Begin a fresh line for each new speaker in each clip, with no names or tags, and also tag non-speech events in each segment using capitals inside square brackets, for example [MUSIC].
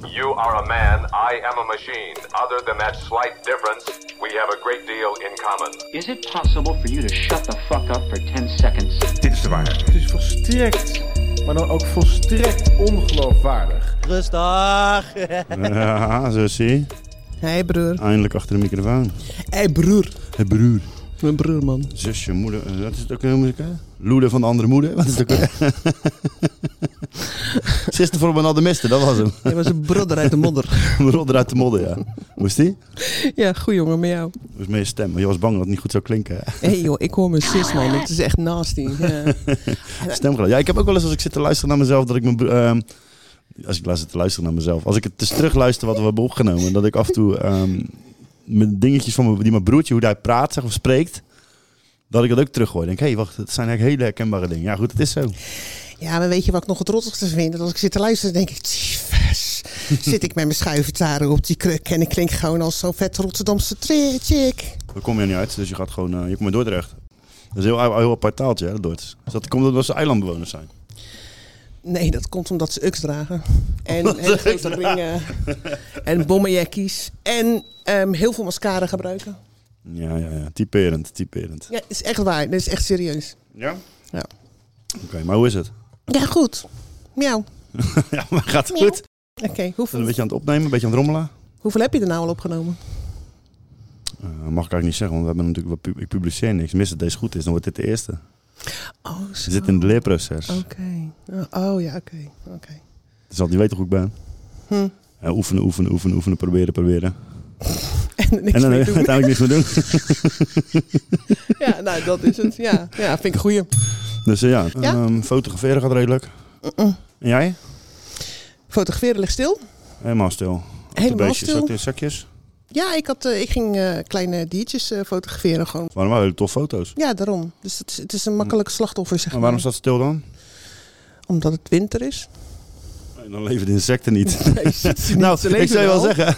You are a man, I am a machine. Other than that slight difference, we have a great deal in common.
Is it possible for you to shut the fuck up for 10 seconds?
Dit is de waarheid.
Het is volstrekt, maar dan ook volstrekt ongeloofwaardig.
Rustig.
Ja, zusje.
Hey broer.
Eindelijk achter de microfoon.
Hey broer.
Het broer.
Mijn broer man.
Zusje, moeder. eh, Wat is het ook weer? moet ik, eh? Loeder van de andere moeder. Wat is het ook weer? Zuster voor mijn andere mister, dat was hem. [LAUGHS]
Hij was een broeder uit de modder.
Rodder uit de modder, ja. Hoe is die?
[LAUGHS] ja, goed jongen, met jou.
Hoe is mijn stem? Want je was bang dat het niet goed zou klinken. hè?
Hé hey, joh, ik hoor mijn zus man. Het is echt nasty. Ja.
Stemgeluid. Ja, ik heb ook wel eens als ik zit te luisteren naar mezelf, dat ik mijn... bro- ehm, als ik luister te luisteren naar mezelf. Als ik het dus terugluister wat we hebben opgenomen, dat ik af en toe ehm, mijn dingetjes van mijn, die mijn broertje, hoe hij praat zeg, of spreekt, dat ik dat ook terughoor. Denk, hé, hey, wacht, dat zijn eigenlijk hele herkenbare dingen. Ja, goed, het is zo.
Ja, maar weet je wat ik nog het rottigste vind? Dat als ik zit te luisteren, denk ik... "Tyfus." Zit ik met mijn schuivertaren op die kruk en ik klink gewoon als zo'n vet Rotterdamse tri- chick.
Daar kom je niet uit, dus je gaat gewoon... eh, je komt uit Dordrecht. Dat is een heel, heel apart taaltje, hè, dat Dordt. Dus dat komt omdat ze eilandbewoners zijn.
Nee, dat komt omdat ze uks dragen. En, en grote ringen.
en
Bommenjekkies. En ehm, heel veel mascara gebruiken.
Ja, ja, ja. Typerend, typerend.
Ja, is echt waar. Dat is echt serieus.
Ja?
Ja.
Oké, maar hoe is het? [LAUGHS]
Ja, goed. Miauw.
ja, maar gaat het goed?
Oké,
Zijn we
hoeveel,
een beetje aan het opnemen, een beetje aan het rommelen?
hoeveel heb je er nou al opgenomen?
Eh, mag ik eigenlijk niet zeggen, want we hebben natuurlijk, we pu- ik publiceer niks. Mis dat deze goed is, dan wordt dit de eerste.
Oh, zo.
Ze zit in het leerproces.
Oké. Oh ja, oké. oké. [LAUGHS]
Dus zal die weten hoe ik ben.
Hm.
Ja, oefenen, oefenen, oefenen, oefenen, proberen, proberen.
En niks
en dan [LAUGHS]
meer doen. [LAUGHS]
uiteindelijk niks meer doen.
Ja, nou, dat is het. Ja, ja vind ik een goeie.
Dus eh, ja,
Ja?
Ehm, fotograferen gaat redelijk. En jij?
Fotograferen ligt stil.
Helemaal stil. Op de
Helemaal
beestjes,
stil.
ook de zakjes.
Ja, ik, had, eh, ik ging eh, kleine diertjes eh, fotograferen gewoon.
Waarom wel hele tof foto's.
Ja, daarom. Dus het is, het is een makkelijk slachtoffer, zeg
Maar
maar.
waarom staat het stil dan?
Omdat het winter [LAUGHS] is.
Nee, Dan leven de insecten [LAUGHS] niet.
[LAUGHS] nou,
ik zou je wel zeggen,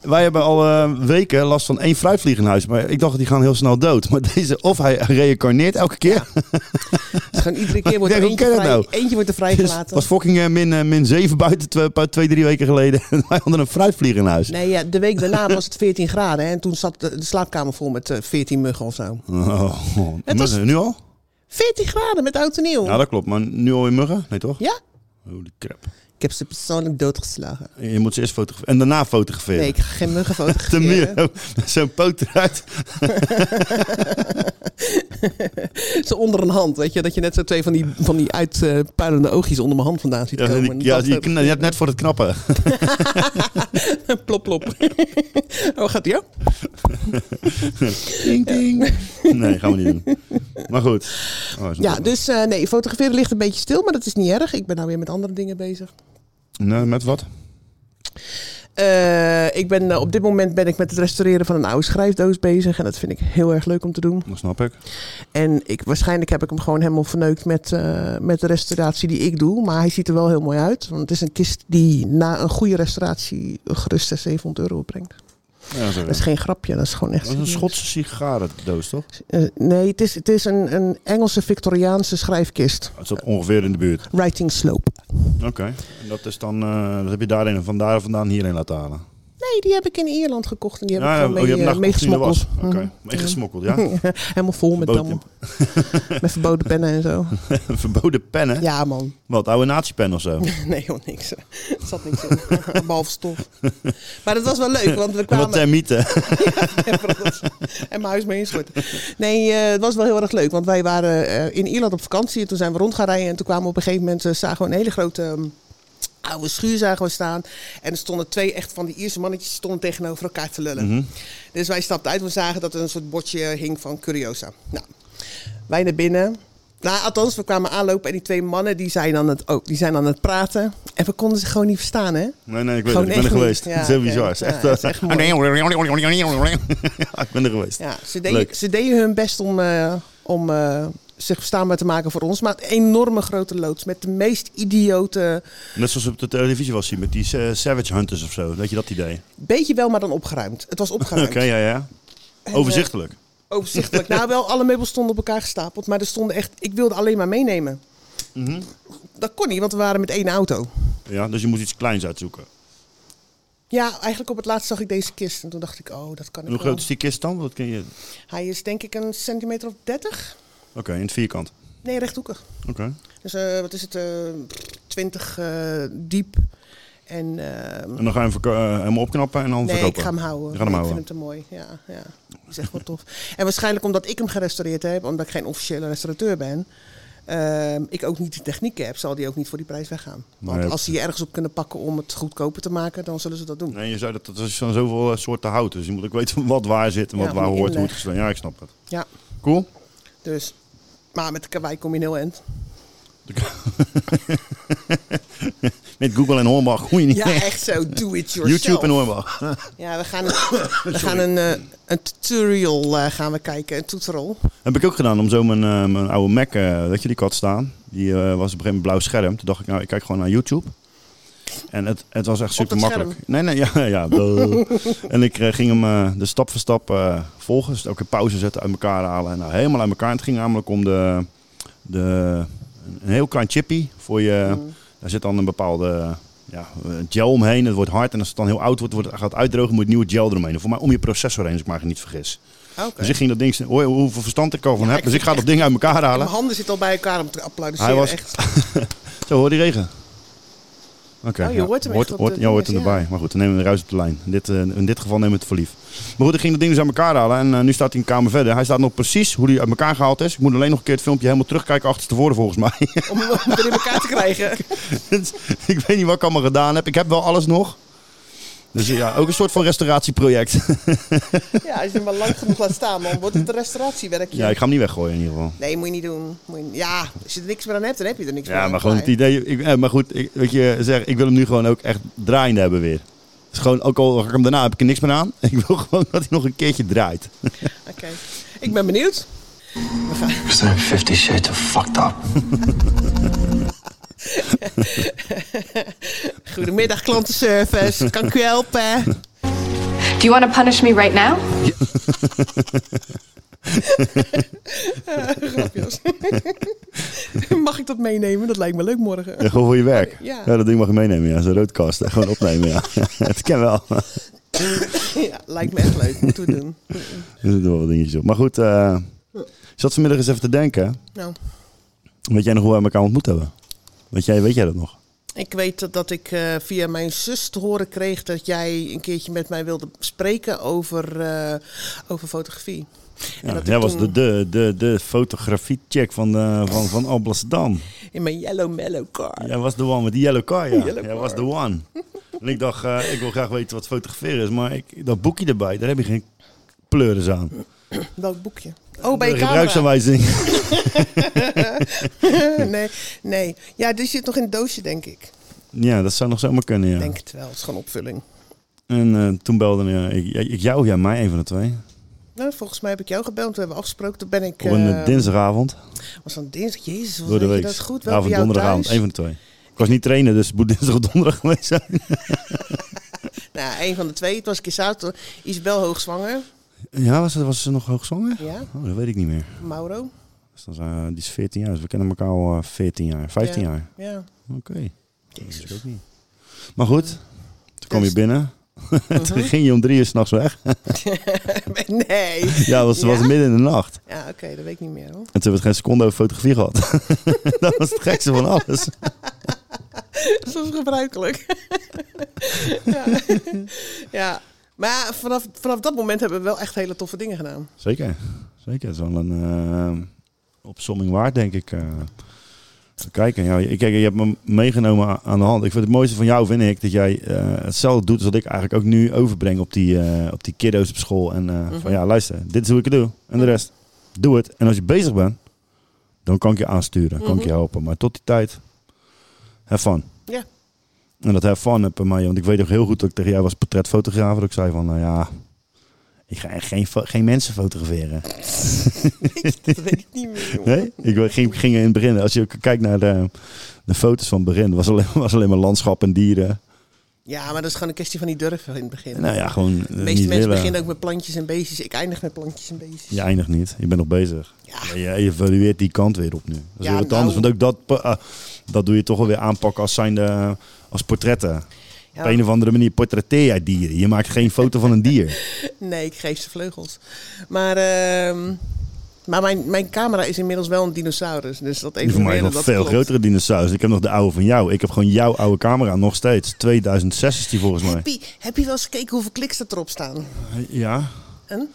wij hebben al eh, weken last van één fruitvlieg in huis. Maar ik dacht, die gaan heel snel dood. Maar deze, of hij reïncarneert elke keer.
Gewoon iedere keer wordt
Ik
er
denk,
eentje,
hoe kan
vrij,
dat
eentje [LAUGHS] wordt er
Dus
vrijgelaten.
Het was fucking eh, min, eh, min 7 buiten twee, pa- twee, drie weken geleden. [LAUGHS] En wij hadden een fruitvlieg in huis.
Nee, ja, de week daarna was het 14 graden. Hè, en toen zat de, de slaapkamer vol met eh, 14 muggen of zo.
Oh, oh.
Het was-
Muggen, nu al?
14 graden met oud en nieuw.
Ja, dat klopt. Maar nu al in muggen? Nee, toch?
Ja?
Holy crap.
Ik heb ze persoonlijk doodgeslagen.
Je moet ze eerst fotograferen. En daarna fotograferen.
Nee, ik ga geen muggen
[LAUGHS] Te meer.
fotograferen.
Zo'n poot eruit.
Zo onder een hand, weet je. Dat je net zo twee van die, van die uitpuilende oogjes onder mijn hand vandaan ziet
Ja,
komen.
die- ja,
Dat-
die kn- je hebt net voor het knappen. [LAUGHS]
eh, [LAUGHS] plop, plop. oh, gaat die ook?
Ding, ding. Nee, gaan we niet doen. Maar goed. Oh, is nog
Ja,
wel-
dus eh, nee, fotograferen ligt een beetje stil, maar dat is niet erg. Ik ben nou weer met andere dingen bezig.
Nee, met wat?
Eh, ik ben, eh, op dit moment ben ik met het restaureren van een oude schrijfdoos bezig. En dat vind ik heel erg leuk om te doen.
Dat snap ik.
En ik, waarschijnlijk heb ik hem gewoon helemaal verneukt met, eh, met de restauratie die ik doe. Maar hij ziet er wel heel mooi uit. Want het is een kist die na een goede restauratie gerust 700 euro opbrengt.
Ja, zo.
Dat is geen grapje, dat is gewoon echt...
Dat is een
serieus.
Schotse sigarendoos, toch?
Eh, nee, het is, het is een, een Engelse Victoriaanse schrijfkist.
Het zat ongeveer in de buurt.
Writing Slope.
Oké, en dat is dan, eh, dat heb je daarin van daar vandaan hierheen laten halen.
Nee, die heb ik in Ierland gekocht en die heb
Ja,
ik
oh,
gewoon
je
mee,
hebt
eh,
nacht gezien hoe dat
meegesmokkeld. Mhm.
was. Oké, meegesmokkeld, ja.
[LAUGHS] Helemaal vol met
Verboden.
allemaal. [LAUGHS] met verboden pennen en
[LAUGHS]
zo.
Verboden pennen?
Ja, man.
Wat, oude natiepen of zo?
Nee, joh, niks. [LAUGHS] Er zat niks in. Behalve stof. Maar dat was wel leuk, want we
En wat eh,
kwamen...
termieten?
[LAUGHS] en mijn huis mee instorten. Nee, eh, het was wel heel erg leuk, want wij waren eh, in Ierland op vakantie. En toen zijn we rond gaan rijden en toen kwamen we op een gegeven moment... eh, zagen we een hele grote... ehm, Oude schuur zagen we staan. En er stonden twee echt van die Ierse mannetjes stonden tegenover elkaar te lullen.
Mhm.
Dus wij stapten uit. We zagen dat er een soort bordje hing van Curiosa. Nou, wij naar binnen. Nou, althans, we kwamen aanlopen en die twee mannen die zijn, aan het, ook, die zijn aan het praten. En we konden ze gewoon niet verstaan, hè?
[LAUGHS] Nee, nee, ik weet
Gewoon
het, ik ben er
echt niet.
geweest.
Ja,
Het is heel
oké.
bizar. Het is
Ja,
echt,
het is
eh,
echt mooi.
[LAUGHS] ja, ik ben er geweest.
Ja, ze
Leuk.
deden, ze deden hun best om, eh, om eh, zich verstaanbaar te maken voor ons. Maar een enorme grote loods met de meest idiote...
Net zoals op de televisie was zien met die eh, Savage Hunters of zo. Weet je dat idee?
Beetje wel, maar dan opgeruimd. Het was
Oké,
opgeruimd.
ja, ja.
eh,
Overzichtelijk.
Overzichtelijk. nou, wel, alle meubels stonden op elkaar gestapeld. Maar er stonden echt... Ik wilde alleen maar meenemen.
Mhm.
Dat kon niet, want we waren met één auto.
Ja, dus je moet iets kleins uitzoeken.
Ja, eigenlijk op het laatst zag ik deze kist en toen dacht ik, oh, dat kan ik
En hoe
wel.
groot is die kist dan? Dat ken je. Oké,
Hij is denk ik een centimeter of 30.
in het vierkant.
Nee, rechthoekig.
Oké.
Dus eh, wat is het, eh 20 eh, diep. En, ehm,
En dan ga je hem verko- eh, helemaal opknappen en dan
nee,
verkopen.
ik ga hem houden.
Je gaat hem
ik
houden.
vind hem te mooi. Ja, ja, dat is echt wel tof. En waarschijnlijk omdat ik hem gerestaureerd heb, omdat ik geen officiële restaurateur ben, ehm, ik ook niet de techniek heb, zal die ook niet voor die prijs weggaan. Want
Nee,
als ze je ergens op kunnen pakken om het goedkoper te maken, dan zullen ze dat doen.
Nee, je zei dat, dat er zijn zoveel eh, soorten hout. Dus je moet ook weten [LAUGHS] wat waar zit en wat
Ja,
waar
hoe je
hoort. Hoe het
inlegt.
gestaan. Ja, ik snap het.
Ja,
Cool. [LAUGHS]
dus. Maar met de kawaii kom je nul end.
Met Google en Hornbach. Hoe je [LAUGHS] niet
Ja,
echt.
echt zo. Do it yourself.
YouTube en Hornbach.
Ja, we
[COUGHS]
gaan, een- we gaan een, eh, een tutorial eh, gaan we kijken, een toeterol.
Heb ik ook gedaan om zo mijn, eh, mijn oude Mac, eh weet je, die kat staan. Die eh, was op een gegeven moment blauw scherm. Toen dacht ik, nou, ik kijk gewoon naar YouTube. En het, het was echt
Op
super
dat
makkelijk. Nee, nee, ja, [LAUGHS] ja. duh.
[LAUGHS]
en ik eh, ging hem eh, de stap voor stap eh, volgen. Dus elke pauze zetten, uit elkaar halen. En nou, helemaal uit elkaar. En het ging namelijk om de, de, een heel klein chippy voor je.
Mm.
Daar zit dan een bepaalde ja, eh, gel omheen. Het wordt hard. En als het dan heel oud wordt, wordt het, gaat het uitdrogen. Moet nieuwe gel eromheen. Voor mij om je processor heen, als ik me niet vergis.
Oké.
Dus ik ging dat ding, hoor je hoeveel verstand ik al van heb.
ik
Dus ik
vind
ga dat ding uit elkaar halen.
Mijn handen zitten al bij elkaar om te applaudisseren.
Hij was-
echt.
Zo, hoor die regen. Oké.
Oh, je
ja.
hoort hem echt op
hoort,
de
ja, hoort hem
dinges,
erbij. Maar goed, dan nemen we de ruis op de lijn. In dit, eh, in dit geval nemen we het voor lief. Maar goed, ik ging dat ding dus uit elkaar halen. En eh, nu staat hij een kamer verder. Hij staat nog precies hoe hij uit elkaar gehaald is. Ik moet alleen nog een keer het filmpje helemaal terugkijken achterstevoren volgens mij. [LAUGHS]
om hem er in elkaar te krijgen.
Dus ik weet niet wat ik allemaal gedaan heb. Ik heb wel alles nog. Dus eh, ja, ook een soort van restauratieproject. [LAUGHS]
Ja, als je hem maar lang genoeg laat staan, dan wordt het een restauratiewerkje.
ja, ik ga hem niet weggooien in ieder geval.
Nee, moet je niet doen. Moet je- Ja, als je er niks meer aan hebt, dan heb je er niks meer aan.
Ja, maar gewoon het
Klaar.
idee. Ik, eh, maar goed, ik, weet je, zeg, ik wil hem nu gewoon ook echt draaiende hebben weer. Dus gewoon, ook al ga ik hem daarna, heb ik er niks meer aan. [LAUGHS] Ik wil gewoon dat hij nog een keertje draait. [LAUGHS]
Oké. Ik ben benieuwd. We gaan...
Because I'm 50 shades of fucked up.
Goedemiddag, klantenservice. Kan ik u helpen? [LAUGHS]
Do you want to punish me right now?
Grapjes. Mag ik dat meenemen? Dat lijkt me leuk morgen.
Ja, gewoon voor je werk. Ja.
Ja.
dat ding mag je meenemen, ja. Zo'n roodkast. hè. Gewoon opnemen, ja. [LAUGHS] Het ken wel. Er
[LAUGHS] Ja, lijkt me echt leuk. Moeten we doen.
zitten wel wat dingetjes op. Maar goed, eh, ik zat vanmiddag eens even te denken.
Nou,
Weet jij nog hoe we elkaar ontmoet hebben? Weet jij, weet jij dat nog?
ik weet dat ik eh, via mijn zus te horen kreeg dat jij een keertje met mij wilde spreken over, eh, over fotografie. En
Ja,
dat ik
jij was de,
toen-
de, de, de fotografie-check van, de- van, van Alblasserdam.
In mijn yellow mellow car.
Jij was de one met die yellow car, ja.
[LAUGHS] Yellow
Jij
car.
was de one. en ik dacht, eh, ik wil graag weten wat fotograferen is, maar ik, dat boekje erbij, daar heb je geen pleuris aan.
Welk boekje? Oh, bij
De
je camera.
gebruiksaanwijzing. [LAUGHS]
[LAUGHS] nee, nee. Ja, die zit nog in het doosje, denk ik.
ja, dat zou nog zomaar kunnen, ja.
Denk het wel. Het is gewoon opvulling.
En eh, toen belde eh, ik, ik jou of jij mij, een van de twee.
Nou, volgens mij heb ik jou gebeld. We hebben afgesproken. Toen ben ik...
Op een eh,
eh,
dinsdagavond,
Was dan dinsdag? Jezus, wat
door de
weet je
week.
dat goed.
Ja,
Wel
of
bij jou
donderdagavond,
thuis.
een van de twee. Ik was niet trainen, dus het moet dinsdag [LAUGHS] of donderdag geweest zijn.
Nou, een van de twee. Het was een keer zaterdag. Isabel hoogzwanger.
Ja, was, ze- was ze nog hoogzwanger?
Ja,
Oh, dat weet ik niet meer.
Mauro.
Dus dan, zijn- die is 14 jaar, dus we kennen elkaar al eh, 14 jaar, 15
Ja.
jaar.
Ja.
Oké. Dat wist ik ook niet. Dus- Maar goed, toen kwam je binnen. [LAUGHS] toen ging je om drie uur s'nachts weg.
[LAUGHS] nee.
Ja, het was, het was
Ja?
midden in de nacht.
Ja, oké. dat weet ik niet meer hoor. [LAUGHS]
En toen hebben we geen seconde over fotografie gehad. [LAUGHS] dat was het gekste van alles.
Zoals gebruikelijk. [LAUGHS] ja. [LAUGHS] ja. Maar vanaf, vanaf dat moment hebben we wel echt hele toffe dingen gedaan.
Zeker. Zeker. Het is wel een eh, opsomming waard, denk ik. eh. Even kijken. Ja, je- kijk, je hebt me meegenomen a- aan de hand. Ik vind het mooiste van jou, vind ik, dat jij eh, hetzelfde doet als wat ik eigenlijk ook nu overbreng op die, eh, op die kiddo's op school. En eh, van ja, luister, dit is hoe ik het doe. En de rest, doe het. En als je bezig bent, dan kan ik je aansturen. Kan ik je helpen. Maar tot die tijd, have fun. [LAUGHS]
Ja.
En dat have fun heb bij mij. Want ik weet nog heel goed dat ik tegen jou was portretfotograaf. Dat ik zei van, nou ja, ik ga echt geen, fo- geen mensen fotograferen.
Dat weet ik niet meer. jongen.
Nee, ik eh, ging, ging in het begin. Als je ook kijkt naar de, de foto's van het begin, was alleen, was alleen maar landschap en dieren.
Ja, maar dat is gewoon een kwestie van niet durven in het begin.
Nou ja, gewoon.
de meeste mensen beginnen ook met plantjes en beestjes. Ik eindig met plantjes en beestjes.
Je eindigt niet, je bent nog bezig.
Ja.
Je evalueert die kant weer op nu. Dat is
Ja,
weer wat
nou.
anders. Want ook dat, eh, dat doe je toch wel weer aanpakken als, zijnde, eh, als portretten.
Ja.
Op een of andere manier portretteer jij dieren. Je maakt geen foto van een dier.
[LAUGHS] Nee, [LAUGHS] ik geef ze vleugels. Maar, ehm, maar mijn, mijn camera is inmiddels wel een dinosaurus. Dus dat
Die van mij is
eventueel
nog
dat
veel
klopt.
grotere dinosaurus. Ik heb nog de oude van jou. Ik heb gewoon jouw oude camera nog steeds. 2006 is die
[LAUGHS]
volgens mij.
Heb je, heb je wel eens gekeken hoeveel kliks dat erop staan?
Ja.
En?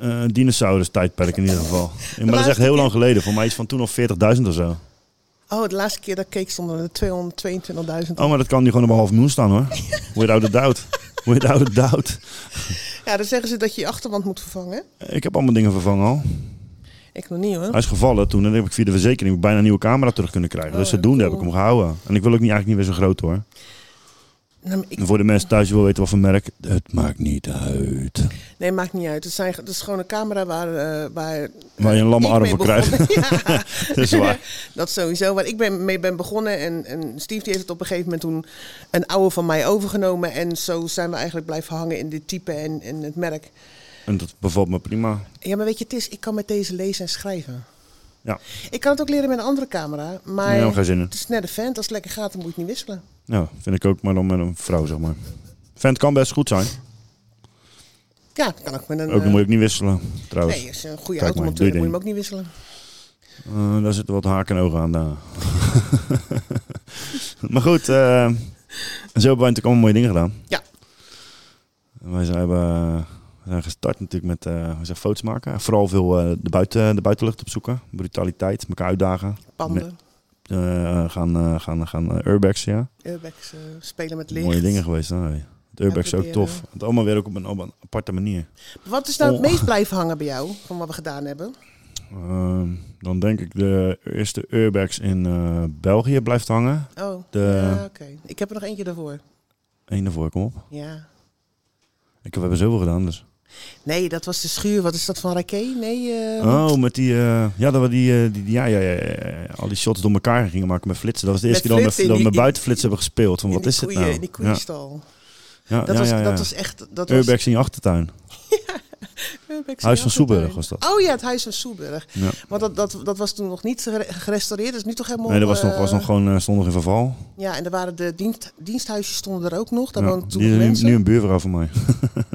Eh, dinosaurus tijdperk in ieder
[LAUGHS]
geval. Maar dat is echt heel lang geleden. Voor mij is van toen nog 40.000 of zo.
Oh, de laatste keer dat ik keek stonden er 222.000.
Oh, maar dat kan nu gewoon op een half miljoen staan hoor. Without a doubt. Without a doubt.
Ja, dan zeggen ze dat je je achterwand moet vervangen.
Ik heb allemaal dingen vervangen al.
Ik nog niet hoor.
Hij is gevallen toen en heb ik via de verzekering bijna een nieuwe camera terug kunnen krijgen.
Oh,
dus zodoende heb ik hem gehouden. En ik wil ook niet, eigenlijk niet meer zo groot hoor.
Nou, maar ik-
En voor de mensen thuis die wil weten wat voor merk, het maakt niet uit.
nee, maakt niet uit. Het, zijn, het is gewoon een camera waar, eh, waar,
Waar je een lamme
ik
arm
mee
voor
begonnen-
krijgt. [LAUGHS]
Ja.
Dat is waar.
[LAUGHS] Dat sowieso. Waar ik ben, mee ben begonnen. En, en Steve die heeft het op een gegeven moment toen een oude van mij overgenomen. En zo zijn we eigenlijk blijven hangen in dit type en, en het merk.
En dat bevalt me prima.
Ja, maar weet je, het is, ik kan met deze lezen en schrijven.
Ja,
Ik kan het ook leren met een andere camera. Maar
Nee, daar heb ik geen zin in.
het is net een vent. Als het lekker gaat, dan moet je het niet wisselen.
ja vind ik ook, maar dan met een vrouw zeg maar. Vent kan best goed zijn.
Ja, dat kan ook met een...
Ook dan
eh,
moet je ook niet wisselen trouwens.
nee, als je een goede
Kijk
auto
maar,
moet
doe je
doen, moet je hem
ding.
ook niet wisselen.
Eh, daar zitten wat haken en ogen aan. daar. [LAUGHS] maar goed, eh, zo hebben wij natuurlijk allemaal mooie dingen gedaan.
Ja.
En Wij zijn, hebben, we zijn gestart natuurlijk met eh, hoe zeg, foto's maken. Vooral veel eh, de, buiten, de buitenlucht opzoeken. Brutaliteit, elkaar uitdagen.
Panden,
Me- eh, gaan eh, gaan, gaan eh, airbags, ja.
airbags, eh, spelen met licht.
Mooie dingen geweest. Hè? Het airbags ook
proberen.
tof. Het allemaal weer ook op een, op een aparte manier.
Wat is nou het
Oh.
meest blijven hangen bij jou, van wat we gedaan hebben?
Ehm, dan denk ik de eerste airbags in eh, België blijft hangen.
Oh,
De-
ja, oké. Ik heb er nog eentje daarvoor.
Eén daarvoor, kom op.
Ja.
Ik, we hebben zoveel gedaan, dus...
Nee, dat was de schuur. Wat is dat van Raké? Nee, eh,
Oh, met die, eh, ja, dat we die, eh, die, die- ja, ja, ja, ja, ja, al die shots door elkaar gingen maken met flitsen. Dat was de
Met
eerste keer dat we
flitsen in
met- dat we met
die-
buitenflits hebben gespeeld. Van,
in
wat
die
is het
koeien-
nou?
In die
ja,
koeienstal.
ja,
Dat,
ja,
was,
ja, ja.
dat was echt... Dat was,
Airbags in je achtertuin.
Urbex
Huis
Jacobijn.
van Soeburg was dat.
Oh ja, het Huis van Soeburg.
Ja.
Want dat, dat, dat was toen nog niet gere- gerestaureerd. Dat is nu toch helemaal...
Nee, dat was nog,
eh,
was nog gewoon eh, stond nog in verval.
Ja, en er waren de dienst, diensthuisjes stonden er ook nog. Daar
Ja,
woonden toen
die is nu-
mensen.
nu een buurvrouw van mij.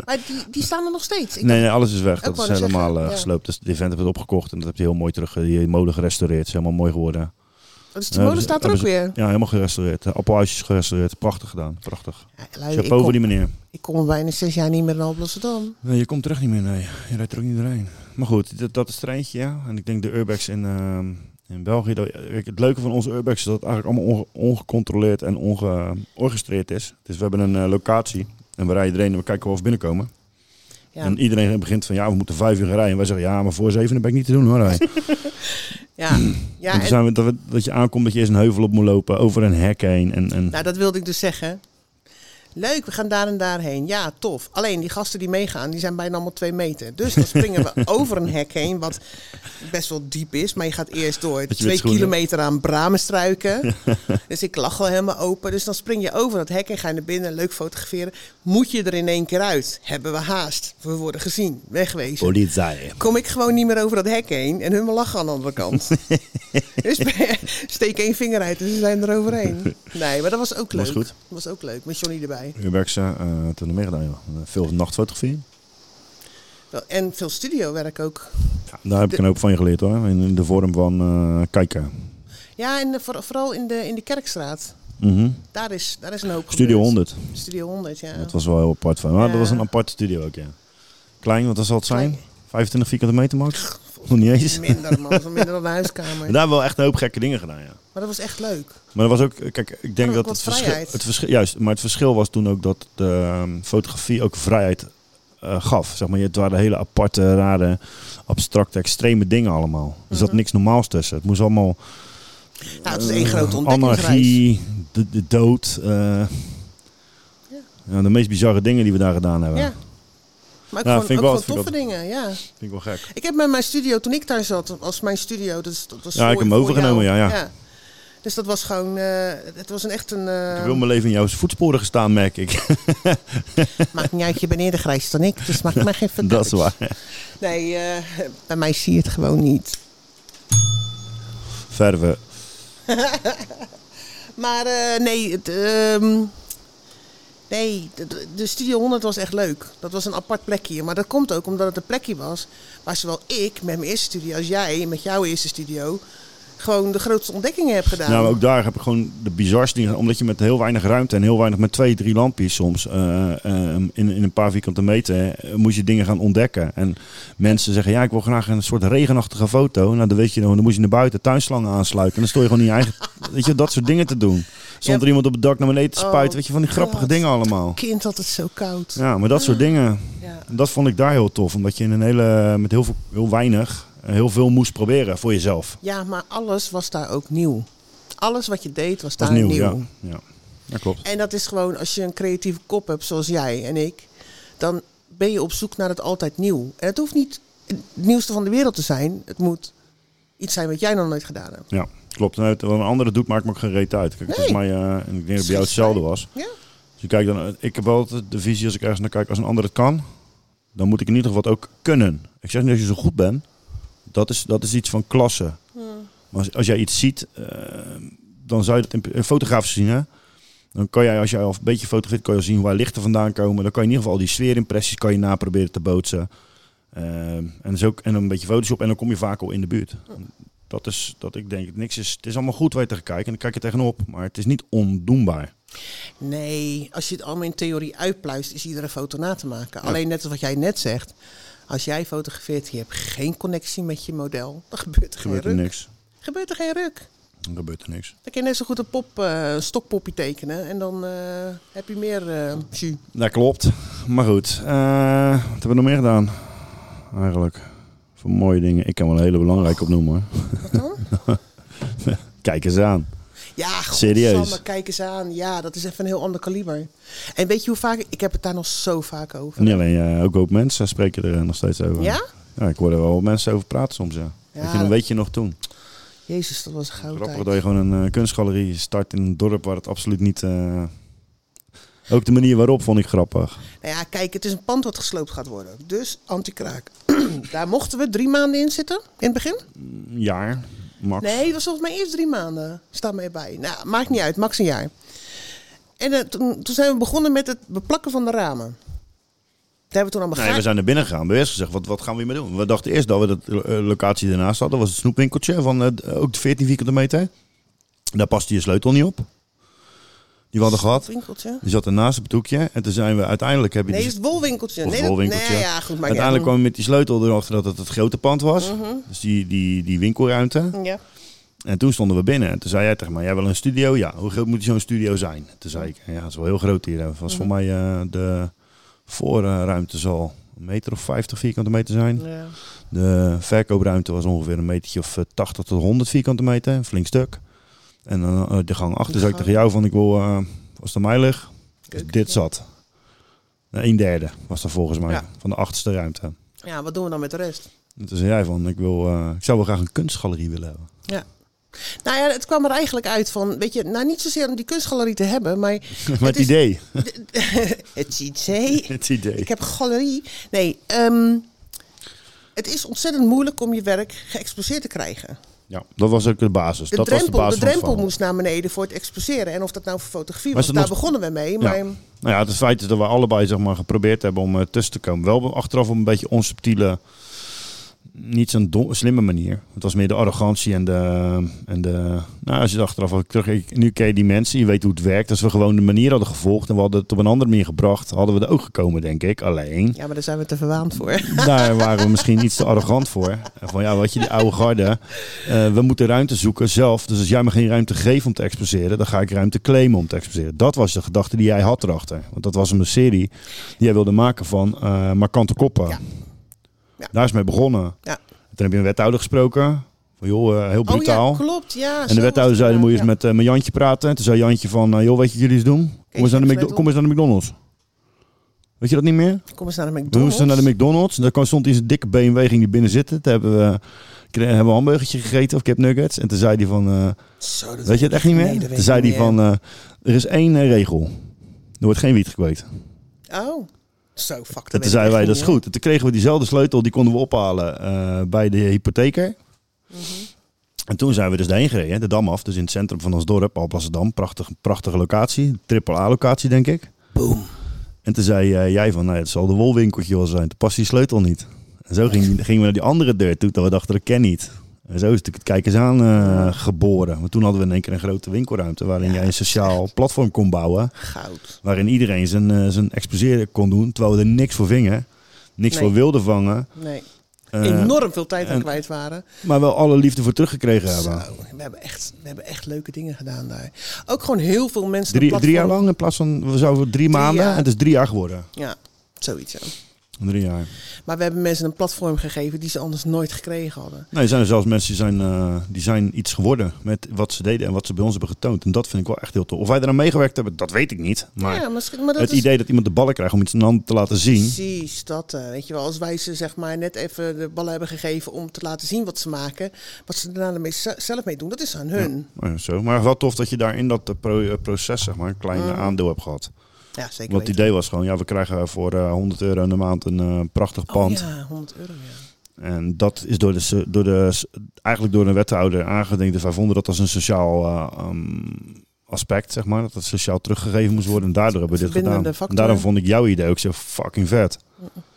Maar die, die staan er nog steeds. Ik
Nee, nee, alles is weg.
Ik
Dat is
wou net
helemaal
zeggen,
eh,
ja.
gesloopt. Dus die vent heeft het opgekocht en dat heb je heel mooi terug. eh, Die mode gerestaureerd. Het is helemaal mooi geworden.
dacht, Dus de molen
Ja,
staat er ook
hebben ze-
weer.
Ja, helemaal gerestaureerd. De Appelhuisjes gerestaureerd. Prachtig gedaan. Prachtig.
Ja, lui, ik,
Chapeau voor die
kom,
meneer.
ik kom bijna zes jaar niet meer naar Alblasserdam.
Nee, je komt terug niet meer, nee. Je rijdt er ook niet doorheen. Maar goed, dat, dat is het treintje, ja. En ik denk de urbex in, ehm, in België... Dat, kijk, het leuke van onze urbex is dat het eigenlijk allemaal onge- ongecontroleerd en ongeorchestreerd is. Dus we hebben een eh, locatie en we rijden erin en we kijken of we binnenkomen.
Ja.
En iedereen begint van, ja, we moeten vijf uur gaan rijden. En wij zeggen, ja, maar voor zeven uur ben ik niet te
[LAUGHS]
doen, hoor. Hij.
Ja, ja
en toen
en-
Hmm. zijn we, dat, we- dat je aankomt dat je eerst een heuvel op moet lopen, over een hek heen. En, en
Nou, dat wilde ik dus zeggen. Leuk, we gaan daar en daarheen. Ja, tof. Alleen die gasten die meegaan, die zijn bijna allemaal twee meter. Dus dan springen
[LAUGHS]
we over een hek heen, wat best wel diep is. Maar je gaat eerst door
met
twee
schoenen.
kilometer aan
[LAUGHS]
bramenstruiken. dus ik lag al helemaal open. Dus dan spring je over dat hek en ga je naar binnen. Leuk fotograferen. Moet je er in één keer uit? Hebben we haast? We worden gezien. Wegwezen
Politie.
kom ik gewoon niet meer over dat hek heen. En hun lachen aan de andere
[LAUGHS]
kant. dus [LAUGHS] steek één vinger uit en ze zijn er overheen. Nee, maar dat was ook leuk.
Was goed.
was ook leuk, met Johnny erbij.
Urbex, eh toen hebben we meegedaan, joh. Veel nachtfotografie.
Wel, En veel studiowerk ook.
Ja, daar heb ik een hoop van je geleerd hoor. In in de vorm van eh, kijken.
Ja, en eh, voor- vooral in de, in de Kerkstraat.
Mhm.
Daar is, daar is een hoop
Studio
gebeurd.
100.
Studio 100, ja.
Dat was wel heel apart van. Maar
Ja.
dat was een aparte studio ook, ja. Klein, wat zal het zijn?
Klein.
25 vierkante meter max? [LAUGHS] Nog niet eens.
Minder, man. Dat was minder dan de
Maar [LAUGHS]
huiskamer.
daar hebben we wel echt een hoop gekke dingen gedaan, ja.
Maar dat was echt leuk.
Maar dat was ook, eh, kijk, ik denk
ook
dat
Oh, wat
het verschil,
vrijheid.
het verschil, juist, maar het verschil was toen ook dat de ehm, fotografie ook vrijheid eh, gaf. Zeg maar, het waren hele aparte, rare, abstracte, extreme dingen allemaal. Er zat
Mhm.
niks normaals tussen. Het moest allemaal
Nou, het was één grote ontdekkingsreis.
Eh, anarchie, de, de dood. eh, ja, de meest bizarre dingen die we daar gedaan hebben.
Ja. Maar ook
Ja, vind ik
gewoon,
wel-
ook
vind ik
gewoon toffe
wel-
dingen, ja.
Vind ik wel gek.
Ik heb met mijn studio, toen ik daar zat, als mijn studio, dus dat was
Ja, ik
voor-
heb hem
voor
overgenomen,
jou.
ja, ja.
Dus dat was gewoon, eh, het was een echt een, eh,
Ik heb heel mijn leven in jouw voetsporen gestaan, merk ik. [LAUGHS]
maakt niet uit, je bent eerder grijs dan ik, dus
[LAUGHS]
maakt mij geen verder
dat is
uit. [LAUGHS]
waar.
Nee, eh, bij mij zie je het gewoon niet.
Verven.
Maar eh, nee, het, ehm, Nee, de- de, de Studio 100 was echt leuk. Dat was een apart plekje. Maar dat komt ook omdat het een plekje was waar zowel ik met mijn eerste studio als jij met jouw eerste studio gewoon de grootste ontdekkingen hebt gedaan.
Ja, maar Nou, ook daar heb ik gewoon de bizarste dingen. Omdat je met heel weinig ruimte en heel weinig, met twee, drie lampjes soms, eh, ehm, in, in een paar vierkante meter, eh, moet je dingen gaan ontdekken. En mensen zeggen, ja, ik wil graag een soort regenachtige foto. Nou, dan weet je, dan moet je naar buiten tuinslangen aansluiten. En dan stoor je gewoon in je eigen, [LAUGHS] weet je, dat soort dingen te doen. Stond er iemand op het dak naar beneden te spuiten,
Oh,
weet je, van die grappige
God.
dingen allemaal.
Kind had het zo koud.
Ja, maar dat soort dingen,
Ja.
dat vond ik daar heel tof. Omdat je in een hele, met heel, veel, heel weinig, eh, heel veel moest proberen voor jezelf.
Ja, maar alles was daar ook nieuw. Alles wat je deed was
Dat
daar
is nieuw,
Ah, nieuw.
ja. ja. Dat klopt.
En dat is gewoon, als je een creatieve kop hebt, zoals jij en ik, dan ben je op zoek naar het altijd nieuw. En het hoeft niet het nieuwste van de wereld te zijn. Het moet iets zijn wat jij nog nooit gedaan hebt.
Ja, klopt. En uit- wat een andere doet, maakt me ook geen reet uit. Kijk, volgens mij, eh, en ik denk dat het bij jou hetzelfde was.
Ja.
Dus ik, kijk dan, ik heb wel altijd de visie, als ik ergens naar kijk, als een ander het kan, dan moet ik in ieder geval het ook kunnen. Ik zeg niet dat je zo goed bent. Dat is, dat is iets van klasse. Maar als, als jij iets ziet, eh, dan zou je dat in, in fotografen zien, hè? Dan kan jij, als jij al een beetje fotografeert, kan je al zien waar lichten vandaan komen. Dan kan je in ieder geval al die sfeerimpressies kan je na proberen te bootsen. Ehm, en, dus ook, en dan een beetje Photoshop en dan kom je vaak al in de buurt. Dat is dat ik denk, niks is, het is allemaal goed waar je tegen kijkt en dan kijk je tegenop. Maar het is niet ondoenbaar.
Nee, als je het allemaal in theorie uitpluist, is iedere foto na te maken. Alleen net als wat jij net zegt. Als jij fotografeert, je hebt geen connectie met je model, dan gebeurt er
Gebeurt
geen
er
ruk.
niks.
Gebeurt er geen ruk.
Dan gebeurt er niks.
Dan kun je net zo goed een pop, eh, een stokpoppie tekenen en dan eh, heb je meer eh jus.
Dat klopt. Maar goed, eh, wat hebben we nog meer gedaan? Eigenlijk, voor mooie dingen. Ik kan wel een hele belangrijke opnoemen hoor.
Wat dan?
[LAUGHS] Kijk eens aan.
Ja,
Serieus?
godsamme, kijk eens aan. Ja, dat is even een heel ander kaliber. En weet je hoe vaak? Ik heb het daar nog zo vaak over.
Niet alleen jij, ook een hoop mensen spreken er eh, nog steeds over.
Ja?
Ja, ik hoor er wel wat mensen over praten soms, ja.
Ja,
Weet je, dan
dat-
weet je nog toen.
Jezus, dat was goud.
Grappig dat je gewoon een eh, kunstgalerie start in een dorp waar het absoluut niet... eh, Ook de manier waarop vond ik grappig.
Nou ja, kijk, het is een pand wat gesloopt gaat worden. Dus anti-kraak. [CLEARS THROAT] daar mochten we drie maanden in zitten, in het begin.
Een jaar, max.
Nee, dat was volgens mij eerst drie maanden. Staat mij bij. Nou, maakt niet uit, max een jaar. En eh, toen, toen zijn we begonnen met het beplakken van de ramen. Daar hebben we toen allemaal
Nee,
gaatjes-
we zijn naar binnen gegaan. We hebben eerst gezegd, wat, wat gaan we hiermee doen? We dachten eerst dat we de locatie ernaast hadden. Dat was het snoepwinkeltje van eh, ook de 14 vierkante meter. Daar paste je sleutel niet op. Die we hadden gehad.
winkeltje.
Die zat ernaast op het hoekje. En toen zijn we uiteindelijk... Heb je
Nee,
die-
is het wolwinkeltje.
Of
nee, dat-
wolwinkeltje.
Nee, ja, goed, maar
uiteindelijk kwam we met die sleutel erachter dat het het grote pand was.
Mhm.
Dus die, die, die winkelruimte.
Ja.
En toen stonden we binnen. En toen zei jij tegen mij, jij wil een studio? Ja, hoe groot moet zo'n studio zijn? Toen zei ik, ja, dat is wel heel groot hier. Dat
Mhm.
was voor mij eh, de voorruimte zal een meter of 50 vierkante meter zijn.
Ja.
De verkoopruimte was ongeveer een metertje of eh, 80 tot 100 vierkante meter, een flink stuk. En dan eh, de gang achter zei ik tegen jou van ik wil, eh, als het aan mij ligt, is dit zat. Nou, Een derde was dat volgens mij,
Ja.
van de achtste ruimte.
ja, wat doen we dan met de rest?
En toen zei jij van ik, wil, eh, ik zou wel graag een kunstgalerie willen hebben. [LAUGHS]
Ja. Nou ja, het kwam er eigenlijk uit van, weet je, nou niet zozeer om die kunstgalerie te hebben,
[LAUGHS]
maar...
Maar het
is-
idee. [LAUGHS]
Het idee.
Het idee.
Ik heb galerie. Nee, ehm, het is ontzettend moeilijk om je werk geëxposeerd te krijgen.
Ja, dat was ook de basis.
De
Dus dat
drempel,
was de basis
de drempel
van het
moest naar beneden voor het exposeren. En of dat nou voor fotografie
Maar
was,
is
daar
het nog-
begonnen we mee.
verhaal.
Maar,
Ja. Nou ja, het feit is dat we allebei zeg maar, geprobeerd hebben om eh, tussen te komen. Wel achteraf op een beetje onsubtiele, niet zo'n dom- slimme manier. Het was meer de arrogantie en de... En de nou, als je het achteraf ook terug... ik- Nu ken je die mensen, je weet hoe het werkt. Als we gewoon de manier hadden gevolgd en we hadden het op een andere manier gebracht... hadden we er ook gekomen, denk ik. Alleen...
ja, maar daar zijn we te verwaand voor. [LAUGHS] Oh
daar waren we misschien iets te arrogant voor. Van ja, wat je, die oude garde. eh, we moeten ruimte zoeken zelf. Dus als jij me geen ruimte geeft om te exposeren, dan ga ik ruimte claimen om te exposeren. Dat was de gedachte die jij had erachter. Want dat was een serie die jij wilde maken van eh markante koppen.
Ja. Ja.
Daar is mee begonnen.
Ja.
Toen heb je een wethouder gesproken. Van joh, eh, heel
Oh
brutaal.
ja, klopt. Ja,
En de wethouder zei, dan moet je eens
met
met, eh, met Jantje praten. En toen zei Jantje van, eh, joh, weet je wat jullie eens doen? Kom eens, naar de
eens
McDo-
met
kom eens naar de McDonald's. Weet je dat niet meer?
Kom eens naar de
We
McDonald's.
moesten naar de McDonald's. Daar kwam- stond in zijn dikke BMW ging die binnen zitten. Toen hebben we, kre- hebben we een hamburgertje gegeten of kipnuggets. En toen zei hij van, eh,
Zo, dat
weet je het echt niet meer?
Nee, dat weet
toen
ik
zei hij
niet
van, eh, er is één eh, regel. Er wordt geen wiet gekweekt.
Oh, zo, fuck. dat
En
weet ik
toen zeiden
echt
wij,
niet
dat is
meer.
goed. En toen kregen we diezelfde sleutel, die konden we ophalen eh, bij de hypotheker. En toen zijn we dus daarheen gereden, de Dam af. Dus in het centrum van ons dorp, Alblasserdam. Prachtig, prachtige locatie. Triple A locatie, denk ik.
Boom.
Boom.
En toen zei eh, jij van, nou, ja, het zal de wolwinkeltje wel zijn. Toen past die sleutel niet. En zo ging- gingen we naar die andere deur toe, dat we dachten, dat ken niet. En zo is natuurlijk het kijkers aan eh, geboren. Want toen hadden we in één keer een grote winkelruimte waarin jij een sociaal platform kon bouwen.
Goud.
Waarin iedereen zijn, eh, zijn exposeren kon doen, terwijl we er niks voor vingen. Niks
Nee.
voor wilden vangen.
Nee.
eh,
Enorm veel tijd aan
en-
kwijt waren.
Maar wel alle liefde voor teruggekregen hebben.
Zo, we, hebben echt, we hebben echt leuke dingen gedaan daar. Ook gewoon heel veel mensen. een
Drie, drie jaar
platform-
lang in plaats van, we zouden drie, maanden.
jaar.
En het is drie jaar geworden.
Ja, zoiets. Ja.
Drie jaar.
Maar we hebben mensen een platform gegeven die ze anders nooit gekregen hadden.
Nee, er zijn er zelfs mensen die zijn, eh, die zijn iets geworden met wat ze deden en wat ze bij ons hebben getoond. En dat vind ik wel echt heel tof. Of wij eraan meegewerkt hebben, dat weet ik niet. Maar
ja, misschien, maar dat
het
is
idee dat iemand de ballen krijgt om iets in de hand te laten zien.
precies dat. eh, weet je wel, als wij ze zeg maar net even de ballen hebben gegeven om te laten zien wat ze maken, wat ze daarna ermee z- zelf mee doen, dat is aan hun.
Maar, zo. maar wel tof dat je daar in dat eh, pro- eh, proces zeg maar, een klein
Mm.
eh, aandeel hebt gehad.
Ja, zeker.
Want het
weten.
idee was gewoon, ja, we krijgen voor eh, 100 euro in de maand een eh, prachtig pand.
Oh, ja, 100 euro. Ja.
En dat is door de, so- door de, eigenlijk door een wethouder aangedenkt. Dus wij vonden dat als een sociaal eh, ehm, aspect, zeg maar. Dat het sociaal teruggegeven moest worden. En daardoor hebben we dit
Verbindende
gedaan.
factor.
En daarom vond ik jouw idee ook zo fucking vet.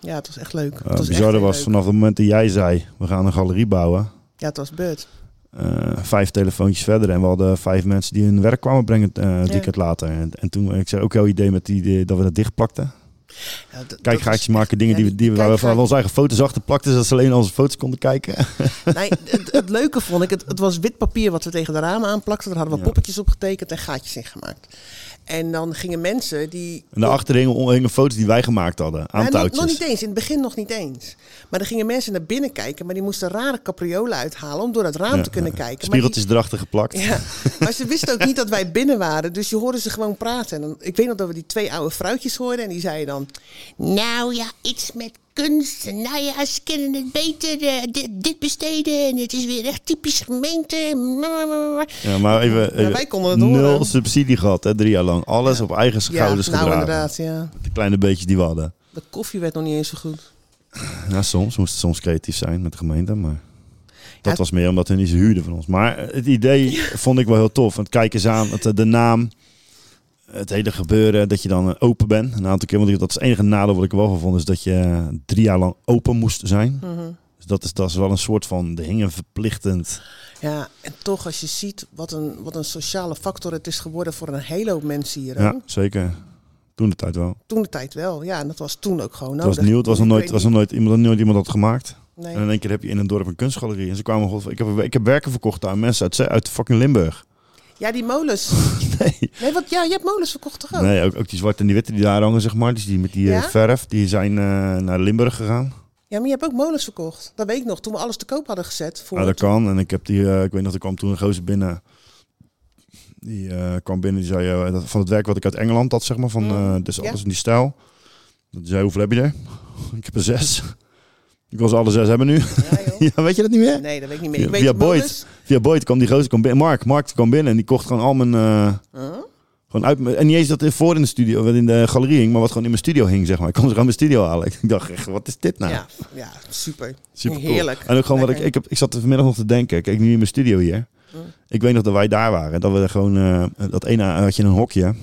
ja, het was echt leuk. het
Het
was echt
Eh, bizarre
heel
was
leuk.
vanaf het moment dat jij zei, we gaan een galerie bouwen.
Ja, het was beurt.
eh, vijf telefoontjes verder en we hadden vijf mensen die hun werk kwamen brengen eh, een weekend later. En, en toen, ik zei ook jouw idee met die, die- dat we dat dichtplakten.
Ja, d- dat was-
Kijkgaatjes maken, dingen
ja,
die, we- die we waar we van
kijkgaatjes-
onze eigen foto's achter plakten, zodat ze alleen onze foto's konden kijken. [LAUGHS]
Nee, het, het leuke vond ik, het, het was wit papier wat we tegen de ramen aanplakten. Daar hadden we
Ja.
poppetjes op getekend en gaatjes in gemaakt. En dan gingen mensen die...
En daarachter hingen, hingen foto's die wij gemaakt hadden. Aan
Nou, nog,
touwtjes.
nog niet eens, in het begin nog niet eens. Maar dan gingen mensen naar binnen kijken, maar die moesten rare capriolen uithalen om door het raam
Ja,
te kunnen
ja.
kijken.
Spiegeltjes
maar
erachter geplakt.
die-
[LAUGHS]
ja, maar ze wisten ook niet dat wij binnen waren, dus je hoorde ze gewoon praten. En dan, ik weet nog dat we die twee oude vrouwtjes hoorden en die zeiden dan...
Nou ja, iets met kunst. Nou ja, ze kunnen het beter eh, dit, dit besteden. En het is weer echt typisch gemeente.
Ja, maar even, even
wij konden het
nul
horen.
subsidie gehad, hè, drie jaar lang. Alles op eigen
Ja,
schouders
nou
gedragen.
inderdaad, ja.
De kleine beetjes die we hadden.
De koffie werd nog niet eens zo goed.
Ja, soms moest het soms creatief zijn met de gemeente, maar dat
Ja.
was meer omdat hun niet zo huurden van ons. Maar het idee vond ik wel heel tof. Want kijk eens aan, het, eh, de naam, het hele gebeuren, dat je dan eh, open bent. Een aantal keer, want ik- dat is het enige nadeel wat ik er wel van vond, is dat je eh, drie jaar lang open moest zijn.
Mhm.
Dus dat is, dat is wel een soort van, de hingen verplichtend.
Ja, en toch als je ziet wat een, wat een sociale factor het is geworden voor een hele hoop mensen hier.
Ja, zeker. Toen de tijd wel.
Toen de tijd wel, ja, en Nou, dat was toen ook gewoon
Het
nodig.
was nieuw, het was nog
Ik
nooit,
weet
was nog nooit, iemand, nooit iemand had gemaakt.
niet- nee.
En in één keer heb je in een dorp een kunstgalerie. En ze kwamen, gewoon van, ik heb, ik heb werken verkocht aan mensen uit, uit fucking Limburg.
Ja, die molens.
[LAUGHS] Nee.
Nee, want ja, je hebt molens verkocht toch ook?
Nee, ook, ook die zwarte en die witte die daar hangen, zeg maar. Dus die met die eh,
Oh. Ja?
verf, die zijn eh, naar Limburg gegaan.
Ja, maar je hebt ook molens verkocht. Dat weet ik nog, toen we alles te koop hadden gezet. Voor
Ah, dat kan. En ik heb die, eh, ik weet nog, er kwam toen een gozer binnen. Die eh, kwam binnen, die zei, eh, dat- van het werk wat ik uit Engeland had, zeg maar. Van, eh, dus
Mm. Ja.
alles in die stijl. Die zei, hoeveel heb je er? [LAUGHS] Ik heb er zes. Ik wil ze alle zes hebben nu.
Ja, joh.
[LAUGHS] ja, weet je dat niet meer?
Nee, dat weet ik niet meer. Ik weet dus.
via
die molens.
Boyd. Via Boyd kwam die gozer kwam binnen. Mark, Mark kwam binnen en die kocht gewoon al mijn. eh, Gewoon uit, mijn- en niet eens dat er voor in de studio, wat in de galerie hing, maar wat gewoon in mijn studio hing, zeg maar. Ik kon ze gewoon in mijn studio halen. [LAUGHS] Ik dacht echt, wat is dit nou?
Ja, ja, super.
Super
Heerlijk.
En ook gewoon wat ik,
Lekker.
ik, heb, ik zat er vanmiddag nog te denken. Kijk, nu in mijn studio hier. Ik weet nog dat wij daar waren. Dat we er gewoon, eh, dat ene had je een hokje.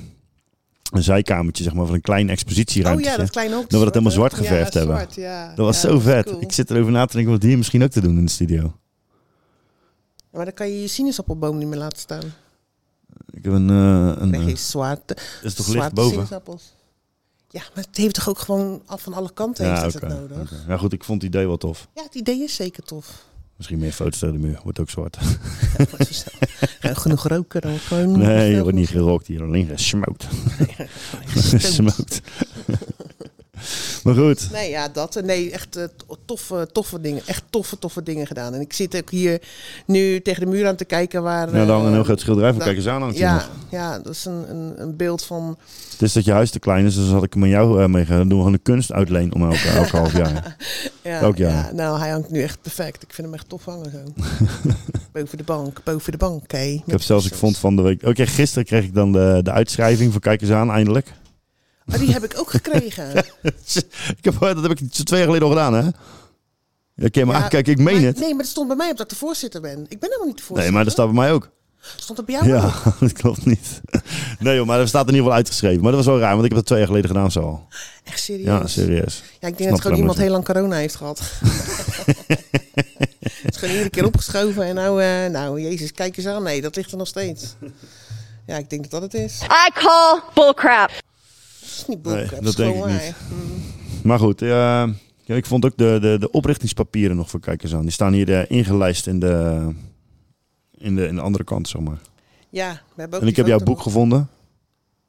Een zijkamertje, zeg maar, van een klein
Oh
expositieruimte.
ja, dat kleine hokje.
Dat we dat helemaal zwart
hè? Ja,
geverfd hebben.
zwart, ja.
Dat was
Ja,
zo vet.
cool.
Ik zit erover na te denken om dat hier misschien ook te doen in de studio.
Maar dan kan je je sinaasappelboom niet meer laten staan.
Ik heb een... eh, een
Dan krijg
eh,
je zwarte,
is toch licht
zwarte
boven?
sinaasappels. Ja, maar het heeft toch ook gewoon af van alle kanten heeft het,
oké,
het nodig.
oké. Ja, goed, ik vond het idee wel tof.
Ja, het idee is zeker tof.
Misschien meer foto's tegen de muur. Wordt ook
[LAUGHS]
zwart.
Ja, wordt zo snel. [LAUGHS] Ja, genoeg roken dan gewoon.
Nee, je wordt niet gerookt hier. Alleen
[LAUGHS]
[LAUGHS] gesmookt. [LAUGHS] Gesmookt. maar goed.
Nee, ja, dat. Nee, echt eh, to- toffe, toffe dingen. Echt toffe, toffe dingen gedaan. En ik zit ook hier nu tegen de muur aan te kijken waar...
Nou, dan
eh,
een heel groot schilderij van
dat-
Kijk eens aan. hangt hier
ja,
nog.
ja, dat is een, een, een beeld van...
Het is dat je huis te klein is, dus had ik hem aan jou eh, mee gaan. Dan doen we gewoon een kunstuitleen om elke, elke
[LAUGHS]
half jaar.
Ja,
Elk jaar.
ja, nou, hij hangt nu echt perfect. Ik vind hem echt tof hangen zo.
[LAUGHS]
boven de bank, boven de bank, hé.
Ik heb zelfs, ik vond van de week... Oké, gisteren kreeg ik dan de, de uitschrijving van Kijk eens aan, eindelijk. [LAUGHS]
Oh, die heb ik ook gekregen.
ik heb, eh, dat heb ik zo twee jaar geleden al gedaan, hè? Ja, oké, maar
Ja,
kijk, ik meen
maar-
het.
Nee, maar dat stond bij mij op dat ik de voorzitter ben. Ik ben helemaal niet de
Nee,
voorzitter.
maar dat staat bij mij ook.
Stond dat bij jou? ook?
Ja, [LAUGHS] dat klopt niet. Nee joh, maar dat staat in ieder geval uitgeschreven. Maar dat was wel raar, want ik heb dat twee jaar geleden gedaan zo al.
Echt serieus?
Ja, serieus.
Ja, ik denk dat gewoon
Snap dat
iemand
maar
heel lang corona heeft
[LAUGHS]
gehad. Het is gewoon iedere keer opgeschoven en nou, eh, nou, jezus, kijk eens aan. Nee, dat ligt er nog steeds. Ja, ik denk dat dat het is.
I call bullcrap.
Het is eh, niet
Ah. Nee,
boek,
dat denk ik niet.
mm.
Maar goed, eh, ja, ik vond ook de, de, de oprichtingspapieren nog voor kijkers aan. Die staan hier eh, ingelijst in de, in, de, in de andere kant, zeg maar.
Ja, we hebben ook
En ik
die
heb jouw
foto
boek gevonden.
nog.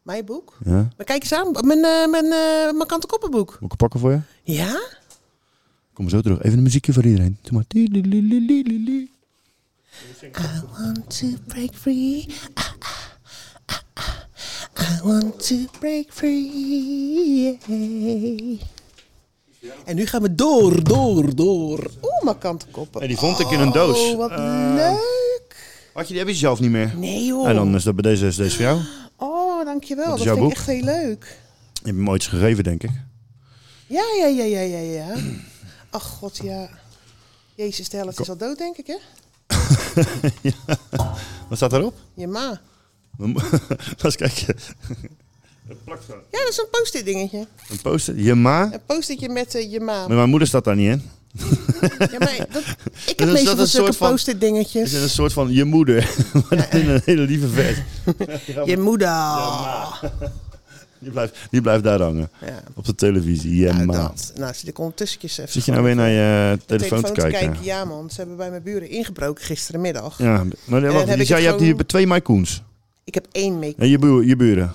Mijn boek?
Ja.
Maar kijk eens aan, mijn, eh mijn, eh mijn kante koppenboek.
Moet ik het pakken voor je?
Ja?
Kom zo terug. Even een muziekje voor iedereen. Doe maar. Tiedililililili.
I want to break free. Ah, ah, ah, ah. I want to break free. Yay. En nu gaan we door, door, door. Oeh, mijn kanten koppen.
En die vond ik in een doos.
Oh, wat
Eh,
leuk.
Had je, die heb je zelf niet meer.
Nee joh.
En dan is dat bij deze, is deze voor jou. Je
Oh, dankjewel.
Wat
Dat
is
vind
jouw
ik
boek?
echt heel leuk.
hebt hem ooit eens gegeven, denk ik.
Ja, ja, ja, ja, ja, ja. Ach god, ja. Jezus, de helft is al dood, denk ik, hè?
[LAUGHS] Wat staat daarop?
Je ma.
[LAUGHS] Laat eens kijken.
Ja, dat is een post-it dingetje.
Een poster. Je ma.
Een post-itje met eh, je ma.
Maar mijn moeder staat daar niet in.
Ja,
[LAUGHS]
maar dat, ik
dat
heb meestal
een
van zulke
soort van-
post-it
Het
dingetjes.
is een soort van je moeder. [LAUGHS] Maar dan in een hele lieve versie.
Je moeder.
Die blijft, die blijft daar hangen.
Ja.
Op de televisie. Ja,
Nou,
ma.
dat. Nou, zit ik ondertussen even
Zit je nou weer naar je telefoon te kijken?
Ja, man. Ze hebben bij mijn buren ingebroken gisterenmiddag.
Ja, maar nee,
dan
wacht,
Eh, heb
je
ik
zei,
het
je hebt hier
gewoon-
twee Maikoens.
Ik heb één make
En je, buur, je buren.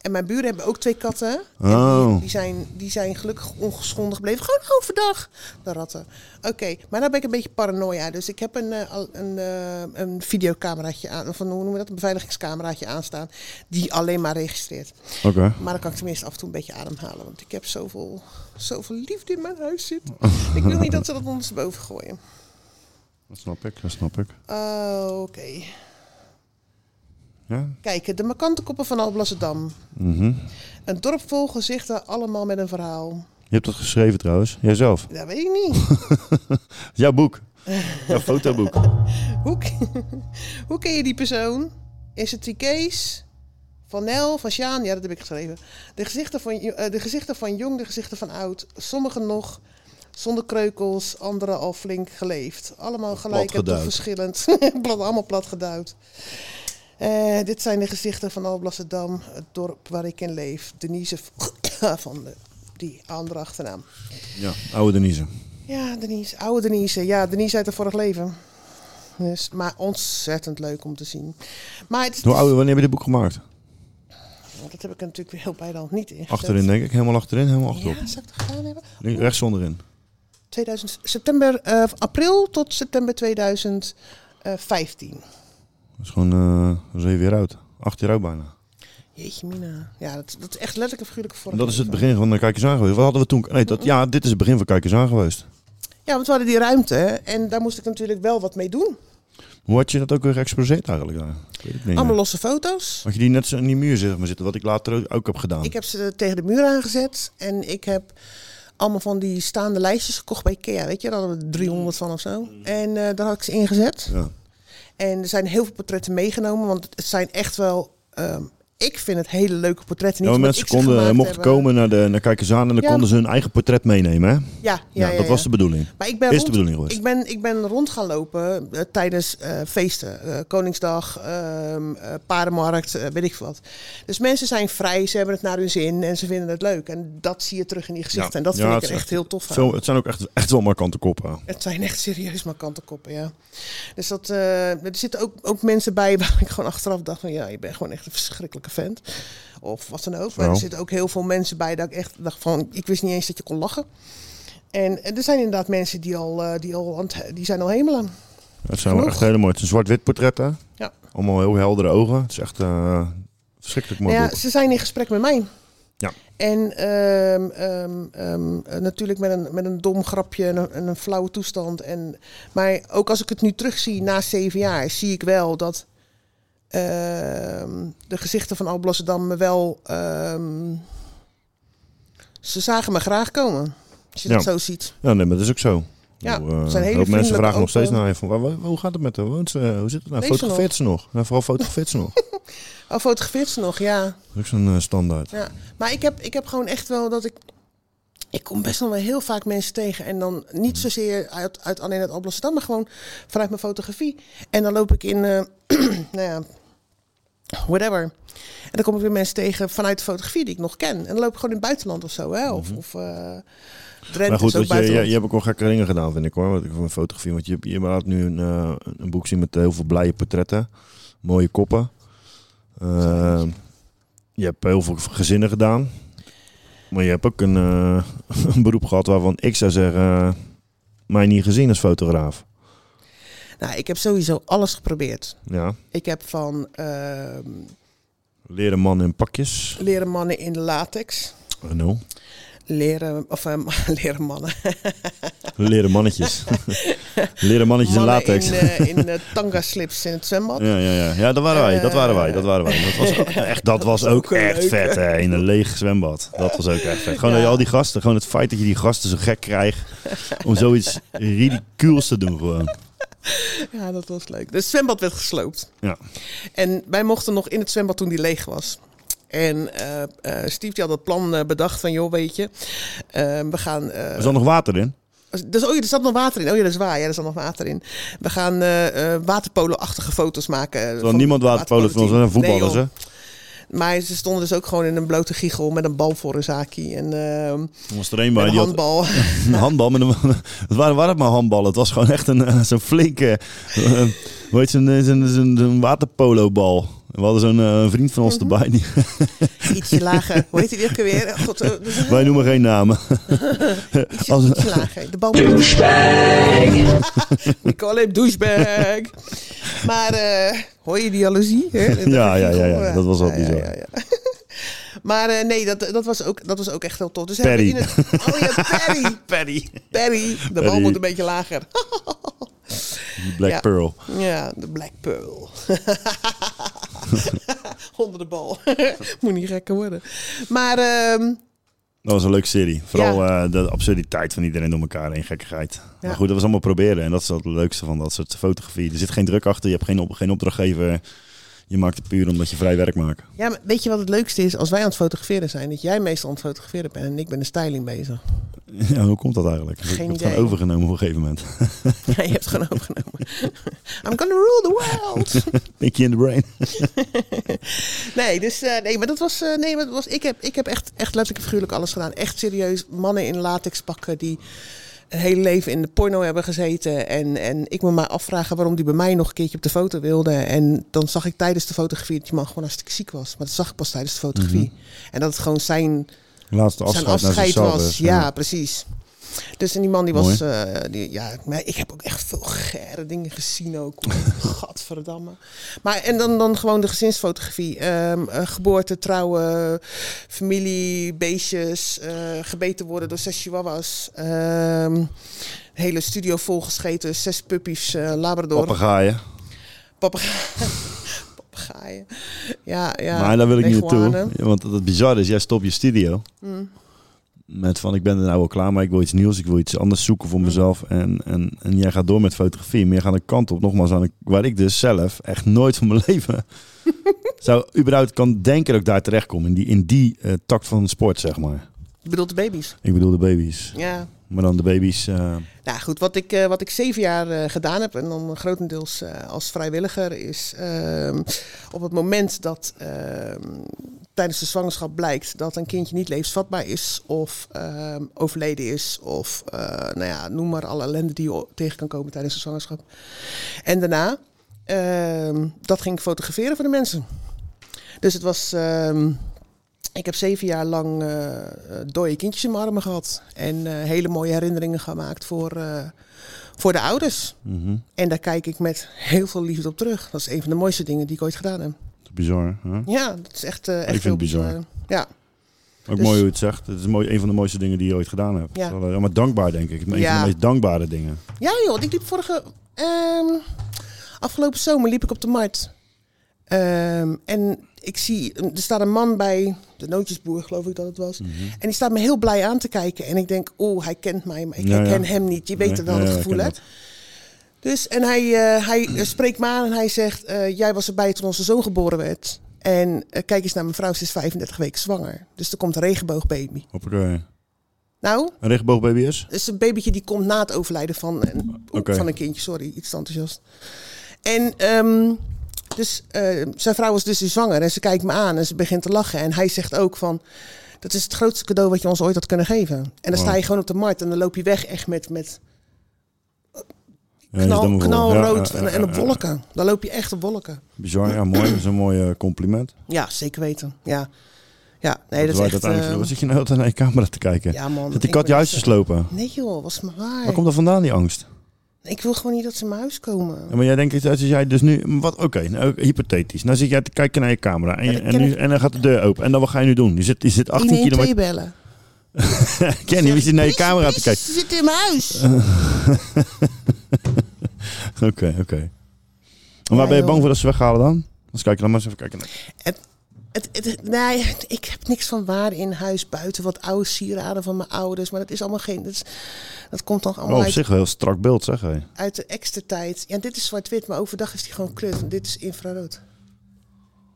En mijn buren hebben ook twee katten. En
Oh.
die, die, zijn, die zijn gelukkig ongeschonden gebleven. Gewoon overdag, de ratten. Oké, maar nou ben ik een beetje paranoia. Dus ik heb een, eh, al- een, eh, een videocameraatje aan. Of een, hoe noemen we dat? Een beveiligingscameraatje aanstaan. Die alleen maar registreert.
Oké.
Maar dan kan ik tenminste af en toe een beetje ademhalen. Want ik heb zoveel, zoveel liefde in mijn huis zitten. ik wil niet dat ze dat ondersteboven gooien.
Dat snap ik, dat snap ik.
Oh, Oké.
Ja?
Kijk, de makante koppen van Alblasserdam.
Mhm.
Een dorp vol gezichten, allemaal met een verhaal.
Je hebt dat geschreven trouwens. Jijzelf.
Dat weet ik niet.
Jouw
[LAUGHS]
boek. Jouw fotoboek.
Hoe, k- [LAUGHS] hoe ken je die persoon? Is het die Kees? Van Nel, van Sjaan? Ja, dat heb ik geschreven. De gezichten van, jo- eh, de gezichten van jong, de gezichten van oud. Sommigen nog zonder kreukels, anderen al flink geleefd. Allemaal gelijk en toch
geduid.
verschillend. [LAUGHS] Plat, allemaal plat geduid. Eh, dit zijn de gezichten van Alblasserdam, het dorp waar ik in leef. Denise v- [COUGHS] van de, die andere achternaam.
Ja, oude Denise.
Ja, Denise. Oude Denise. Ja, Denise uit het vorig leven. Dus, maar ontzettend leuk om te zien. Maar het, Oh,
Hoe oud, wanneer heb je dit boek gemaakt?
dat heb ik er natuurlijk weer heel bij de hand niet in.
Achterin denk ik. Helemaal achterin, helemaal achterop.
Ja, zou ik het gedaan hebben?
Links- Rechts onderin.
2000, september, eh, april tot september eh, 2015.
Dat is gewoon eh zeven jaar oud. Acht jaar oud bijna.
Jeetje mina. Ja, dat, dat is echt letterlijk een figuurlijke vorm.
En dat is het begin van de Kijkers aan geweest. Wat hadden we toen? Nee, dat, ja, dit is het begin van Kijkers aan geweest.
Ja, want we hadden die ruimte hè, en daar moest ik natuurlijk wel wat mee doen.
Hoe had je dat ook weer geëxposeerd eigenlijk? daar? Ik weet het niet
Allemaal
meer.
losse foto's.
Had je die net zo in die muur zeg maar, zitten, wat ik later ook heb gedaan?
Ik heb ze tegen de muur aangezet en ik heb allemaal van die staande lijstjes gekocht bij Ikea. Weet je, daar hadden we 300 van of zo. En eh, daar had ik ze ingezet.
Ja.
En er zijn heel veel portretten meegenomen, want het zijn echt wel... ehm, ik vind het hele leuke portretten.
Ja,
Niet
maar
omdat
mensen
ik ze gemaakt
konden, mochten
hebben.
komen naar, de, naar Kijkers aan en dan
Ja.
konden ze hun eigen portret meenemen. Hè? Ja,
Ja, ja, ja,
dat
ja.
was de bedoeling.
Maar ik ben,
Is de
rond,
bedoeling geweest.
Ik ben, ik ben rond gaan lopen eh, tijdens eh, feesten. Eh, Koningsdag, ehm, eh, paardenmarkt, eh, weet ik veel wat. Dus mensen zijn vrij, ze hebben het naar hun zin en ze vinden het leuk. En dat zie je terug in die gezichten. En dat vind
Ja,
ik
het
er
is
echt heel tof aan.
Veel, het zijn ook echt, echt wel markante koppen.
Het zijn echt serieus markante koppen, ja. Dus dat, eh, er zitten ook, ook mensen bij [LAUGHS] waar ik gewoon achteraf dacht van... ja, je bent gewoon echt een verschrikkelijke vent. Of wat dan ook. Maar er
Zo.
zitten ook heel veel mensen bij dat ik echt dacht van... ik wist niet eens dat je kon lachen. En eh, er zijn inderdaad mensen die, al, eh, die, al aan het- die zijn al hemelen.
Het zijn wel
Genoeg.
echt hele mooie. Het zijn zwart-wit portretten.
Ja.
Allemaal heel heldere ogen. Het is echt eh, verschrikkelijk mooi
Nou ja,
boek.
ze zijn in gesprek met mij.
Ja.
En ehm, ehm, ehm, eh, natuurlijk met een, met een dom grapje en een, en een flauwe toestand. En, maar ook als ik het nu terugzie na zeven jaar, zie ik wel dat ehm, de gezichten van Alblasserdam me wel. ehm, ze zagen me graag komen. Als je
Ja.
dat zo ziet.
Ja, nee, maar dat is ook zo.
Ja,
Hoe, eh,
het zijn hele
een hoop
vriendelijke
mensen vragen nog steeds
open-
naar je van, waar- waar- hoe gaat het met haar? Woont ze? eh, Hoe zit het nou?
Leeft ze
Fotografeert ze nog? Nou, vooral fotografeert ze
[LAUGHS]
nog.
Oh, fotografeert ze nog, ja.
Dat is ook zo'n eh, standaard.
ja. Maar ik heb, ik heb gewoon echt wel dat ik... Ik kom best nog wel heel vaak mensen tegen. En dan niet
Mm.
zozeer uit, uit alleen uit Amsterdam, maar gewoon vanuit mijn fotografie. En dan loop ik in, eh, [CLEARS THROAT] nou ja, whatever. En dan kom ik weer mensen tegen vanuit de fotografie die ik nog ken. En dan loop ik gewoon in het buitenland of zo, hè. Of, of eh Drenthe
Mhm. Maar goed,
is ook
dat je, je,
buitenland.
je hebt ook wel gekke dingen gedaan, vind ik hoor. Wat ik van fotografie. Want je, hebt- je laat nu een, eh, een boek zien met heel veel blije portretten. Mooie koppen. Eh, je hebt heel veel gezinnen gedaan. Maar je hebt ook een, eh, [LAUGHS] een beroep gehad waarvan ik zou zeggen... eh, mij niet gezien als fotograaf.
Nou, ik heb sowieso alles geprobeerd.
Ja.
Ik heb van ehm,
Leren mannen in pakjes.
leren mannen in latex.
Oh, no.
Leren, of ehm, [LAUGHS] leren mannen.
Leren mannetjes. [LAUGHS] Leren mannetjes in
mannen
latex.
In, eh, in eh, tanga slips in het zwembad.
Ja, ja, ja. ja, dat waren wij. Dat waren wij. Dat waren wij. Dat was, [LAUGHS] ook- echt, dat was ook
een
echt
leuke.
vet, hè. In een leeg zwembad. Dat was ook echt vet. Gewoon dat je al die gasten, gewoon het feit dat je die gasten zo gek krijgt om zoiets ridicules te doen gewoon.
Ja, dat was leuk. Dus het zwembad werd gesloopt.
Ja.
En wij mochten nog in het zwembad toen die leeg was. En eh, eh, Steve die had dat plan eh, bedacht van, joh, weet je, eh, we gaan... eh,
Er zat nog water in.
Dus, oh ja, er zat nog water in. Oh ja, dat is waar. Ja, er zat nog water in. We gaan eh, eh, waterpolo-achtige foto's maken. eh,
Terwijl niemand waterpolen van ons
een
zijn voetballers, hè.
Maar ze stonden dus ook gewoon in een blote giegel met een bal voor hun zaki. En, ehm,
Er was er een bij
en
die
een
had
handbal.
[LAUGHS] een handbal. Met een, het waren, waren het maar handballen. Het was gewoon echt een, eh, zo'n flinke, eh, hoe heet zo'n, eh, zo'n, zo'n, zo'n waterpolobal. We hadden zo'n eh, vriend van ons erbij. Die, [LAUGHS]
Ietsje lager. Hoe heet die ook weer? God, eh, dat is een-
wij noemen geen namen.
ietsje,
Als,
ietsje lager. De bal. Douchebag! [LAUGHS] We call him douchebag. Maar eh, hoor je die jaloezie? hè? Dat
Ja,
vind ik
ja, ja, ja.
gewoon,
Dat was wel
ja, ja,
bizar.
ja, ja. [LAUGHS] Maar eh, nee, dat, dat, was ook, dat was ook echt heel tof. Dus
Perry.
hebben we in het- oh ja,
[LAUGHS]
Perry.
Perry.
Perry. De bal
Perry.
moet een beetje lager. [LAUGHS]
Black
Ja.
Pearl.
Ja, de Black Pearl. [LAUGHS] Onder de bal. [LAUGHS] Moet niet gekker worden. Maar ehm,
Dat was een leuke serie. Vooral eh, de absurditeit van iedereen door elkaar heen, gekkigheid. Maar goed, dat was allemaal proberen. En dat is wel het leukste van dat soort fotografie. Er zit geen druk achter, je hebt geen, op, geen opdrachtgever. Je maakt het puur omdat je vrij werk maakt. [LAUGHS]
ja, maar weet je wat het leukste is? Als wij aan het fotograferen zijn, dat jij meestal aan het fotograferen bent en ik ben de styling bezig. [LAUGHS]
Ja, hoe komt dat eigenlijk? ik heb het
idee.
gewoon overgenomen op een gegeven moment. [LAUGHS]
Ja, je hebt het gewoon overgenomen. [LAUGHS] I'm gonna rule the world.
Pinky in the brain.
Nee, dus, eh, nee maar dat was. eh, nee, maar dat was ik heb, ik heb echt, echt letterlijk en figuurlijk alles gedaan. Echt serieus. Mannen in latex pakken die een hele leven in de porno hebben gezeten. En, en ik me maar afvragen waarom die bij mij nog een keertje op de foto wilde. En dan zag ik tijdens de fotografie dat die man gewoon hartstikke ziek was. Maar dat zag ik pas tijdens de fotografie. En dat het gewoon zijn
Laatste afscheid,
zijn afscheid
naar zichzelf.
was.
is, eh,
Ja, precies. Dus en die man die was,
Mooi.
eh, die, ja, maar ik heb ook echt veel gerre dingen gezien ook.
[LAUGHS]
Gadverdamme. Maar en dan, dan gewoon de gezinsfotografie. Ehm, eh, geboorte, trouwen, familie, beestjes, eh, gebeten worden door zes chihuahuas. Ehm, een hele studio volgescheten, zes puppies, eh, labrador,
Papegaaien.
papegaaien. [LAUGHS] papegaaien. Ja, ja.
maar daar wil ik niet
leguanen.
naartoe. Ja, Want het bizarre is, jij stopt je studio.
Mm.
Met van, ik ben er nou wel klaar, maar ik wil iets nieuws. Ik wil iets anders zoeken
Mm.
voor mezelf. En, en, en jij gaat door met fotografie. Maar je gaat een kant op, nogmaals, aan een- waar ik dus zelf echt nooit van mijn [LAUGHS]
[LAUGHS]
leven... zou überhaupt kan denken dat ik daar terecht kom. In die, in die eh, tak van sport, zeg maar.
Ik bedoel de baby's.
Ik bedoel de baby's.
Ja.
Maar dan de baby's... eh,
Nou goed, wat ik, eh, wat ik zeven jaar eh, gedaan heb, en dan grotendeels eh, als vrijwilliger, is ehm, op het moment dat ehm, tijdens de zwangerschap blijkt dat een kindje niet levensvatbaar is, of ehm, overleden is, of eh, nou ja, noem maar alle ellende die je tegen kan komen tijdens de zwangerschap. En daarna, ehm, dat ging ik fotograferen voor de mensen. Dus het was. ehm, ik heb zeven jaar lang eh eh, dode kindjes in mijn armen gehad. En eh, hele mooie herinneringen gemaakt voor, eh, voor de ouders.
Mhm.
En daar kijk ik met heel veel liefde op terug. Dat is een van de mooiste dingen die ik ooit gedaan heb.
bizar, hè?
Ja, dat is echt, eh, echt
vind
heel
het bizar.
bijzonder. Ja.
Ook
Dus-
mooi hoe je het zegt. Het is mooi, een van de mooiste dingen die je ooit gedaan hebt. eh,
Ja.
Ja. Maar dankbaar, denk ik. Een van
Ja.
de meest dankbare dingen.
ja, joh, want ik liep vorige. ehm, afgelopen zomer liep ik op de markt. Ehm, en ik zie, er staat mm, een man bij de nootjesboer geloof ik dat het
Mhm.
was. En die staat me heel blij aan te kijken. En ik denk, oeh, hij kent mij, maar ik
Ja, ja.
ken hem niet. Je weet
Nee,
het wel,
ja,
het
ja, ik
gevoel
ken
hebt. Dus, en hij, eh, hij eh, spreekt me aan en hij zegt, eh, jij was erbij toen onze zoon geboren werd. En eh, kijk eens naar mijn vrouw, ze is 35 weken zwanger. Dus er komt een regenboogbaby.
Hoppakee.
Nou,
Een regenboogbaby is?
het is een babytje die komt na het overlijden van een,
Oké.
van een kindje. Sorry, iets te enthousiast. En ehm, dus eh, zijn vrouw is dus weer zwanger en ze kijkt me aan en ze begint te lachen. En hij zegt ook van, dat is het grootste cadeau wat je ons ooit had kunnen geven. En dan sta je gewoon op de markt en dan loop je weg echt met, met
Ja, je
knal,
stem ervoor.
knalrood
Ja, ja,
en, en op
ja, ja.
wolken. Dan loop je echt op wolken.
Bizar, ja, mooi. Dat is een mooi eh, compliment.
Ja, zeker weten. Ja, ja nee, [LAUGHS] dat,
Terwijl
is
je
echt...
uiteindelijk-
eh,
Wat zit je nou altijd naar je camera te kijken?
Ja, man,
Zit die
ik
kat je
ben
huis te
echt- eh,
slopen?
nee joh, was maar waar.
Waar komt dat vandaan, die angst?
Ik wil gewoon niet dat ze in mijn huis komen.
Ja, maar jij denkt, als jij dus nu... maar Wat, Oké, nou, ook hypothetisch. Nou zit jij te kijken naar je camera en, je-
Ja, dat
en,
ken
nu,
ik.
en dan gaat de deur open. En dan wat ga je nu doen? Je zit, je zit 18
112
kilometer...
bellen.
[LAUGHS] Kenny, wie zit naar je camera te kijken?
Ze zitten in mijn
[LAUGHS]
huis.
Oké, [LAUGHS] oké. En waar ben je
joh.
bang voor dat ze weghalen dan? Anders kijk je dan maar eens even kijken. naar-
Het, het, het- nee, ik heb niks van waarde in huis buiten wat oude sieraden van mijn ouders. Maar dat is allemaal geen. Dat, is- dat komt dan allemaal
Oh, op
uit,
zich wel heel strak beeld, zeg hé.
uit de extra tijd. Ja, dit is zwart-wit, maar overdag is die gewoon kleur. En dit is infrarood.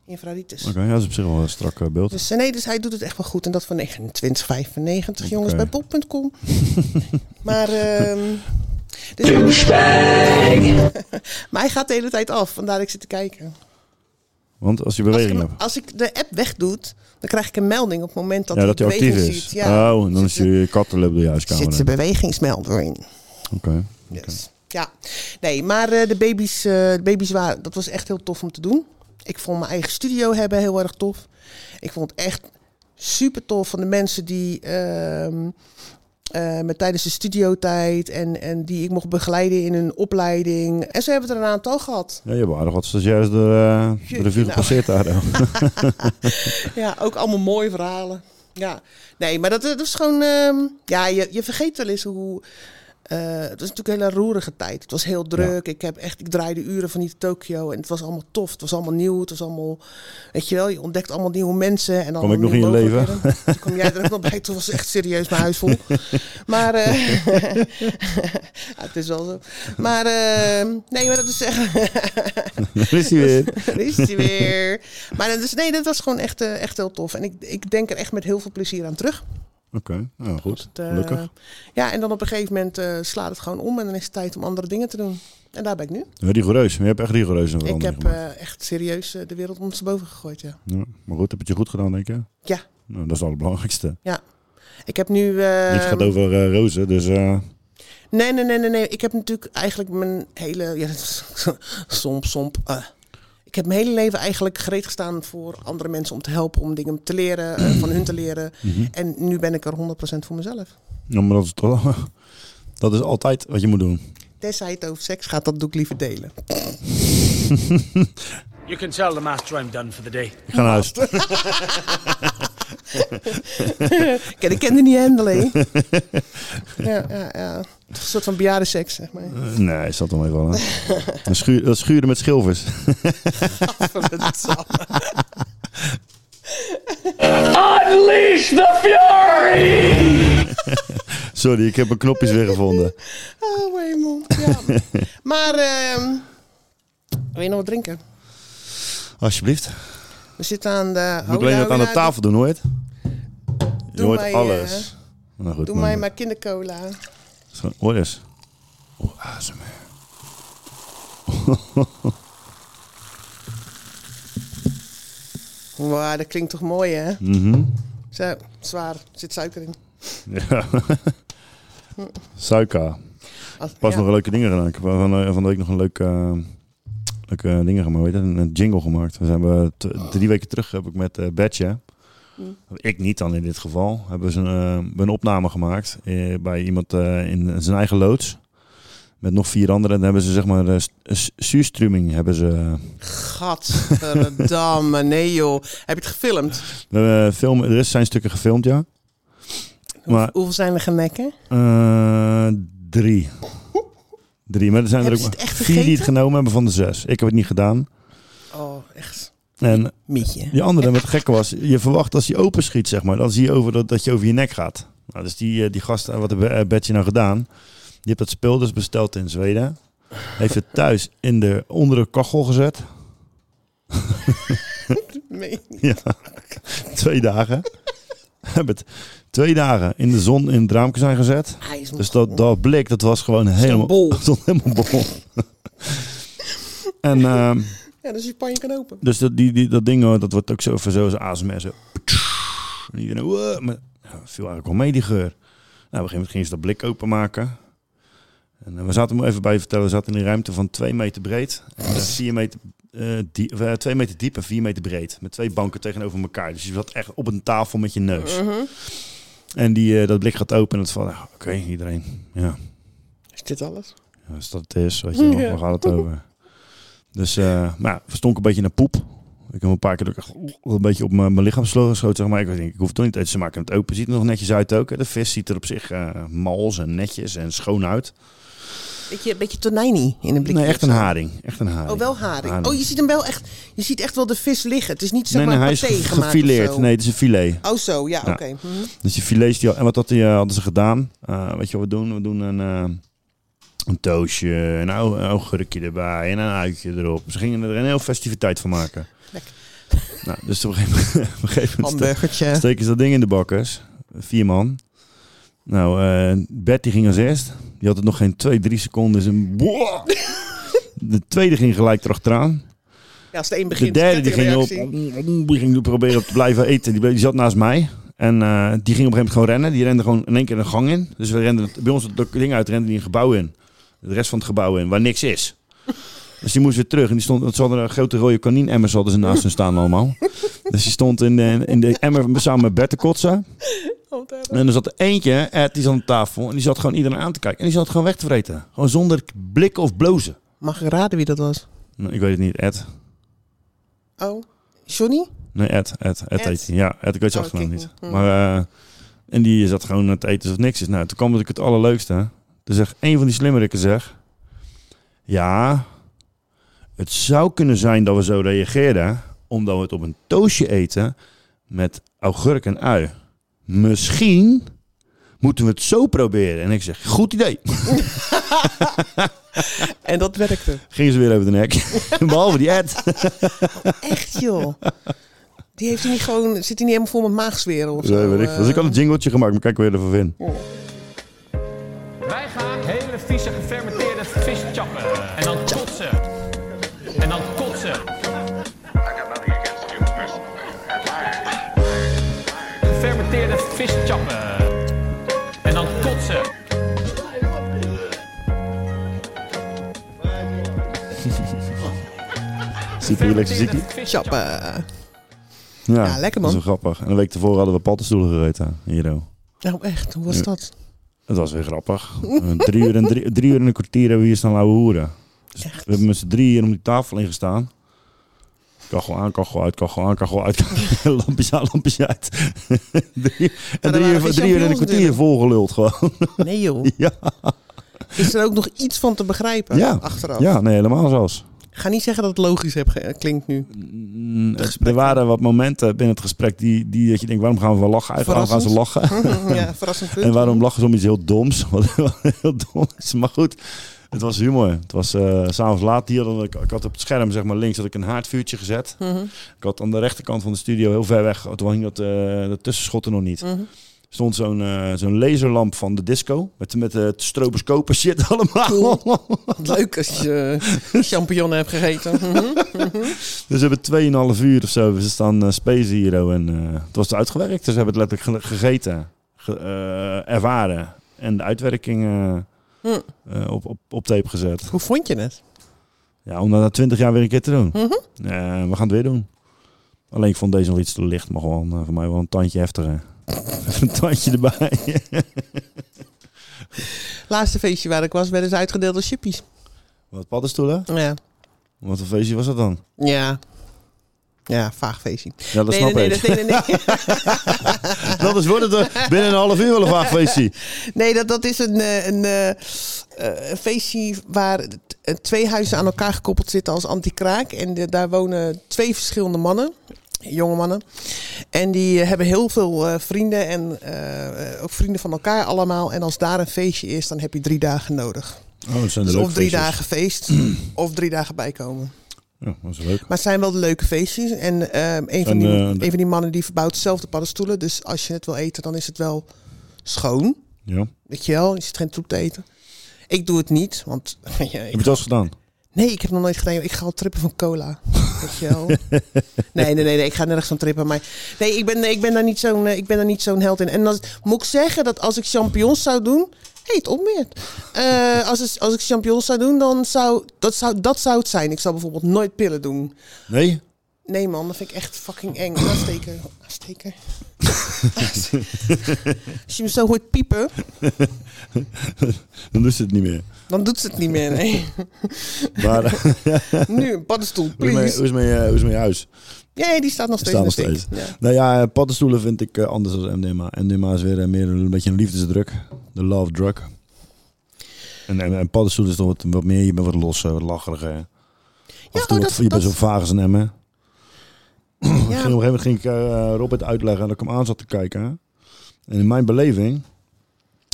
Infraritis.
Oké, ja, dat is op zich wel een strak eh, beeld.
Dus eh, nee, dus hij doet het echt wel goed. En dat van 29, 95, jongens,
Oké.
bij
[LAUGHS]
pop.com. maar, ehm dus, [LAUGHS] maar hij gaat de hele tijd af, vandaar dat ik zit te kijken.
Want als je
Als
beweging
ik,
hebt...
als ik de app wegdoet, dan krijg ik een melding op het moment dat
Ja,
hij
dat hij actief
beweging
is.
ziet. Ja.
Oh, en dan is
Zit
je kattenlub door je
de- Zit
huiskamer.
de
in.
bewegingsmelder in.
Oké.
Dus, Ja, nee, maar eh, de baby's, eh, de baby's waren, dat was echt heel tof om te doen. Ik vond mijn eigen studio hebben heel erg tof. Ik vond het echt super tof van de mensen die ehm, eh, me tijdens de studiotijd en, en die ik mocht begeleiden in hun opleiding. En ze hebben er een aantal gehad.
Ja, je hebt aardig wat stagiairs de, eh, de revue
nou.
gepasseerd
[LAUGHS]
daar. hè.
Ja, ook allemaal mooie verhalen. Ja, nee, maar dat, dat is gewoon. ehm, ja, je, je vergeet wel eens hoe. eh, het was natuurlijk een hele roerige tijd. Het was heel druk. Ik, heb echt, ik draaide uren van hier te Tokio. En het was allemaal tof. Het was allemaal nieuw. Het was allemaal. Weet je wel, je ontdekt allemaal nieuwe mensen. En
Kom ik nog
allemaal nieuwe
in je leven?
mogelijkheden. Toen kwam jij er ook nog bij. Toen was het echt serieus mijn
[LAUGHS]
huis vol. Maar. eh, [LAUGHS] ja, het is wel zo. Maar. ehm, nee, maar dat is echt.
[LAUGHS] Daar is hij
[LAUGHS]
weer.
Daar is hij weer. Maar dat is, nee, dat was gewoon echt, eh, echt heel tof. En ik, ik denk er echt met heel veel plezier aan terug.
Oké, nou goed.
Het, eh,
Gelukkig.
Ja, en dan op een gegeven moment eh, slaat het gewoon om. En dan is het tijd om andere dingen te doen. En daar ben ik nu.
Rigoureus. Je hebt echt rigoureus een
Ik
verandering
heb
gemaakt.
eh, echt serieus eh, de wereld ondersteboven gegooid, ja.
Ja, maar goed, heb je het je goed gedaan, denk je?
Ja,
Nou, dat is wel het belangrijkste.
ja. Ik heb nu... eh,
Het gaat over eh, rozen, dus... eh,
Nee, nee, nee, nee, nee. Ik heb natuurlijk eigenlijk mijn hele... Ja, dat is [LAUGHS] somp, somp. eh. Ik heb mijn hele leven eigenlijk gereed gestaan voor andere mensen om te helpen. Om dingen te leren, eh, van hun te leren. En nu ben ik er 100% voor mezelf.
ja, maar dat is toch... wel- [LAUGHS] Dat is altijd wat je moet doen. [LAUGHS]
Tenzij het over seks gaat, dat doe ik liever delen.
You can tell the master I'm done for the day.
Ik ga naar huis.
Kijk, ik ken die niet
[LAUGHS]
handelen. hè. ja, ja, ja. Het is Een soort van bejaarde seks, zeg
[LAUGHS]
maar.
[LAUGHS] nee, is dat dan even wel.
[LAUGHS]
hè? Een schuur- Dat schuren met schilvers.
Unleash the fury!
[LAUGHS] Sorry, ik heb mijn knopjes weer
[LAUGHS]
gevonden.
[LAUGHS] oh, mijn hemel. Ja. Maar, ehm, wil je nog wat drinken?
Alsjeblieft.
We zitten aan de...
Moet ik alleen dat aan de tafel doen, hoor je het?
Oh, nou, Doe
Je hoort
mij, eh,
alles. nou goed,
Doe
maar-
mij maar kindercola.
Zo, Hoor eens. Oh, ASMR. [LAUGHS]
Wauw, dat klinkt toch mooi, hè?
Mhm.
Zo, zwaar. Er zit suiker in.
Ja. Suika.
Als-
Pas
ja.
nog leuke dingen gedaan. Ik heb van, eh, van de week nog een leuke, eh, leuke dingen gemaakt. Weet je, een een jingle gemaakt. We zijn we t- drie weken terug heb ik met eh Betje.
Hm.
Ik niet dan in dit geval. Hebben ze een, eh, een opname gemaakt eh, bij iemand eh, in zijn eigen loods. Met nog vier anderen. En dan hebben ze zeg maar eh, s- s- zuurstruming hebben ze eh, [LAUGHS]
Gadverdamme, nee joh. Heb je het gefilmd?
We hebben film, er is- zijn stukken gefilmd, ja. Maar
Hoeveel zijn er genekken?
eh, drie. Drie, maar er zijn
Hebben ze
er ook
het echt
vier die het
gegeten?
genomen hebben van de zes. Ik heb het niet gedaan.
Oh, echt.
En
Mietje.
Die andere wat gekke was, je verwacht als hij openschiet, zeg maar, dan zie je over dat, dat je over je nek gaat. Nou, dus die, eh, die gast, eh, wat heeft Betje nou gedaan? Die heeft dat spul dus besteld in Zweden. Heeft het thuis in de, onder de kachel gezet. [LAUGHS]
Nee.
Ja, twee dagen. [LAUGHS] Hebben het twee dagen in de zon in het raamke zijn gezet.
Hij is nog
Dus dat, dat blik, dat was gewoon helemaal [LAUGHS]
bol.
stond helemaal
[LAUGHS]
bol. en ehm,
Ja, dus je panje kan open.
dus dat, die, die, dat ding, hoor, dat wordt ook zo van zo'n ASMR. Zo. En iedereen, "Wow," maar ja, viel eigenlijk wel mee die geur. Nou, op een gegeven moment gingen ze dat blik openmaken. En eh, we zaten hem even bij je vertellen, we zaten in een ruimte van 2 meter breed, en eh, vier meter, eh, die, of, eh, twee meter diep en 4 meter breed. Met twee banken tegenover elkaar. Dus je zat echt op een tafel met je neus.
Mhm.
En die, eh, dat blik gaat open en het valt, nou, oké, iedereen, ja,
Is dit alles?
ja, als dat het
[LAUGHS]
is, weet je, wel,
Ja.
waar gaat het over? Dus, eh maar ja, verstonk een beetje naar poep. Ik heb een paar keer dat ik echt een beetje op mijn, mijn lichaam slo- schoot, zeg maar. Ik denk, ik hoef het toch niet eten. Ze maken het open. Ziet er nog netjes uit ook. hè. De vis ziet er op zich eh mals en netjes en schoon uit.
Beetje, beetje tonijnie in een blikje.
Nee, echt een
of zo.
haring. Echt een haring.
Oh, wel haring. Oh, je ziet hem wel echt. Je ziet echt wel de vis liggen. Het is niet zeg
Nee,
maar
nee, hij is
paté
ge-
gemaakt of
gefileerd.
zo.
Nee, het is een filet.
Oh, zo, ja,
Ja.
oké.
[LAUGHS]
Mhm.
Dus die filets, die, en wat had die, eh, hadden ze gedaan? Eh, weet je wat we doen? We doen een, eh een toosje, een au- een augurkje erbij en een uitje erop. Ze gingen er een heel festiviteit van maken.
Lekker.
Nou, dus op een gegeven moment, [LAUGHS] op een gegeven moment ste-
Hamburgertje.
steken ze dat ding in de bakkers. Vier man. Nou, eh Bert die ging als eerst. Die had het nog geen twee, drie seconden. Is een [LAUGHS] De tweede ging gelijk erachteraan.
Ja, als de een
De
begint,
derde die
zet hij
ging
een
op,
reactie.
die ging proberen te blijven eten. Die, bleef- die zat naast mij. En eh, die ging op een gegeven moment gewoon rennen. Die rende gewoon in één keer een gang in. Dus we renden bij ons het ding uit, rende die een gebouw in. De rest van het gebouw in, waar niks is. Dus die moest weer terug. En die stond, want ze hadden een grote rode kanien-emmer hadden ze naast hun staan allemaal. Dus die stond in de, in de emmer samen met Bert te kotsen.
Oh, daar-
En er zat er eentje, Ed, die zat aan tafel. En die zat gewoon iedereen aan te kijken. En die zat gewoon weg te vreten. Gewoon zonder blikken of blozen.
Mag ik raden wie dat was?
Nou, ik weet het niet, Ed.
Oh, Johnny?
Nee, Ed. Ed, Ed,
Ed?
heet hij. Ja, Ed, ik weet zijn
Oh,
achternaam
kijk.
niet. Maar, eh, en die zat gewoon aan het eten of niks is. Nou, toen kwam natuurlijk het allerleukste. hè. Toen zegt een van die slimmerikken, zeg... Ja, het zou kunnen zijn dat we zo reageren... omdat we het op een toastje eten met augurk en ui. Misschien moeten we het zo proberen. En ik zeg, goed idee. [LAUGHS]
En dat werkte.
Gingen ze weer over de nek. [LAUGHS] Behalve die Ed.
Echt, joh. Die heeft hij niet gewoon, zit hij niet helemaal vol met maagzweren of zo? eh,
Zo, weet ik. veel. Dus ik had een jingletje gemaakt, maar kijk weer even in.
Wij gaan hele vieze gefermenteerde vis chappen. En dan kotsen. En dan kotsen.
I got nothing against you, Chris.
Gefermenteerde vis chappen. En dan kotsen.
Super relaxed muziekje.
vis
Chappen.
Ja,
Ja, lekker,
Dat
man.
is wel grappig. En een week tevoren hadden we paddenstoelen gegeten, Hero.
Nou, echt, hoe was dat?
Dat was weer grappig. [LAUGHS] Eh, drie, uur en drie, drie uur en een kwartier hebben we hier staan lauwe hoeren. Dus
Echt.
We hebben met z'n drieën om die tafel heen gestaan. Kachel aan, kachel uit, kachel aan, kachel uit. [LAUGHS] lampjes aan, lampjes uit. [LAUGHS] drie, en
waren
drie,
geen
uur- drie uur en een
champignons
kwartier volgeluld gewoon. [LAUGHS]
Nee, joh.
ja.
Is er ook nog iets van te begrijpen
ja.
achteraf?
Ja, nee, helemaal zelfs.
Ga niet zeggen dat het logisch heb ge- klinkt nu.
Mm, Er waren wat momenten binnen het gesprek die, die dat je denkt, waarom gaan we wel lachen? Eigenlijk waarom gaan ze
Verrassend. [LAUGHS]
lachen.
ja, verrassend punt.
En waarom lachen ze om iets heel doms? [LAUGHS] Wat heel dom is. Maar goed, het was humor. Het was eh, s s'avonds laat. Hier dan, ik, ik had op het scherm, zeg maar links, had ik een haardvuurtje gezet. Ik had aan de rechterkant van de studio heel ver weg. Toen hing dat, eh dat tussenschotten nog niet. Stond zo'n eh, zo'n laserlamp van de disco. Met, met eh, stroboscopen [LAUGHS] shit allemaal. [LAUGHS]
Leuk als je eh, champignonnen hebt gegeten. Mhm.
Dus we hebben 2,5 uur of zo. We staan eh Space Hero en eh, het was uitgewerkt. Dus we hebben het letterlijk ge- gegeten, ge- eh, ervaren en de uitwerking eh,
Hm.
eh, op, op, op tape gezet.
Hoe vond je het?
Ja, om dat na 20 jaar weer een keer te doen.
Mhm.
Eh, we gaan het weer doen. Alleen ik vond deze nog iets te licht, maar gewoon eh, voor mij wel een tandje heftiger. [LAUGHS] Even een tandje erbij.
Laatste feestje waar ik was, werden ze uitgedeeld als chippies.
Wat paddenstoelen?
Ja.
Wat een feestje was dat dan?
Ja. Ja, vaag feestje.
Ja, dat
nee,
snap
nee,
ik.
Nee, dat- nee, nee,
[LAUGHS]
nee.
Dat is wordt het er binnen een half uur wel een vaag feestje.
Nee, dat, dat is een, eh, een eh, eh, een feestje waar t- eh, twee huizen aan elkaar gekoppeld zitten als antikraak. En de- daar wonen twee verschillende mannen. jonge mannen. En die eh, hebben heel veel eh, vrienden en eh, eh, ook vrienden van elkaar allemaal. En als daar een feestje is, dan heb je drie dagen nodig.
Oh, dat zijn de
Dus
leuke
of drie
feestjes.
dagen
[CLEARS THROAT]
feest, of drie dagen bijkomen.
Ja, dat is leuk.
Maar het zijn wel de leuke feestjes. En ehm, een, van die,
eh, de-
een van die mannen die verbouwt zelf de paddenstoelen. Dus als je het wil eten, dan is het wel schoon.
Ja. Heb
Weet je wel, je zit geen troep te eten. Ik doe het niet, want... [LAUGHS] ja, ik-
je het al eens gedaan?
nee, ik heb nog nooit gedaan. joh. Ik ga al trippen van cola. [LAUGHS] Weet je wel. Nee, nee, nee, nee, ik ga nergens van trippen. Maar nee, ik ben, nee, ik ben daar niet zo'n eh, ik ben daar niet zo'n held in. En dan moet ik zeggen dat als ik champignons zou doen. Hé, het opmeert. Eh, als, het- als ik champignons zou doen, dan zou dat, zou dat zou het zijn. Ik zou bijvoorbeeld nooit pillen doen.
Nee?
Nee, man, dat vind ik echt fucking eng. Aansteker.
[LAUGHS]
Aansteker. Als je me zo hoort piepen,
Dan lust het niet meer.
dan doet ze het niet meer. Nee. [LAUGHS]
Maar eh, hoe
Nu een paddenstoel,
is mijn- hoe
please.
is mijn, eh, hoe is mijn huis?
Nee, die staat nog
Er
steeds.
staan
in
nog
de
steeds.
steek. Ja.
Nou ja, eh, paddenstoelen vind ik eh, anders dan MDMA. MDMA is weer eh, meer een beetje een liefdesdruk. De love drug. En, en, en paddenstoelen is toch wat, wat meer, je bent wat losser, wat lacheriger. Af
oh,
en toe wat-
dat-
je bent
dat-
zo vaag als een emmer. Ik
Ja.
ging op een gegeven moment ging ik eh, Robert uitleggen en dat ik hem aan zat te kijken. En in mijn beleving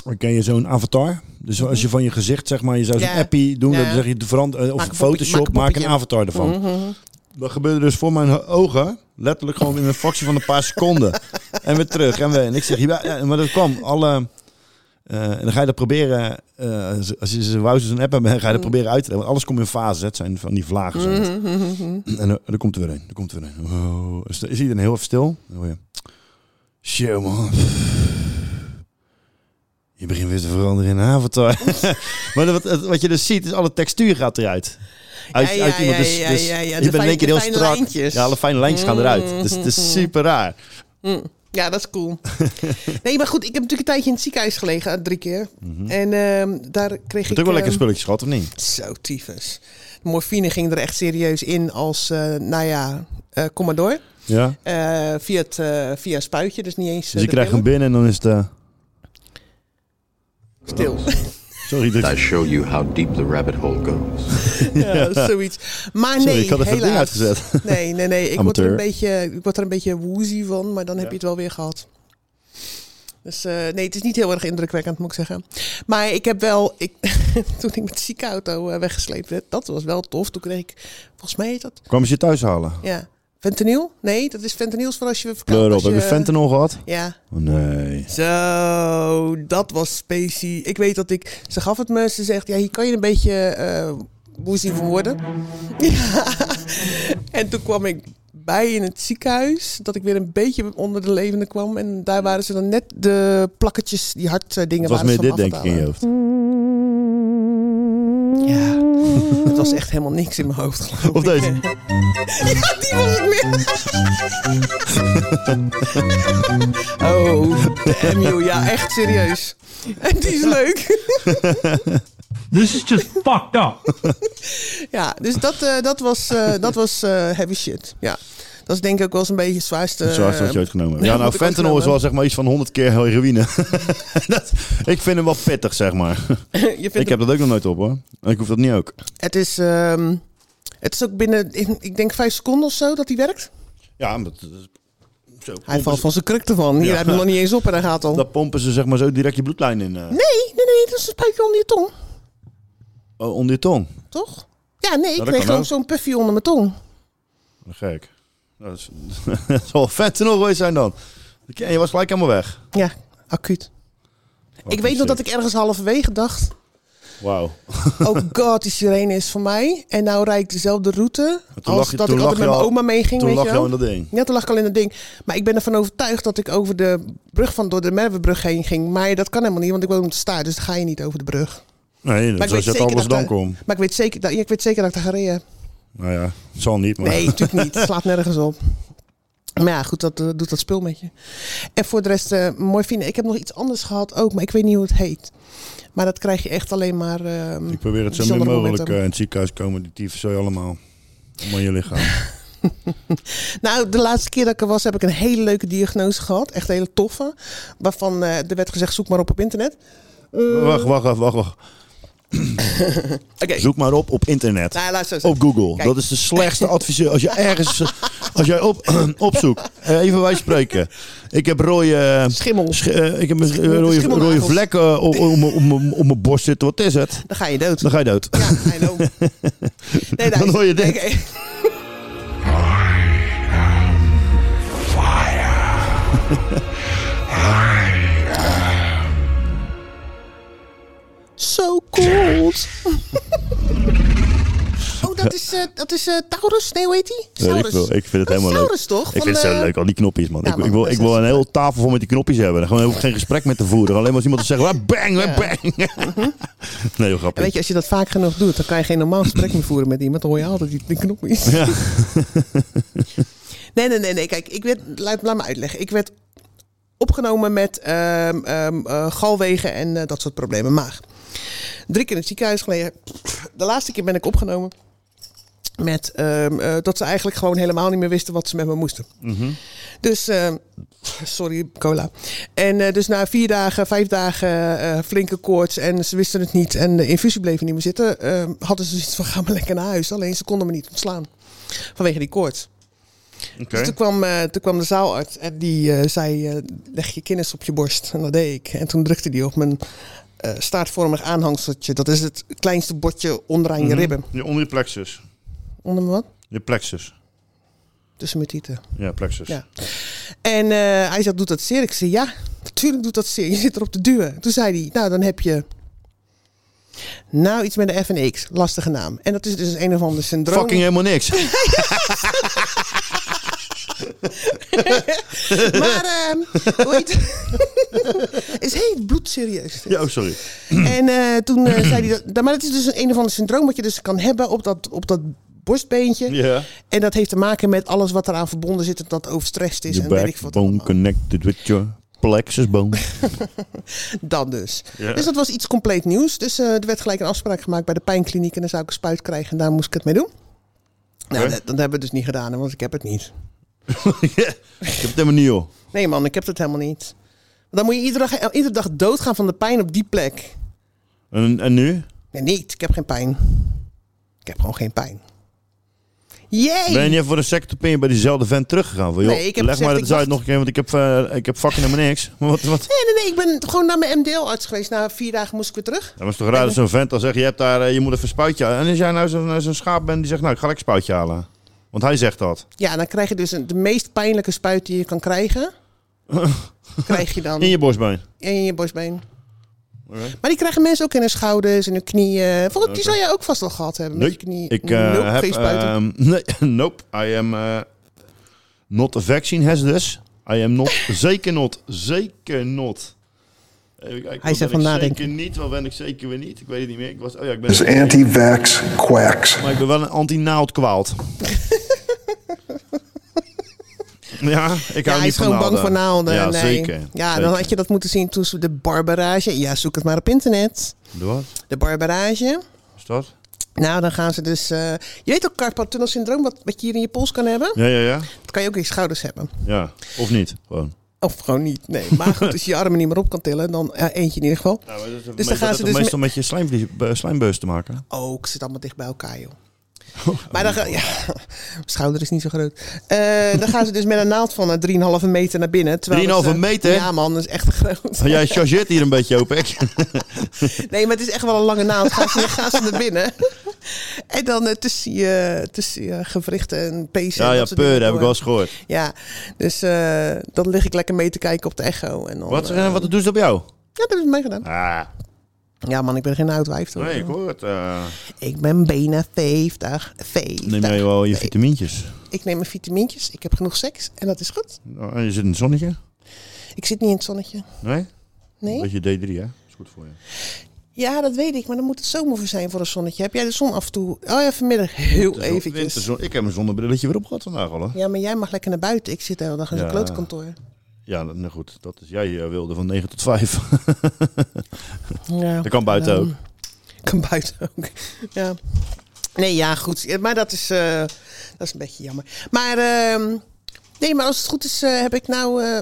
dan ken je zo'n avatar. Dus als je van je gezicht, zeg maar, je zou zo'n
Mhm. Ja.
appie doen,
Ja.
dan zeg je de verand, eh, of
Maak een
Photoshop,
poppetje, maak een Mhm,
maak een
poppetje.
avatar ervan. Dat gebeurde dus voor mijn ogen, letterlijk gewoon in een fractie van een paar
[LAUGHS]
seconden. En weer terug. En, weer, en ik zeg, ja, ja, maar dat kwam. Alle, eh, en dan ga je dat proberen, eh, als- als je ze wauwt zo'n app hebben, ga je
Mhm.
dat proberen uit te leggen. Want alles komt in fases, hè. het zijn van die vlagen. zo. En eh, er, er komt er weer een, er komt er weer een. Wow. Dus dan is iedereen heel even stil. Dan hoor je, show man. Je begint weer te veranderen in een avatar. [LAUGHS] maar wat, wat je dus ziet, is alle textuur gaat eruit. Uit,
Ja, ja,
uit iemand.
ja,
Dus,
ja,
dus
ja, ja. De
je bent in
fijn-
één keer
de
heel
fijne
strak.
lijntjes. Mm.
Ja, alle fijne lijntjes gaan eruit. Dus het is super raar.
Ja, dat is cool. [LAUGHS] nee, maar goed, ik heb natuurlijk een tijdje in het ziekenhuis gelegen, eh, drie keer. En ehm, daar kreeg
Het
ik...
Mhm. ook wel lekker
ehm,
spulletjes gehad, of niet?
Zo, tyfus. De morfine ging er echt serieus in als, eh, nou ja, eh kom maar door.
Ja.
Eh, via, het, eh, via een spuitje, dus niet eens eh,
Dus je
de
krijgt hem
pillen.
binnen en dan is het... eh,
Stil.
sorry, dit-
I show you how deep the rabbit hole goes.
[LAUGHS] ja, zoiets. Maar nee,
Sorry, ik had even het ding
helaas.
uitgezet.
[LAUGHS] Nee, nee, nee. Ik word, er
Amateur.
een beetje, ik word er een beetje woozy van, maar dan heb je het wel weer gehad. Dus eh, nee, het is niet heel erg indrukwekkend, moet ik zeggen. Maar ik heb wel, ik, [LAUGHS] toen ik met de ziekenauto eh, weggesleept werd, dat was wel tof. Toen kreeg ik, volgens mij heet dat,
kwamen ze je thuis halen?
ja, fentanyl? Nee, dat is fentanyl is voor als je verkoopt.
Kleur op.
als
Heb je fentanyl gehad?
Ja.
Oh, nee.
Zo, dat was specie. Ik weet dat ik... Ze gaf het me, ze zegt, ja, hier kan je een beetje eh woezie van worden. [LAUGHS] Ja. En toen kwam ik bij in het ziekenhuis, dat ik weer een beetje onder de levende kwam. En daar waren ze dan net de plakketjes, die hartdingen
Het was
waren
meer
ze
dit,
van
denk
af
ik,
aan
in je
het
hoofd.
halen. Ja, [LAUGHS] het was echt helemaal niks in mijn hoofd. geloof
Of
ik.
deze.
Ja, [LAUGHS] die was het meer. [LAUGHS] Oh, damn you. Ja, echt serieus. [LAUGHS] En die is leuk. [LAUGHS]
This is just [LAUGHS] fucked up.
Ja, dus dat, eh, dat was, eh, dat was eh, heavy shit. Ja. Dat is denk ik ook wel eens een beetje het zwaarste.
Zo hard wat je ooit genomen hebt. Ja,
wat
nou,
Ehm, ik ooit
fentanyl is
genomen
wel zeg maar iets van 100 keer heroïne. [LAUGHS] dat, ik vind hem wel pittig, zeg maar.
heb. Je vindt
Ik heb dat ook nog nooit op, hoor. En ik hoef dat niet ook.
het, is, ehm, het is ook binnen, in- ik denk vijf seconden of zo dat hij werkt.
Ja, maar...
eh,
dat is- Zo,
Hij
pompen
valt
ze-
van zijn kruk ervan. Hier,
Ja.
Hij heeft hem nog niet eens op en hij gaat al.
Dat pompen ze zeg maar zo direct je bloedlijn in. eh,
Nee, nee, nee, dat is een spuitje onder je tong,
oh, onder je tong.
toch? Ja, nee, ik
dat
kreeg
kan
gewoon
ook.
zo'n puffy onder mijn tong.
Gek. Dat is, [LAUGHS] dat zal fentanyl geweest zijn dan. En je was gelijk helemaal weg.
Ja, acuut. ik weet nog dat ik ergens halverwege dacht.
Wauw. [LAUGHS]
Oh god, die sirene is voor mij. En nou rijd ik dezelfde route
toen
als
lag je-
dat
toen
ik altijd
lag
met
je
mijn
al-
oma meeging.
toen
weet
lag
je
je al
wel.
in dat ding.
Ja, toen lag ik al in dat ding. Maar ik ben ervan overtuigd dat ik over de brug van door de Merwebrug heen ging. Maar dat kan helemaal niet, want ik woon op de staart. Dus dan ga je niet over de brug.
Nee,
Maar
dat was je het alles
dat
dan
ik daar-
kom.
Maar ik weet zeker dat, ja, ik weet zeker dat ik daar ga rijden.
Nou ja, het zal niet, maar... [LAUGHS]
Nee, natuurlijk niet. Het slaat nergens op. Maar ja, goed, dat eh, doet dat spul met je. En voor de rest, eh morfine. Ik heb nog iets anders gehad ook, maar ik weet niet hoe het heet. Maar dat krijg je echt alleen maar... ehm,
Ik probeer het zo min
bijzondere
mogelijk
momenten.
eh, in het ziekenhuis komen. Die tyfus zo allemaal. Allemaal in
[LAUGHS]
je lichaam.
Nou, de laatste keer dat ik er was, heb ik een hele leuke diagnose gehad. Echt een hele toffe. Waarvan eh, er werd gezegd, zoek maar op op internet.
Wacht, wacht, wacht, wacht. wacht.
Oké.
Zoek maar op op internet.
Nou, laat het zo
op
zeggen.
Google.
Nou, Kijk.
Dat is de
[LAUGHS]
slechtste adviseur. Als je ergens. eh, Als jij op, [CLEARS THROAT] opzoekt. eh, Even wij spreken. Ik heb rode.
Schimmel.
sch- eh, ik heb een, eh, rode,
schimmelnagels.
rode vlekken op, om- om- om- om mijn borst zitten. Wat is het?
Dan ga je dood.
Dan ga je dood. [LAUGHS]
I know. Nee, daar
Dan
is-
hoor je dit.
Oké.
[LAUGHS]
So cold. [LAUGHS] oh, dat is, eh, dat is eh, Taurus? Nee, hoe heet die?
Eh, ik,
Saurus.
wil, ik vind het
Dat is
helemaal leuk.
Saurus, toch?
Ik
Van,
vind het zo
eh,
leuk, al die knopjes, man.
ja,
ik,
man,
ik, wil,
dat
ik
is
wil
echt
een hele tafel vol met die knopjes hebben. Dan gewoon hoef ik geen gesprek met te voeren. Alleen maar als iemand te zeggen, "Ah, bang, ah, bang. nee, heel
Mhm. En
grappig.
weet je, als je dat vaak genoeg doet, dan kan je geen normaal gesprek meer voeren met iemand. Dan hoor je altijd die, die knopjes.
Ja.
[LAUGHS] Nee, nee, nee, nee. Kijk, ik werd, laat, laat me uitleggen. Ik werd opgenomen met ehm, ehm, eh, galwegen en eh, dat soort problemen, maag. Drie keer in het ziekenhuis gelegen. De laatste keer ben ik opgenomen met ehm, eh, dat ze eigenlijk gewoon helemaal niet meer wisten wat ze met me moesten. Dus, ehm, sorry, cola. En eh, dus na vier dagen, vijf dagen eh, flinke koorts en ze wisten het niet en de infusie bleef niet meer zitten, ehm, hadden ze zoiets van ga maar lekker naar huis. Alleen ze konden me niet ontslaan vanwege die koorts. Dus toen kwam, eh, toen kwam de zaalarts en die eh, zei: eh, leg je kennis op je borst. En dat deed ik. En toen drukte die op mijn eh, staartvormig aanhangseltje. Dat is het kleinste bordje onderaan je ribben.
Je onder je plexus.
Onder mijn wat?
Je plexus.
Tussen mijn tieten.
Ja, plexus.
Ja. En eh, hij zei: Doet dat zeer? Ik zei: Ja, natuurlijk doet dat zeer. Je zit erop te duwen. Toen zei hij: Nou, dan heb je. Nou, iets met de FNX. Lastige naam. En dat is dus een of ander syndroom.
Fucking helemaal
[LAUGHS]
niks.
[LAUGHS] Maar, ehm hoe heet [LAUGHS] Is heel bloedserieus.
ja, oh, sorry.
[CLEARS THROAT] En eh, toen eh, zei hij dat. Maar het is dus een, een of ander syndroom wat je dus kan hebben op dat, op dat borstbeentje.
Ja.
En dat heeft te maken met alles wat eraan verbonden zit, dat dat overstressed is.
Je
en weet ik wat.
backbone connected with your
[LAUGHS]
plexus bone.
Dat dus.
Ja.
Dus dat was iets compleet nieuws. Dus eh, er werd gelijk een afspraak gemaakt bij de pijnkliniek. En dan zou ik een spuit krijgen en daar moest ik het mee doen. Nou,
Oké.
dat, dat hebben we dus niet gedaan, hè, want ik heb het niet.
ik heb het helemaal niet, joh.
Nee man, ik heb dat helemaal niet. Dan moet je iedere dag, iedere dag doodgaan van de pijn op die plek.
En, en nu?
Nee, niet. Ik heb geen pijn. Ik heb gewoon geen pijn. Jee!
Ben je niet even voor een sector ben je bij diezelfde vent teruggegaan? Van, joh,
Nee, ik heb
leg
gezegd,
maar
ik
het uit
wacht.
nog een keer, want ik heb, eh, ik heb fucking helemaal niks. [LAUGHS] Maar wat, wat?
Nee, nee, nee. Ik ben gewoon naar mijn MDL-arts geweest. Na vier dagen moest ik weer terug.
Dat was toch raar dat zo'n vent dan zegt, je, hebt daar, eh, je moet even een spuitje halen. En als jij nou zo'n eh, zo'n schaap bent die zegt, nou ik ga lekker een spuitje halen. Want hij zegt dat.
Ja, dan krijg je dus een- de meest pijnlijke spuit die je kan
[LAUGHS]
krijgen. krijg je dan
In je borstbeen.
in je borstbeen. Maar die krijgen mensen ook in hun schouders en hun knieën. Volgens die zou jij ook vast wel gehad hebben met
Nee,
je knie.
ik eh,
Nope,
heb...
geen spuiten.
ehm, [LAUGHS] nee, nope, I am eh, not a vaccine hazardous. I am not, [LAUGHS] zeker not, zeker not. Even kijken, wat
zegt
ben
van
ik
nadenken.
Zeker niet, wat ben ik zeker weer niet. Ik weet het niet meer. Ik was, oh ja, ik ben
Dus anti-vax quacks.
Maar ik ben wel een
[LAUGHS]
anti-naald kwaald. ja, ik
ja,
hou
hij
niet
is
van
gewoon bang voor naalden.
Ja,
nee.
zeker.
Ja,
zeker.
dan had je dat moeten zien toen ze de barbarage... Ja, zoek het maar op internet.
Wat
De barbarage.
is dat?
Nou, dan gaan ze dus... eh, je weet ook carpal tunnel syndroom, wat, wat je hier in je pols kan hebben?
Ja, ja, ja.
Dat kan je ook in je schouders hebben.
Ja, of niet. Gewoon.
Of gewoon niet. Nee, maar goed, als je je armen niet meer op kan tillen, dan eh, eentje in ieder geval. dus dan gaan ze dus...
meestal met je slijmvlies- be- slijmbeus te maken.
met- Oh, ik zit allemaal dicht bij elkaar, joh.
Oh.
Maar dan, ga- ja, [LAUGHS] mijn schouder is niet zo groot. Eh, dan gaan ze dus met een naald van eh, 3,5 meter naar binnen. terwijl het,
3,5
eh,
meter? Oh,
Ja man, dat is echt groot.
Jij chargeert hier een beetje op, ik. [LAUGHS]
Nee, maar het is echt wel een lange naald. Gaan ze, gaan ze naar
[LAUGHS]
binnen. En dan eh, tussen, je, tussen je gewrichten en pezen.
Ja,
en
ja,
dat soort
peur,
dingen
heb
door.
ik wel eens gehoord.
Ja, dus eh, dan lig ik lekker mee te kijken op de echo. En dan,
Wat,
eh,
eh, wat doet ze op jou?
ja, dat hebben ze mij gedaan.
Ah,
Ja man, ik ben geen oud wijf. hoor.
nee, ik hoor het. eh.
Ik ben bijna 50. 50.
neem jij wel je vitamintjes?
Ik neem mijn vitamintjes, ik heb genoeg seks en dat is goed.
Oh, en je zit in het zonnetje?
Ik zit niet in het zonnetje.
Nee?
Nee?
Beetje D3, hè? Is goed voor je.
Ja, dat weet ik, maar dan moet het zomer voor zijn voor een zonnetje. Heb jij de zon af en toe? Oh ja, vanmiddag heel
Winterzon-
eventjes.
winterzon- Ik heb mijn zonnebrilletje weer op gehad vandaag al, hè?
Ja, maar jij mag lekker naar buiten. Ik zit de hele dag in zo'n
Ja.
klootkantoor.
Ja, nou goed. Dat is, jij eh, wilde van 9 tot 5.
Ja.
[LAUGHS] dat kan buiten ook.
Kan buiten ook. Ja. Nee, ja, goed. Ja, Maar dat is, eh, dat is een beetje jammer. Maar, ehm, nee, maar als het goed is, eh, heb ik nou eh,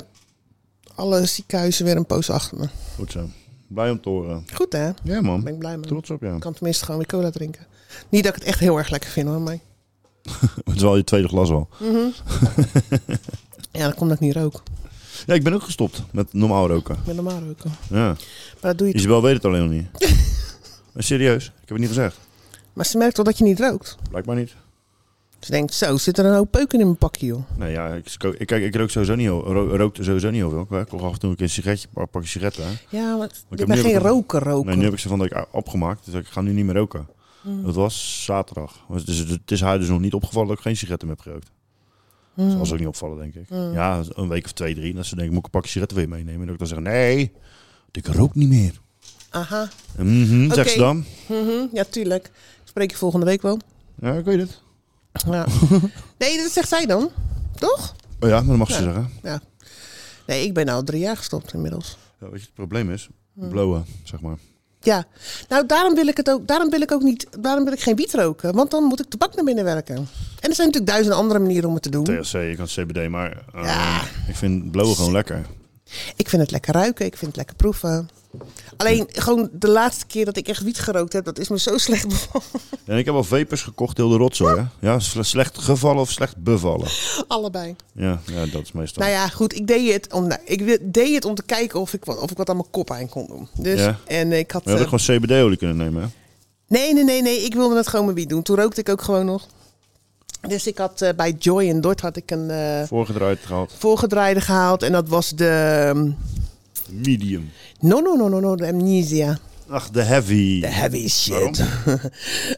alle ziekenhuizen weer een poos achter me.
Goed zo. Blij om te horen.
Goed hè?
Ja, man.
Ben ik blij mee.
Trots op jou.
Ik kan tenminste gewoon weer cola drinken. Niet dat ik het echt heel erg lekker vind hoor, maar...
Het is wel je tweede glas al.
Mhm. ja, dan komt dat ik niet rook.
Ja, ik ben ook gestopt met normaal roken.
Met normaal roken.
Ja.
Maar dat doe je
Isabel weet het alleen nog niet.
[LAUGHS]
maar serieus, ik heb het niet gezegd.
Maar ze merkt wel dat je niet rookt.
Blijkbaar niet.
Ze denkt, zo, zit er een hoop peuken in mijn pakje joh.
Nee, ja, ik, ik, ik, kijk, ik rook sowieso niet, heel- ro- rookte sowieso niet heel veel. Ik rook af en toe een keer een sigaretje, een pakje sigaretten. hè.
Ja, want
Maar
ik
heb
ben
nu
geen
heb ik-
roker roker.
Nee, nu heb ik ze van dat ik opgemaakt. Dus ik ga nu niet meer roken.
Mm.
Dat was zaterdag. Dus het is- het is haar dus nog niet opgevallen dat ik geen sigaretten meer heb gerookt.
Mm.
Dat zal ze ook niet opvallen, denk ik.
Mm.
Ja, dus een week of twee, drie. Dat ze denken, moet ik een pakje sigaretten weer meenemen? En dat ik dan zeg, nee, want ik rook niet meer.
Aha.
Mhm,
Oké.
zegt ze dan.
Mhm, ja, tuurlijk. Ik spreek je volgende week wel.
Ja, ik weet het. [LAUGHS]
Ja. nee, dat zegt zij dan. Toch?
Oh ja, maar dat mag ze zeggen.
Ja. Nee, ik ben al drie jaar gestopt inmiddels.
Ja, weet je, het probleem is,
Mm.
blowen, zeg maar.
Ja, nou daarom wil ik het ook, daarom wil ik ook niet, daarom wil ik geen wiet roken, want dan moet ik tabak naar binnen werken. En er zijn natuurlijk duizenden andere manieren om het te doen.
THC, je kan CBD, maar eh, ik vind blowen gewoon lekker.
Ik vind het lekker ruiken, ik vind het lekker proeven. Alleen gewoon de laatste keer dat ik echt wiet gerookt heb, dat is me zo slecht
[LAUGHS]
bevallen.
En ik heb al vapers gekocht, heel de rotzooi. Hè? Ja, sle- slecht gevallen of slecht bevallen.
Allebei.
Ja, ja dat is meestal.
Nou ja, goed, ik deed het om, nou, ik wi- deed het om te kijken of ik, wat- of ik wat aan mijn kop aan kon doen. Dus,
Ja.
en ik had...
We hadden
eh,
gewoon CBD-olie kunnen nemen, hè?
Nee, nee, nee, nee. Ik wilde het gewoon met wiet doen. Toen rookte ik ook gewoon nog. Dus ik had eh, bij Joy in Dort had ik een eh,
Voorgedraaid gehad.
voorgedraaide gehaald. En dat was de... ehm,
Medium.
No, no, no, no, no, de amnesia.
Ach, de heavy.
De heavy
Waarom?
shit. [LAUGHS]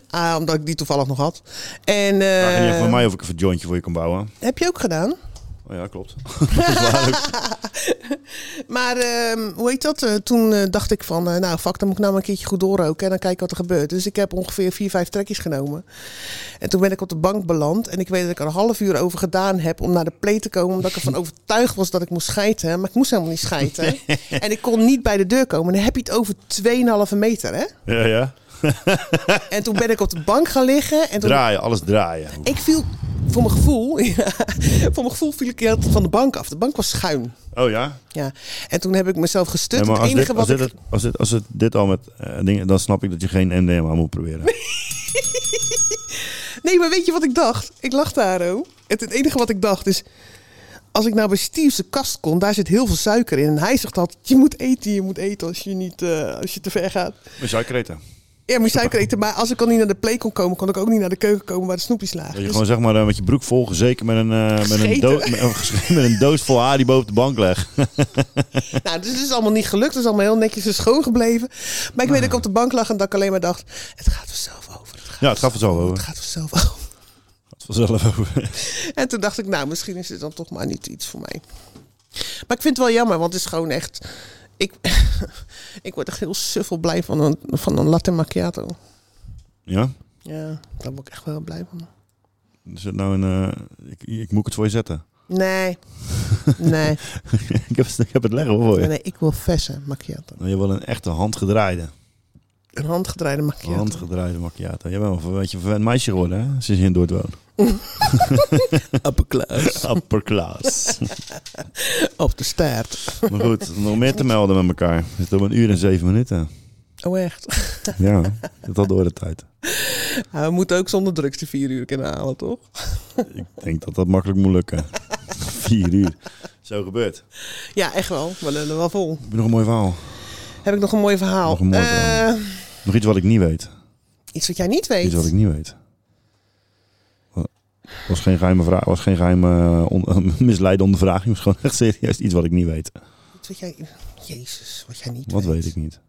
Ah, omdat ik die toevallig nog had. En
Vraag je niet
eh,
echt van mij of ik even een jointje voor je kan bouwen.
heb je ook gedaan.
Oh ja, klopt. [LAUGHS] Dat is waar ook.
[LAUGHS] Maar ehm, hoe heet dat? Eh, toen eh, dacht ik van, eh, nou fuck, dan moet ik nou maar een keertje goed doorroken en dan kijken wat er gebeurt. Dus ik heb ongeveer vier, vijf trekjes genomen. En toen ben ik op de bank beland en ik weet dat ik er een half uur over gedaan heb om naar de play te komen. Omdat ik [LAUGHS] ervan overtuigd was dat ik moest schijten, maar ik moest helemaal niet schijten. en ik kon niet bij de deur komen. Dan heb je het over 2,5 meter hè?
ja, ja.
En toen ben ik op de bank gaan liggen. En toen
Draaien, alles draaien.
Ik viel, voor mijn gevoel, [LAUGHS] ja, voor mijn gevoel viel ik heel van de bank af. De bank was schuin.
Oh ja?
Ja. En toen heb ik mezelf gestut.
Nee, maar
het
als
enige
dit, als,
wat
dit,
ik...
het- als, dit, als het dit al met eh, dingen, dan snap ik dat je geen MDMA moet proberen.
Nee, maar weet je wat ik dacht? Ik lag daar, oh. Het, het enige wat ik dacht is... Als ik nou bij Steve's de kast kon, daar zit heel veel suiker in. En hij zegt altijd, je moet eten, je moet eten als je, niet, eh, als je te ver gaat.
Met suikereten.
Ja, moet je suiker eten. Maar als ik al niet naar de play kon komen, kon ik ook niet naar de keuken komen waar de snoepjes lagen.
Dat je
Dus-
gewoon zeg maar eh, met je broek vol zeker met een, eh, met, een
Gescheten.
doos, met, een gesch- met een doos vol haribo op de bank legt.
Nou, dus het is allemaal niet gelukt. Het is allemaal heel netjes en schoon gebleven. Maar ik weet dat ik op de bank lag en dat ik alleen maar dacht... Het gaat vanzelf over. Het gaat,
[LAUGHS] Ja, het gaat vanzelf over.
het gaat vanzelf [LAUGHS] over.
Het gaat vanzelf over. [LAUGHS]
En toen dacht ik, nou, misschien is het dan toch maar niet iets voor mij. Maar ik vind het wel jammer, want het is gewoon echt... Ik, [LAUGHS] ik word echt heel suffel blij van een, van een latte macchiato.
Ja?
Ja, daar word ik echt wel blij van.
Is het nou een... eh, ik, ik moet het voor je zetten. [LAUGHS]
[LAUGHS] Nee, nee.
ik, heb, het- ik heb het leggen hoor voor je. Nou,
nee, nee ik wil verse macchiato.
Je wil een echte handgedraaide.
Een handgedraaide macchiato.
Handgedraaide macchiato. Jij bent wel een beetje een verwend meisje geworden, hè? Sinds je in Dordt woont.
Upper class.
Upper class.
[LAUGHS] Op de staart.
[LAUGHS] maar goed, nog meer te melden met elkaar. We zitten op een uur en zeven minuten.
[LAUGHS] Oh, echt?
[LAUGHS] Ja, dat had door de tijd.
[LAUGHS] Ja, we moeten ook zonder drugs de vier uur kunnen halen, toch?
Ik denk dat dat makkelijk moet lukken. [LAUGHS] Vier uur. Zo gebeurt.
Ja, echt wel. We lullen wel vol.
Heb je nog een mooi verhaal?
Heb ik nog een mooi verhaal?
Nog een mooi
Eh,
verhaal. Nog iets wat ik niet weet.
iets wat jij niet weet.
Iets wat ik niet weet. Was geen geheime vraag, was geen geheime eh, on, [LAUGHS] misleidende vraag. Het was gewoon echt serieus iets wat ik niet weet.
Iets wat jij... Jezus, wat jij niet
Wat
weet.
weet ik niet? nou?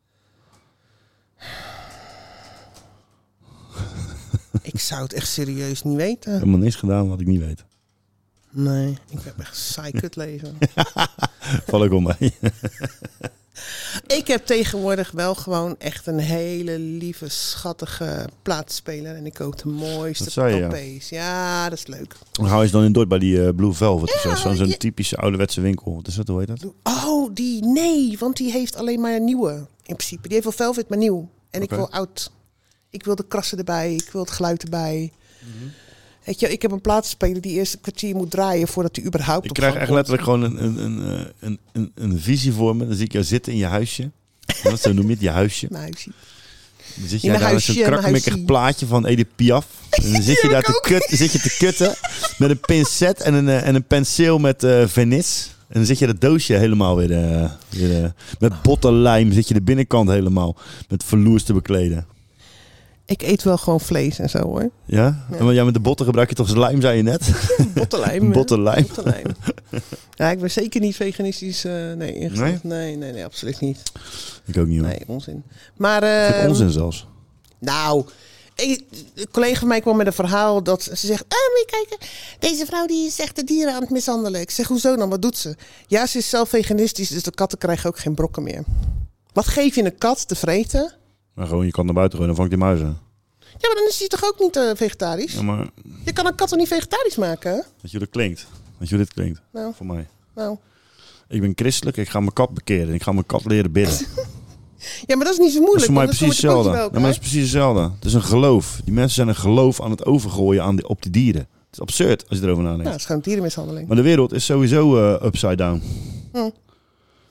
Ik zou het echt serieus niet weten.
Helemaal niks gedaan wat ik niet weet.
Nee, ik heb echt een saai kut
[LAUGHS]
leven.
Val ik om mee.
ik heb tegenwoordig wel gewoon echt een hele lieve, schattige plaatspeler. En ik koop de
Dat
mooiste
zei je, ja.
LP's. Ja, dat is leuk.
Dan [LAUGHS] hou je ze dan in Dordt bij die eh, Blue Velvet. of zo. Zo'n zo'n typische ouderwetse winkel. Wat is dat? Hoe heet dat?
Oh, die nee, want die heeft alleen maar een nieuwe in principe. Die heeft wel velvet, maar nieuw. En
Oké.
ik wil oud. Ik wil de krassen erbij, ik wil het geluid erbij.
Mhm.
Weet je, ik heb een plaatspeler die eerst een kwartier moet draaien voordat hij überhaupt
Ik
op
krijg
gang
echt
komt. [LAUGHS]
letterlijk gewoon een, een, een, eh, een, een, een visie voor me. Dan zie ik jou zitten in je huisje. Ja, zo noem je het, je huisje.
Mijn huisje.
Dan zit
In
jij
mijn
daar met zo'n
huisje, mijn
krakkemikkig
huisje.
plaatje van Edith Piaf.
[LAUGHS]
En dan zit je daar te, kut, zit je te kutten met een pincet en een, eh, en een penseel met eh vernis. En dan zit je dat doosje helemaal weer, eh, weer eh, met bottenlijm zit je de binnenkant helemaal met verloers te bekleden.
Ik eet wel gewoon vlees en zo hoor.
Ja?
Ja.
En want ja, met de botten gebruik je toch eens lijm, zei
[LAUGHS]
je net?
Bottenlijm. hè?
Bottenlijm. [LAUGHS]
Bottenlijm. ja, ik ben zeker niet veganistisch. eh, nee, ingesteld. Nee? nee, nee, absoluut niet.
Ik ook niet hoor.
Nee, onzin. Maar.
Vind ik
ehm,
onzin zelfs.
Nou, ik- een collega van mij kwam met een verhaal dat ze zegt... Ah, moet je kijken, deze vrouw die is echt de dieren aan het mishandelen. Ik zeg, hoezo dan? Wat doet ze? Ja, ze is zelf veganistisch, dus de katten krijgen ook geen brokken meer. Wat geef je een kat te vreten?
Maar gewoon, je kan naar buiten gaan en vangt die muizen.
Ja, maar dan is hij toch ook niet eh, vegetarisch?
Ja, maar
Je kan een kat toch niet vegetarisch maken?
weet je hoe dat klinkt? Weet je hoe dit klinkt?
Nou.
Voor mij.
Nou,
Ik ben christelijk, ik ga mijn kat bekeren. Ik ga mijn kat leren bidden.
ja, maar dat is niet zo moeilijk.
Dat is voor mij
want
precies
soort
hetzelfde. Ja,
broodje
maar
wel,
dat is precies hetzelfde. Het is een geloof. Die mensen zijn een geloof aan het overgooien aan die, op die dieren. Het is absurd als je erover
hè?
nadenkt.
Nou, dat is gewoon dierenmishandeling.
Maar de wereld is sowieso eh, upside down.
Hm.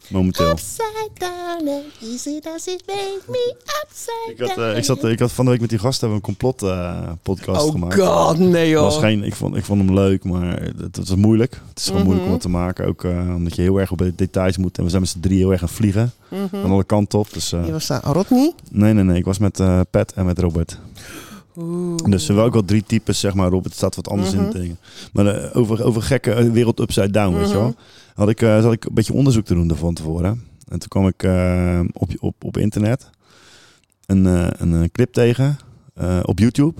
Momenteel.
Upside down and easy does it make me upside
Ik had,
down.
eh, ik, zat, ik had van de week met die gasten hebben we een complot eh, podcast
Oh
gemaakt.
god, nee, joh.
Was geen, ik, vond, ik vond hem leuk, maar het, het was moeilijk. Het is gewoon
Mhm.
moeilijk om het te maken. Ook eh, omdat je heel erg op de details moet. En we zijn met z'n drie heel erg aan het vliegen.
Mhm.
Van alle kanten op. Dus, eh,
Je was daar Rodney. [LAUGHS]
Nee, nee, nee. Ik was met eh, Pat en met Robert.
Oeh.
Dus er waren ook wel drie types, zeg maar. Robert staat wat anders in
Mhm.
het ding. Maar eh, over, over gekke eh, wereld upside down, weet je
Mhm.
wel. Had ik, eh, zat ik een beetje onderzoek te doen daarvan tevoren. En toen kwam ik eh, op, op, op internet een, eh, een eh, clip tegen eh, op YouTube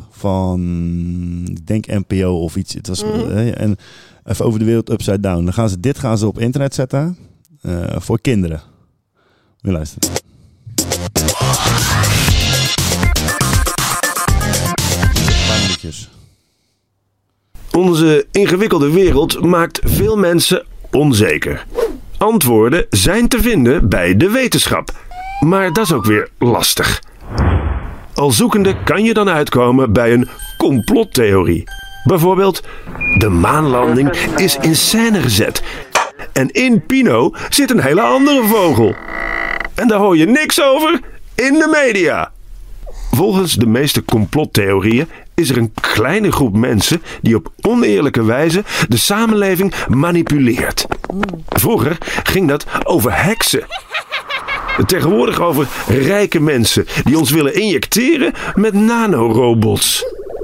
van, ik denk NPO of iets. Het was,
Mhm.
eh, en even over de wereld upside down. Dan gaan ze, dit gaan ze op internet zetten eh, voor kinderen. Moet je luisteren. Kleine liedjes.
Onze ingewikkelde wereld maakt veel mensen onzeker. Antwoorden zijn te vinden bij de wetenschap. Maar dat is ook weer lastig. Al zoekende kan je dan uitkomen bij een complottheorie. Bijvoorbeeld, de maanlanding is in scène gezet. En in Pino zit een hele andere vogel. En daar hoor je niks over in de media. Volgens de meeste complottheorieën is er een kleine groep mensen die op oneerlijke wijze de samenleving manipuleert. Vroeger ging dat over heksen. Tegenwoordig over rijke mensen die ons willen injecteren met nanorobots.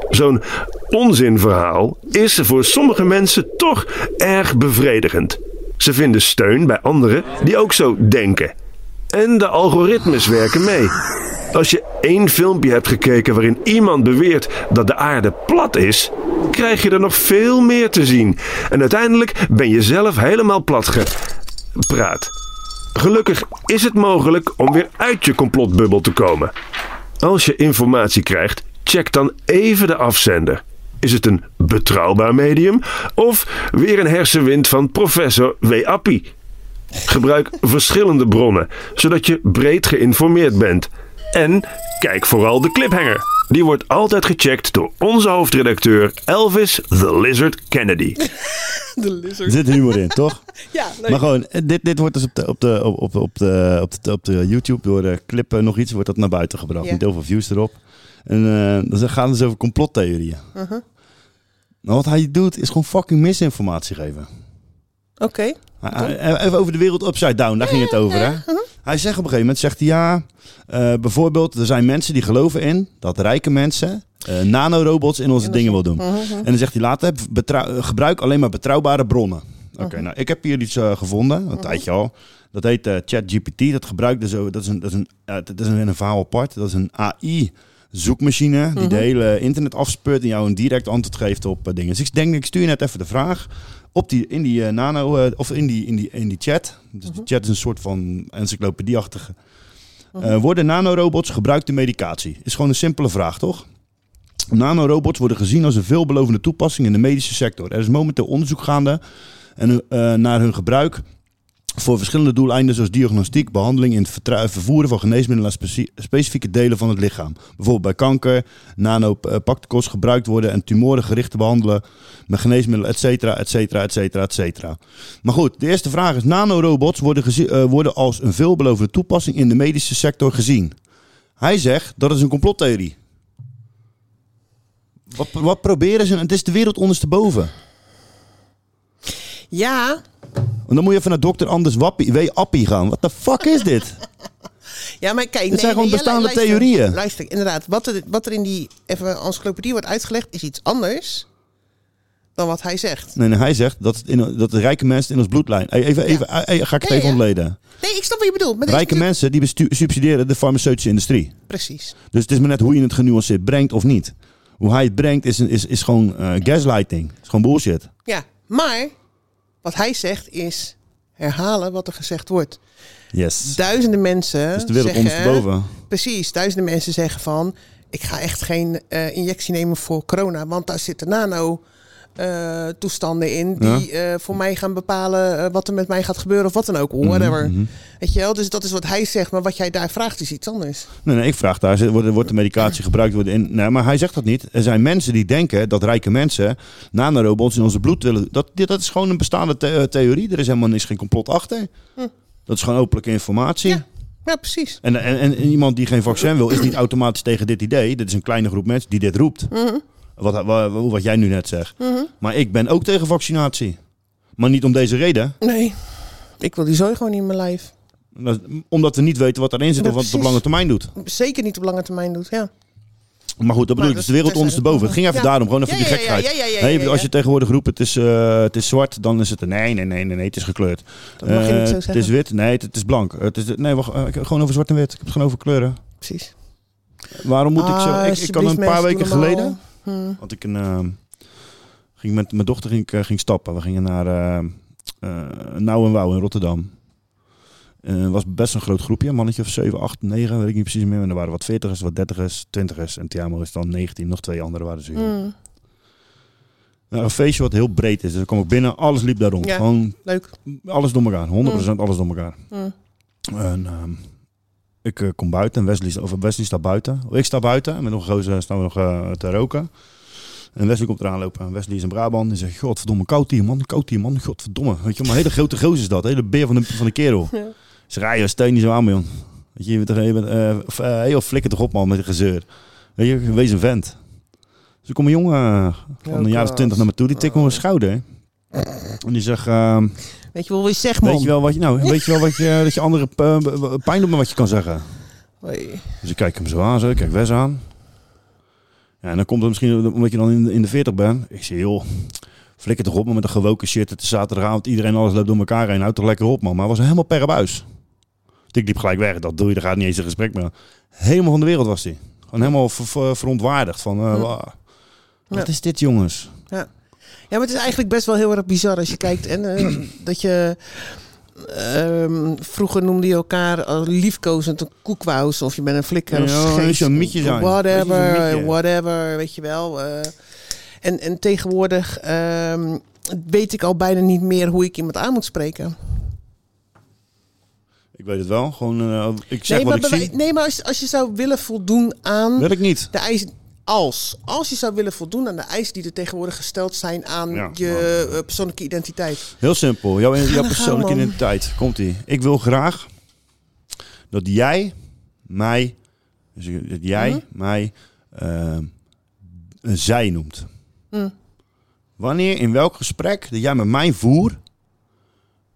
Zo'n onzinverhaal is voor sommige mensen toch erg bevredigend. Ze vinden steun bij anderen die ook zo denken. En de algoritmes werken mee. Als je één filmpje hebt gekeken waarin iemand beweert dat de aarde plat is, krijg je er nog veel meer te zien. En uiteindelijk ben je zelf helemaal plat gepraat. Gelukkig is het mogelijk om weer uit je complotbubbel te komen. Als je informatie krijgt, check dan even de afzender. Is het een betrouwbaar medium of weer een hersenwind van professor W. Appie? Gebruik verschillende bronnen, zodat je breed geïnformeerd bent. En kijk vooral de cliphanger. Die wordt altijd gecheckt door onze hoofdredacteur Elvis The Lizard Kennedy.
De lizard.
Er zit humor in, toch?
[LAUGHS] Ja, leuk.
Maar gewoon, eh, dit, dit wordt dus op de, op, de, op, op, op de, op, de, op de YouTube door de clip eh, nog iets wordt dat naar buiten gebracht.
Ja.
Met heel veel views erop. En eh, dan gaan ze over complottheorieën.
Mhm.
Nou, wat hij doet is gewoon fucking misinformatie geven.
Oké.
Hij- hij- Even over de wereld upside down, daar ging het over. Hè?
Uh-huh.
Hij zegt op een gegeven moment, zegt hij ja, eh, bijvoorbeeld er zijn mensen die geloven in dat rijke mensen eh, nanorobots in onze dingen wil doen.
Mhm.
En dan zegt hij later, betrouw- eh, gebruik alleen maar betrouwbare bronnen. Oké, nou ik heb hier iets eh, gevonden, een tijdje al. Dat heet eh, ChatGPT, dat gebruikt dus, ook- dat is, een, dat is, een, eh, dat is een, een verhaal apart, dat is een AI zoekmachine die de
Mhm.
hele internet afspeurt en jou een direct antwoord geeft op eh, dingen. Dus ik denk, ik stuur je net even de vraag op die, in die eh, nano, eh, of in die, in die, in die chat. Dus die chat is een soort van encyclopedieachtige. Eh, worden nanorobots gebruikt in medicatie? Is gewoon een simpele vraag, toch? Nanorobots worden gezien als een veelbelovende toepassing in de medische sector. Er is momenteel onderzoek gaande en, eh, naar hun gebruik voor verschillende doeleinden zoals diagnostiek, behandeling in het vertru- vervoeren van geneesmiddelen aan specie- specifieke delen van het lichaam. Bijvoorbeeld bij kanker, nanopacticos gebruikt worden en tumoren gericht te behandelen met geneesmiddelen, et cetera, et cetera, et cetera, et cetera. Maar goed, de eerste vraag is, nanorobots worden, gezi- eh, worden als een veelbelovende toepassing in de medische sector gezien. Hij zegt, dat is een complottheorie. Wat, wat proberen ze? Het is de wereld ondersteboven.
Ja,
En dan moet je even naar dokter Anders Wappie, W. Appie gaan. Wat de fuck is dit?
ja maar kijk...
Dit zijn gewoon
jij
bestaande
luistert-
theorieën.
Luister, inderdaad. Wat er, wat er in die even encyclopedie wordt uitgelegd is iets anders dan wat hij zegt.
Nee, nee, hij zegt dat, het in, dat de rijke mensen in ons bloedlijn. Hey, Even, even, hey, ga ik het
Ja,
even
ja.
ontleden.
Nee, ik snap wat je bedoelt. Maar dit is
Rijke
natuurlijk-
mensen die bestu- subsidiëren de farmaceutische industrie.
Precies.
Dus het is maar net hoe je het genuanceerd brengt of niet. Hoe hij het brengt is, is, is gewoon eh, gaslighting. is gewoon bullshit.
Ja, maar wat hij zegt is herhalen wat er gezegd wordt.
Yes.
Duizenden mensen
Dus de wereld
zeggen,
ondersteboven.
Precies, duizenden mensen zeggen van... ik ga echt geen eh, injectie nemen voor corona... want daar zitten nano-toestanden in... die eh, voor mij gaan bepalen eh, wat er met mij gaat gebeuren... of wat dan ook, whatever.
Mhm, mhm.
Weet je wel? Dus dat is wat hij zegt, maar wat jij daar vraagt is iets anders.
Nee, nee, ik vraag daar, ze- wordt, wordt de medicatie gebruikt? Wordt in, nee, maar hij zegt dat niet. Er zijn mensen die denken dat rijke mensen nanorobots in onze bloed willen. Dat, dit- dat is gewoon een bestaande the- eh, theorie. Er is helemaal niks, geen complot achter.
Hm.
Dat is gewoon openlijke informatie.
Ja, precies.
En, en, en iemand die geen vaccin wil, is niet automatisch tegen dit idee. Dit is een kleine groep mensen die dit roept.
Mhm,
Wat, wat, wat jij nu net zegt.
mhm.
Maar ik ben ook tegen vaccinatie. Maar niet om deze reden.
Nee, ik wil die zooi gewoon niet in mijn lijf.
Dat- Omdat we niet weten wat erin zit
Ja,
of wat het op
precies.
lange termijn doet.
Zeker niet op lange termijn doet, ja.
Maar goed, dat bedoel ik.
dat
Dus de wereld
terzijde.
ondersteboven. Het ging even
Nou, Ja.
daarom. Gewoon even
Ja,
die
ja,
gekheid.
ja, ja, ja, ja,
Hey,
ja, ja.
Als je tegenwoordig roept, het is, eh, het is zwart, dan is het... Nee, nee, nee, nee, nee het is gekleurd.
Dat mag je
Eh,
niet zo
Het is
zeggen.
wit. Nee, het, het is blank. Het is, nee, wacht, eh, ik- gewoon over zwart en wit. Ik heb het gewoon over kleuren.
Precies.
Waarom moet ik zo...
Ah,
Ik, ik kan een
alsjeblieft,
paar
mensen,
weken
doe normaal.
geleden...
Hm.
Want ik een, ehm, ging met mijn dochter ging, ik, eh, ging stappen. We gingen naar eh eh, Nouw en Wouw in Rotterdam. Eh, Het was best een groot groepje, een mannetje of 7, 8, 9, weet ik niet precies meer. En er waren wat 40ers, wat 30ers, 20ers. En Tiamo is dan 19, nog twee anderen waren ze. hier.
Mm.
Nou, een feestje wat heel breed is. Dus ik kwam ook binnen, alles liep daar rond.
Ja,
Gewoon
leuk.
alles door elkaar, 100% alles door elkaar.
Mm.
En ehm, ik eh, kom buiten en Wesley, sta- of Wesley staat buiten. Ik sta buiten en met nog een gozer staan we nog eh, te roken. En Wesley komt eraan lopen. En Wesley is een Brabant. Die zegt, godverdomme, koud hier man, koud hier man, godverdomme. Weet je, maar een hele grote gozer is dat. Hele beer van de, van de kerel.
Ja.
Ze rijden, steun niet zo aan, man. Weet je, je bent, toch- je bent eh, f- eh, heel flikker toch op man met de gezeur. Weet je, wees een vent. Dus er komt een jongen eh, van een jaar of
God.
twintig naar me toe. Die tikt me op
Oh.
mijn schouder. En die zegt... ehm,
Weet je wel wat je zegt, man?
Weet je wel wat je nou, weet je wel wat je, dat je andere p- pijn doet met wat je kan zeggen.
Hoi.
Dus ik kijk hem zo aan, zo, ik kijk Wes aan. Ja, en dan komt het misschien omdat je dan in de, in de 40 bent. Ik zeg, joh, flikker toch op man, met een gewoken shit. Het is zaterdagavond, iedereen alles loopt door elkaar heen. Houd toch lekker op man. Maar hij was helemaal per buis. Ik liep gelijk weg, dat doe je, daar gaat niet eens een gesprek meer. Helemaal van de wereld was hij. Gewoon helemaal ver- ver- verontwaardigd. Van, eh,
Hm.
wa- wat
Ja.
is dit jongens?
Ja. ja, maar het is eigenlijk best wel heel erg bizar als je kijkt. En eh, [CLEARS THROAT] dat je. ehm, vroeger noemde je elkaar al liefkozend een koekwaus. Of je bent een flikker. of
Ja, dat
scheet.
is een mietje zijn. Dat is een
Whatever,
mietje.
whatever. Weet je wel. eh. en, en tegenwoordig ehm, weet ik al bijna niet meer hoe ik iemand aan moet spreken.
Ik weet het wel, gewoon, eh, ik zeg wat
maar,
ik
bij
zie.
wij- nee, maar als, als je zou willen voldoen aan.
Wil ik niet.
De eisen. Als, als je zou willen voldoen aan de eisen die er tegenwoordig gesteld zijn aan
Ja,
je eh, persoonlijke identiteit.
Heel simpel. Jouw, jouw
dan
persoonlijke
gaan, man.
identiteit. Komt ie. Ik wil graag dat jij mij, dus ik- dat
Mhm.
jij mij ehm, een zij noemt.
Hm.
Wanneer, in welk gesprek dat jij met mij voer,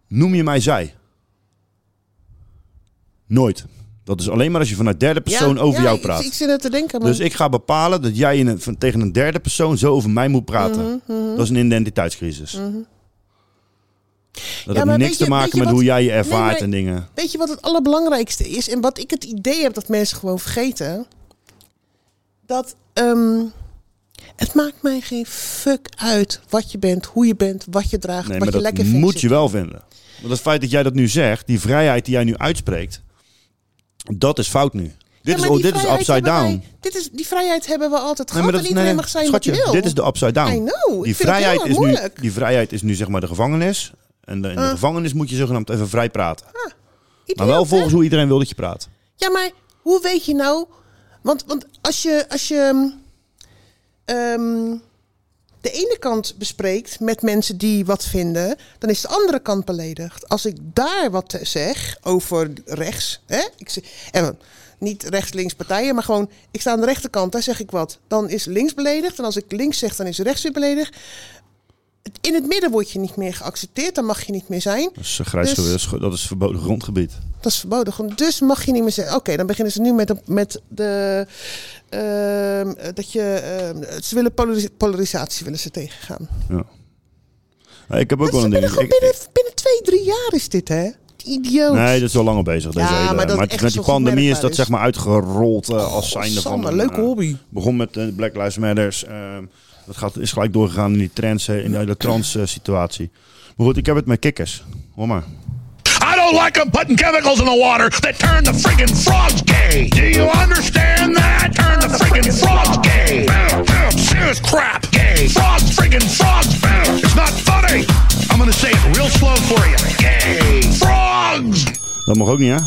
noem je mij zij? Nooit. Dat is alleen maar als je vanuit derde persoon
Ja,
over
ja,
jou
ik-
praat.
Ik, zit net te denken, maar...
Dus ik ga bepalen dat jij in een- van- tegen een derde persoon zo over mij moet praten.
Mhm, mhm.
Dat is een identiteitscrisis.
Mhm.
Dat
Ja, maar
heeft niks
weet je-
te maken
weet je
met
wat-
hoe jij je
Nee,
ervaart
maar-
en dingen.
Weet je wat het allerbelangrijkste is? En wat ik het idee heb dat mensen gewoon vergeten? Dat ehm, het maakt mij geen fuck uit wat je bent, hoe je bent, wat je draagt, wat
Nee, maar
je
dat
lekker vindt.
moet je wel vinden. Want het feit dat jij dat nu zegt, die vrijheid die jij nu uitspreekt, dat is fout nu. Dit,
maar
is, oh,
die
dit is
vrijheid
upside
hebben
down.
wij- dit is, die vrijheid hebben we altijd
Nee,
gehad.
maar dat
en
is-
iedereen
nee,
mag zijn
schatje,
wat hij wil.
Dit is de upside down.
I know, ik
Die
vind het heel
vrijheid,
erg
is nu,
moeilijk.
die vrijheid is nu zeg maar de gevangenis. En eh, in de
Ah.
gevangenis moet je zogenaamd even vrij praten. maar wel volgens hoe iedereen wil dat je praat.
Ja, maar hoe weet je nou? Want, want als je, als je ehm, ehm, de ene kant bespreekt met mensen die wat vinden, dan is de andere kant beledigd. Als ik daar wat zeg over rechts, hè? Ik zeg, en niet rechts-links partijen, maar gewoon ik sta aan de rechterkant, daar zeg ik wat. Dan is links beledigd en als ik links zeg, dan is rechts weer beledigd. In het midden word je niet meer geaccepteerd, dan mag je niet meer zijn.
Dat is, eh, grijs
Dus-
gebied, dat is verboden grondgebied.
dat is verboden. Gewoon, Dus mag je niet meer zeggen. Oké, dan beginnen ze nu met, de- met de. ehm, dat je. ehm, ze willen polaris- polarisatie willen ze tegengaan.
Ja. Nou, ik heb ook
Dat
wel
is
een
binnen,
ding.
gewoon
Ik-
binnen, binnen twee, drie jaar is dit, hè? Idioot.
Nee, dat is wel langer bezig. Deze
Ja,
hele,
maar
maar
dat
het
echt
is met die
zo goed
pandemie is
merkbaar
dat
is.
zeg maar uitgerold eh, als zijnde van...
Sander,
een,
leuke
eh,
hobby.
begon met eh, Black Lives Matters. ehm, dat gaat, is gelijk doorgegaan in die trends, eh, in de hele trans eh, situatie. Maar goed, ik heb het met kikkers. Hoor maar.
I don't like them putting chemicals in the water that turn the friggin' frogs gay. Do you understand that? Turn the friggin' frogs gay. Boom, boom, Serious crap. Gay. Frogs, friggin' frogs. Boom. It's not funny. I'm gonna say it real slow for you. Gay. Frogs.
Dat mag ook niet, hè?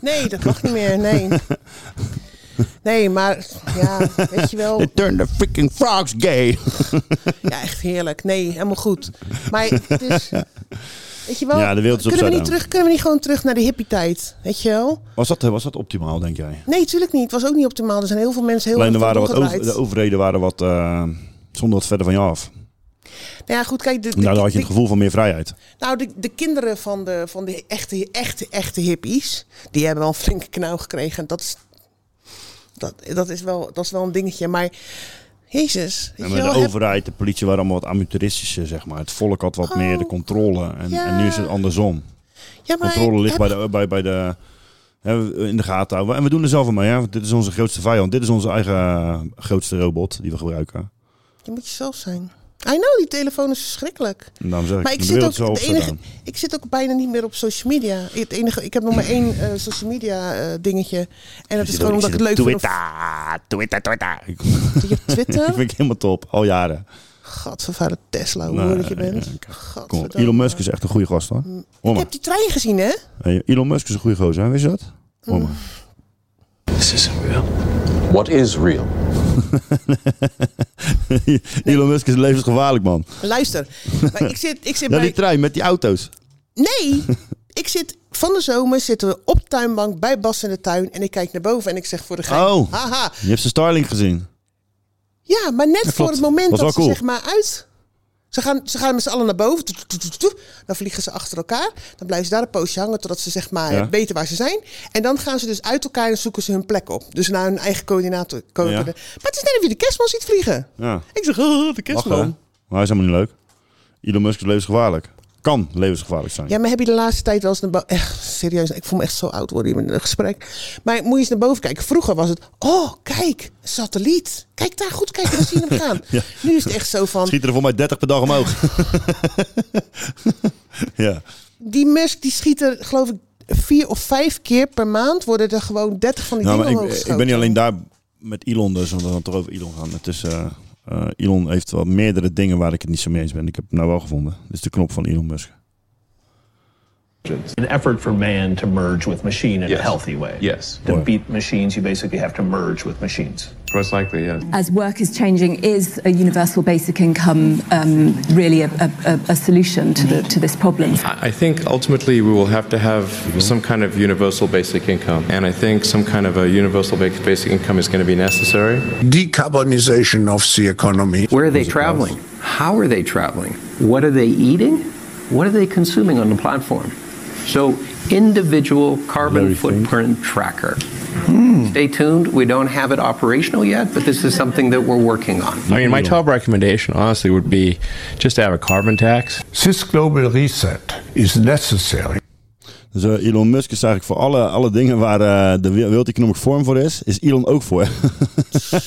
Nee, dat mag niet meer. Nee.
[LAUGHS]
Nee, maar. Ja, weet je wel.
They turn the freaking frogs gay.
Ja, echt heerlijk. Nee, helemaal goed. Maar het is. Weet je wel.
Ja, de wereld is
kunnen, we
upside
niet
down.
terug, kunnen we niet gewoon terug naar de hippie-tijd? Weet je wel?
Was dat, eh, was dat optimaal, denk jij?
Nee, tuurlijk niet. Het was ook niet optimaal. Er zijn heel veel mensen heel
Alleen er
erg
waren wat
omgedraaid.
over- de overheden waren wat... eh zonder wat verder van je af.
Nou ja, goed, kijk, de, de,
En daardoor had je
de-
het gevoel van meer vrijheid.
nou, de, de kinderen van de, van de echte, echte, echte hippies, die hebben wel een flinke knauw gekregen. En dat is, dat, dat, is wel, dat is wel een dingetje. Maar, jezus. weet
En
je
met de
wel, heb-
overheid, de politie waren allemaal wat amateuristischer, zeg maar. Het volk had wat meer de controle. En,
Oh, ja.
en nu is het andersom.
ja, maar
controle ligt
heb-
bij de, bij, bij de hè, in de gaten houden. En we doen er zelf aan mee. Hè? want Dit is onze grootste vijand. Dit is onze eigen eh, grootste robot die we gebruiken. [LAUGHS]
Je moet jezelf zijn. I know, die telefoon is verschrikkelijk.
En daarom zeg ik,
Maar ik
de
zit,
wereld is
ook, de
wel
enige,
upside
ik zit ook bijna niet meer op social media. Het enige, ik heb nog maar één eh, social media eh, dingetje. En dat is gewoon omdat ik het leuk vind. om-
Ah,
Twitter, Twitter, Twitter. Ik,
Twitter?
[LAUGHS] ik vind ik helemaal top. Al jaren.
Gadvervaarde Tesla, hoe
Nee,
hoor dat je bent.
Nou, ja, kijk, Kom, op.
Gadverdamme.
Elon Musk is echt een goede gast hoor. Hoor
Ik
maar.
heb die trein gezien, hè?
Hey, Elon Musk is een goede gozer, hè? wist je dat? Hoor maar.
This isn't real. What is real?
[LAUGHS] Elon Musk is levensgevaarlijk man.
Luister, maar ik zit, ik zit
[LAUGHS] Ja,
bij...
die trein met die auto's.
Nee, ik zit van de zomer zitten we op tuinbank bij Bas in de tuin en ik kijk naar boven en ik zeg voor de gein,
Oh.
haha.
Je hebt zijn Starlink gezien.
Ja, maar net
[LAUGHS] klopt.
voor het moment dat
Was wel
ze
cool.
zeg maar uit... Ze gaan, ze gaan met z'n allen naar boven. Toe, toe, toe, toe, toe. Dan vliegen ze achter elkaar. Dan blijven ze daar een poosje hangen totdat ze zeg maar
Ja.
weten waar ze zijn. En dan gaan ze dus uit elkaar en zoeken ze hun plek op. Dus naar hun eigen coördinaten. coördinaten. Maar het is net of je de kerstman ziet vliegen.
Ja.
Ik zeg, oh, de
Lachen, hè?
kerstman.
Maar hij is helemaal niet leuk. Elon Musk is levensgevaarlijk. Kan levensgevaarlijk zijn.
Ja, maar heb je de laatste tijd wel eens naar boven... Echt, serieus, ik voel me echt zo oud worden hier in een gesprek. Maar moet je eens naar boven kijken. Vroeger was het, oh, kijk, een satelliet. Kijk daar, goed kijken, we zien hem gaan.
[LAUGHS] Ja.
Nu is het echt zo van,
Schiet er voor mij 30 per dag omhoog. [LAUGHS] ja.
die Musk die schiet er, geloof ik, vier of vijf keer per maand... worden er gewoon dertig van die
Nou, maar
dingen
ik,
omhoog
ik ben niet alleen daar met Elon dus, want we gaan het toch over Elon gaan. Het is, eh, eh, Elon heeft wel meerdere dingen waar ik het niet zo mee eens ben. Ik heb het nou wel gevonden. Dit is de knop van Elon Musk.
An effort for man to merge with machine in a healthy way. Yes. To beat machines, you basically have to merge with machines. Most likely, yes.
As work is changing, is a universal basic income um, really a, a, a- a solution to, the, to this problem?
I I think ultimately we will have to have some kind of universal basic income. And I think some kind of a universal ba- basic income is going to be necessary.
Decarbonization of the economy.
Where are they traveling? How are they traveling? What are they eating? What are they consuming on the platform? So, individual carbon footprint tracker. Stay tuned. We don't have it operational yet, but this is something that we're working on.
I mean, my top recommendation, honestly, would be just to have a carbon tax.
This global reset is necessary.
Dus eh, Elon Musk is eigenlijk voor alle, alle dingen waar eh, de World Economic Forum voor is, is Elon ook voor. [LAUGHS] Heel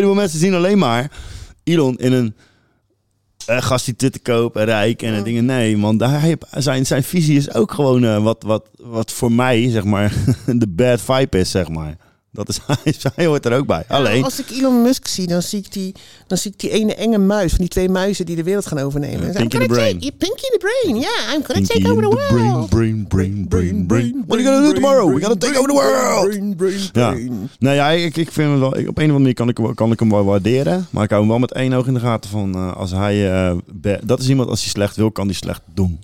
veel mensen zien alleen maar Elon in een eh, gast die dit te koop en rijk en eh, dingen. Nee, man, daar heb- zijn, zijn [LAUGHS] visie is ook gewoon eh, wat, wat, wat voor mij, zeg maar, de bad vibe is, zeg maar. Dat is, [LAUGHS] hij, hij hoort er ook bij. Alleen,
Nou, Als ik Elon Musk zie, dan zie ik die, dan zie ik die ene enge muis van die twee muizen die de wereld gaan overnemen.
Pinky in the brain.
Take, pinky in the brain, yeah. I'm gonna
Pinky
take over the
in
world.
the brain, brain, brain, brain, brain.
What are you gonna do tomorrow? We gotta take over the world.
Ja. Nou ja, ik, ik vind hem wel, ik- op een of andere manier kan ik, hem- kan ik hem wel waarderen. Maar ik hou hem wel met één oog in de gaten van eh, als hij. eh, be- dat is iemand, als hij slecht wil, kan hij slecht doen.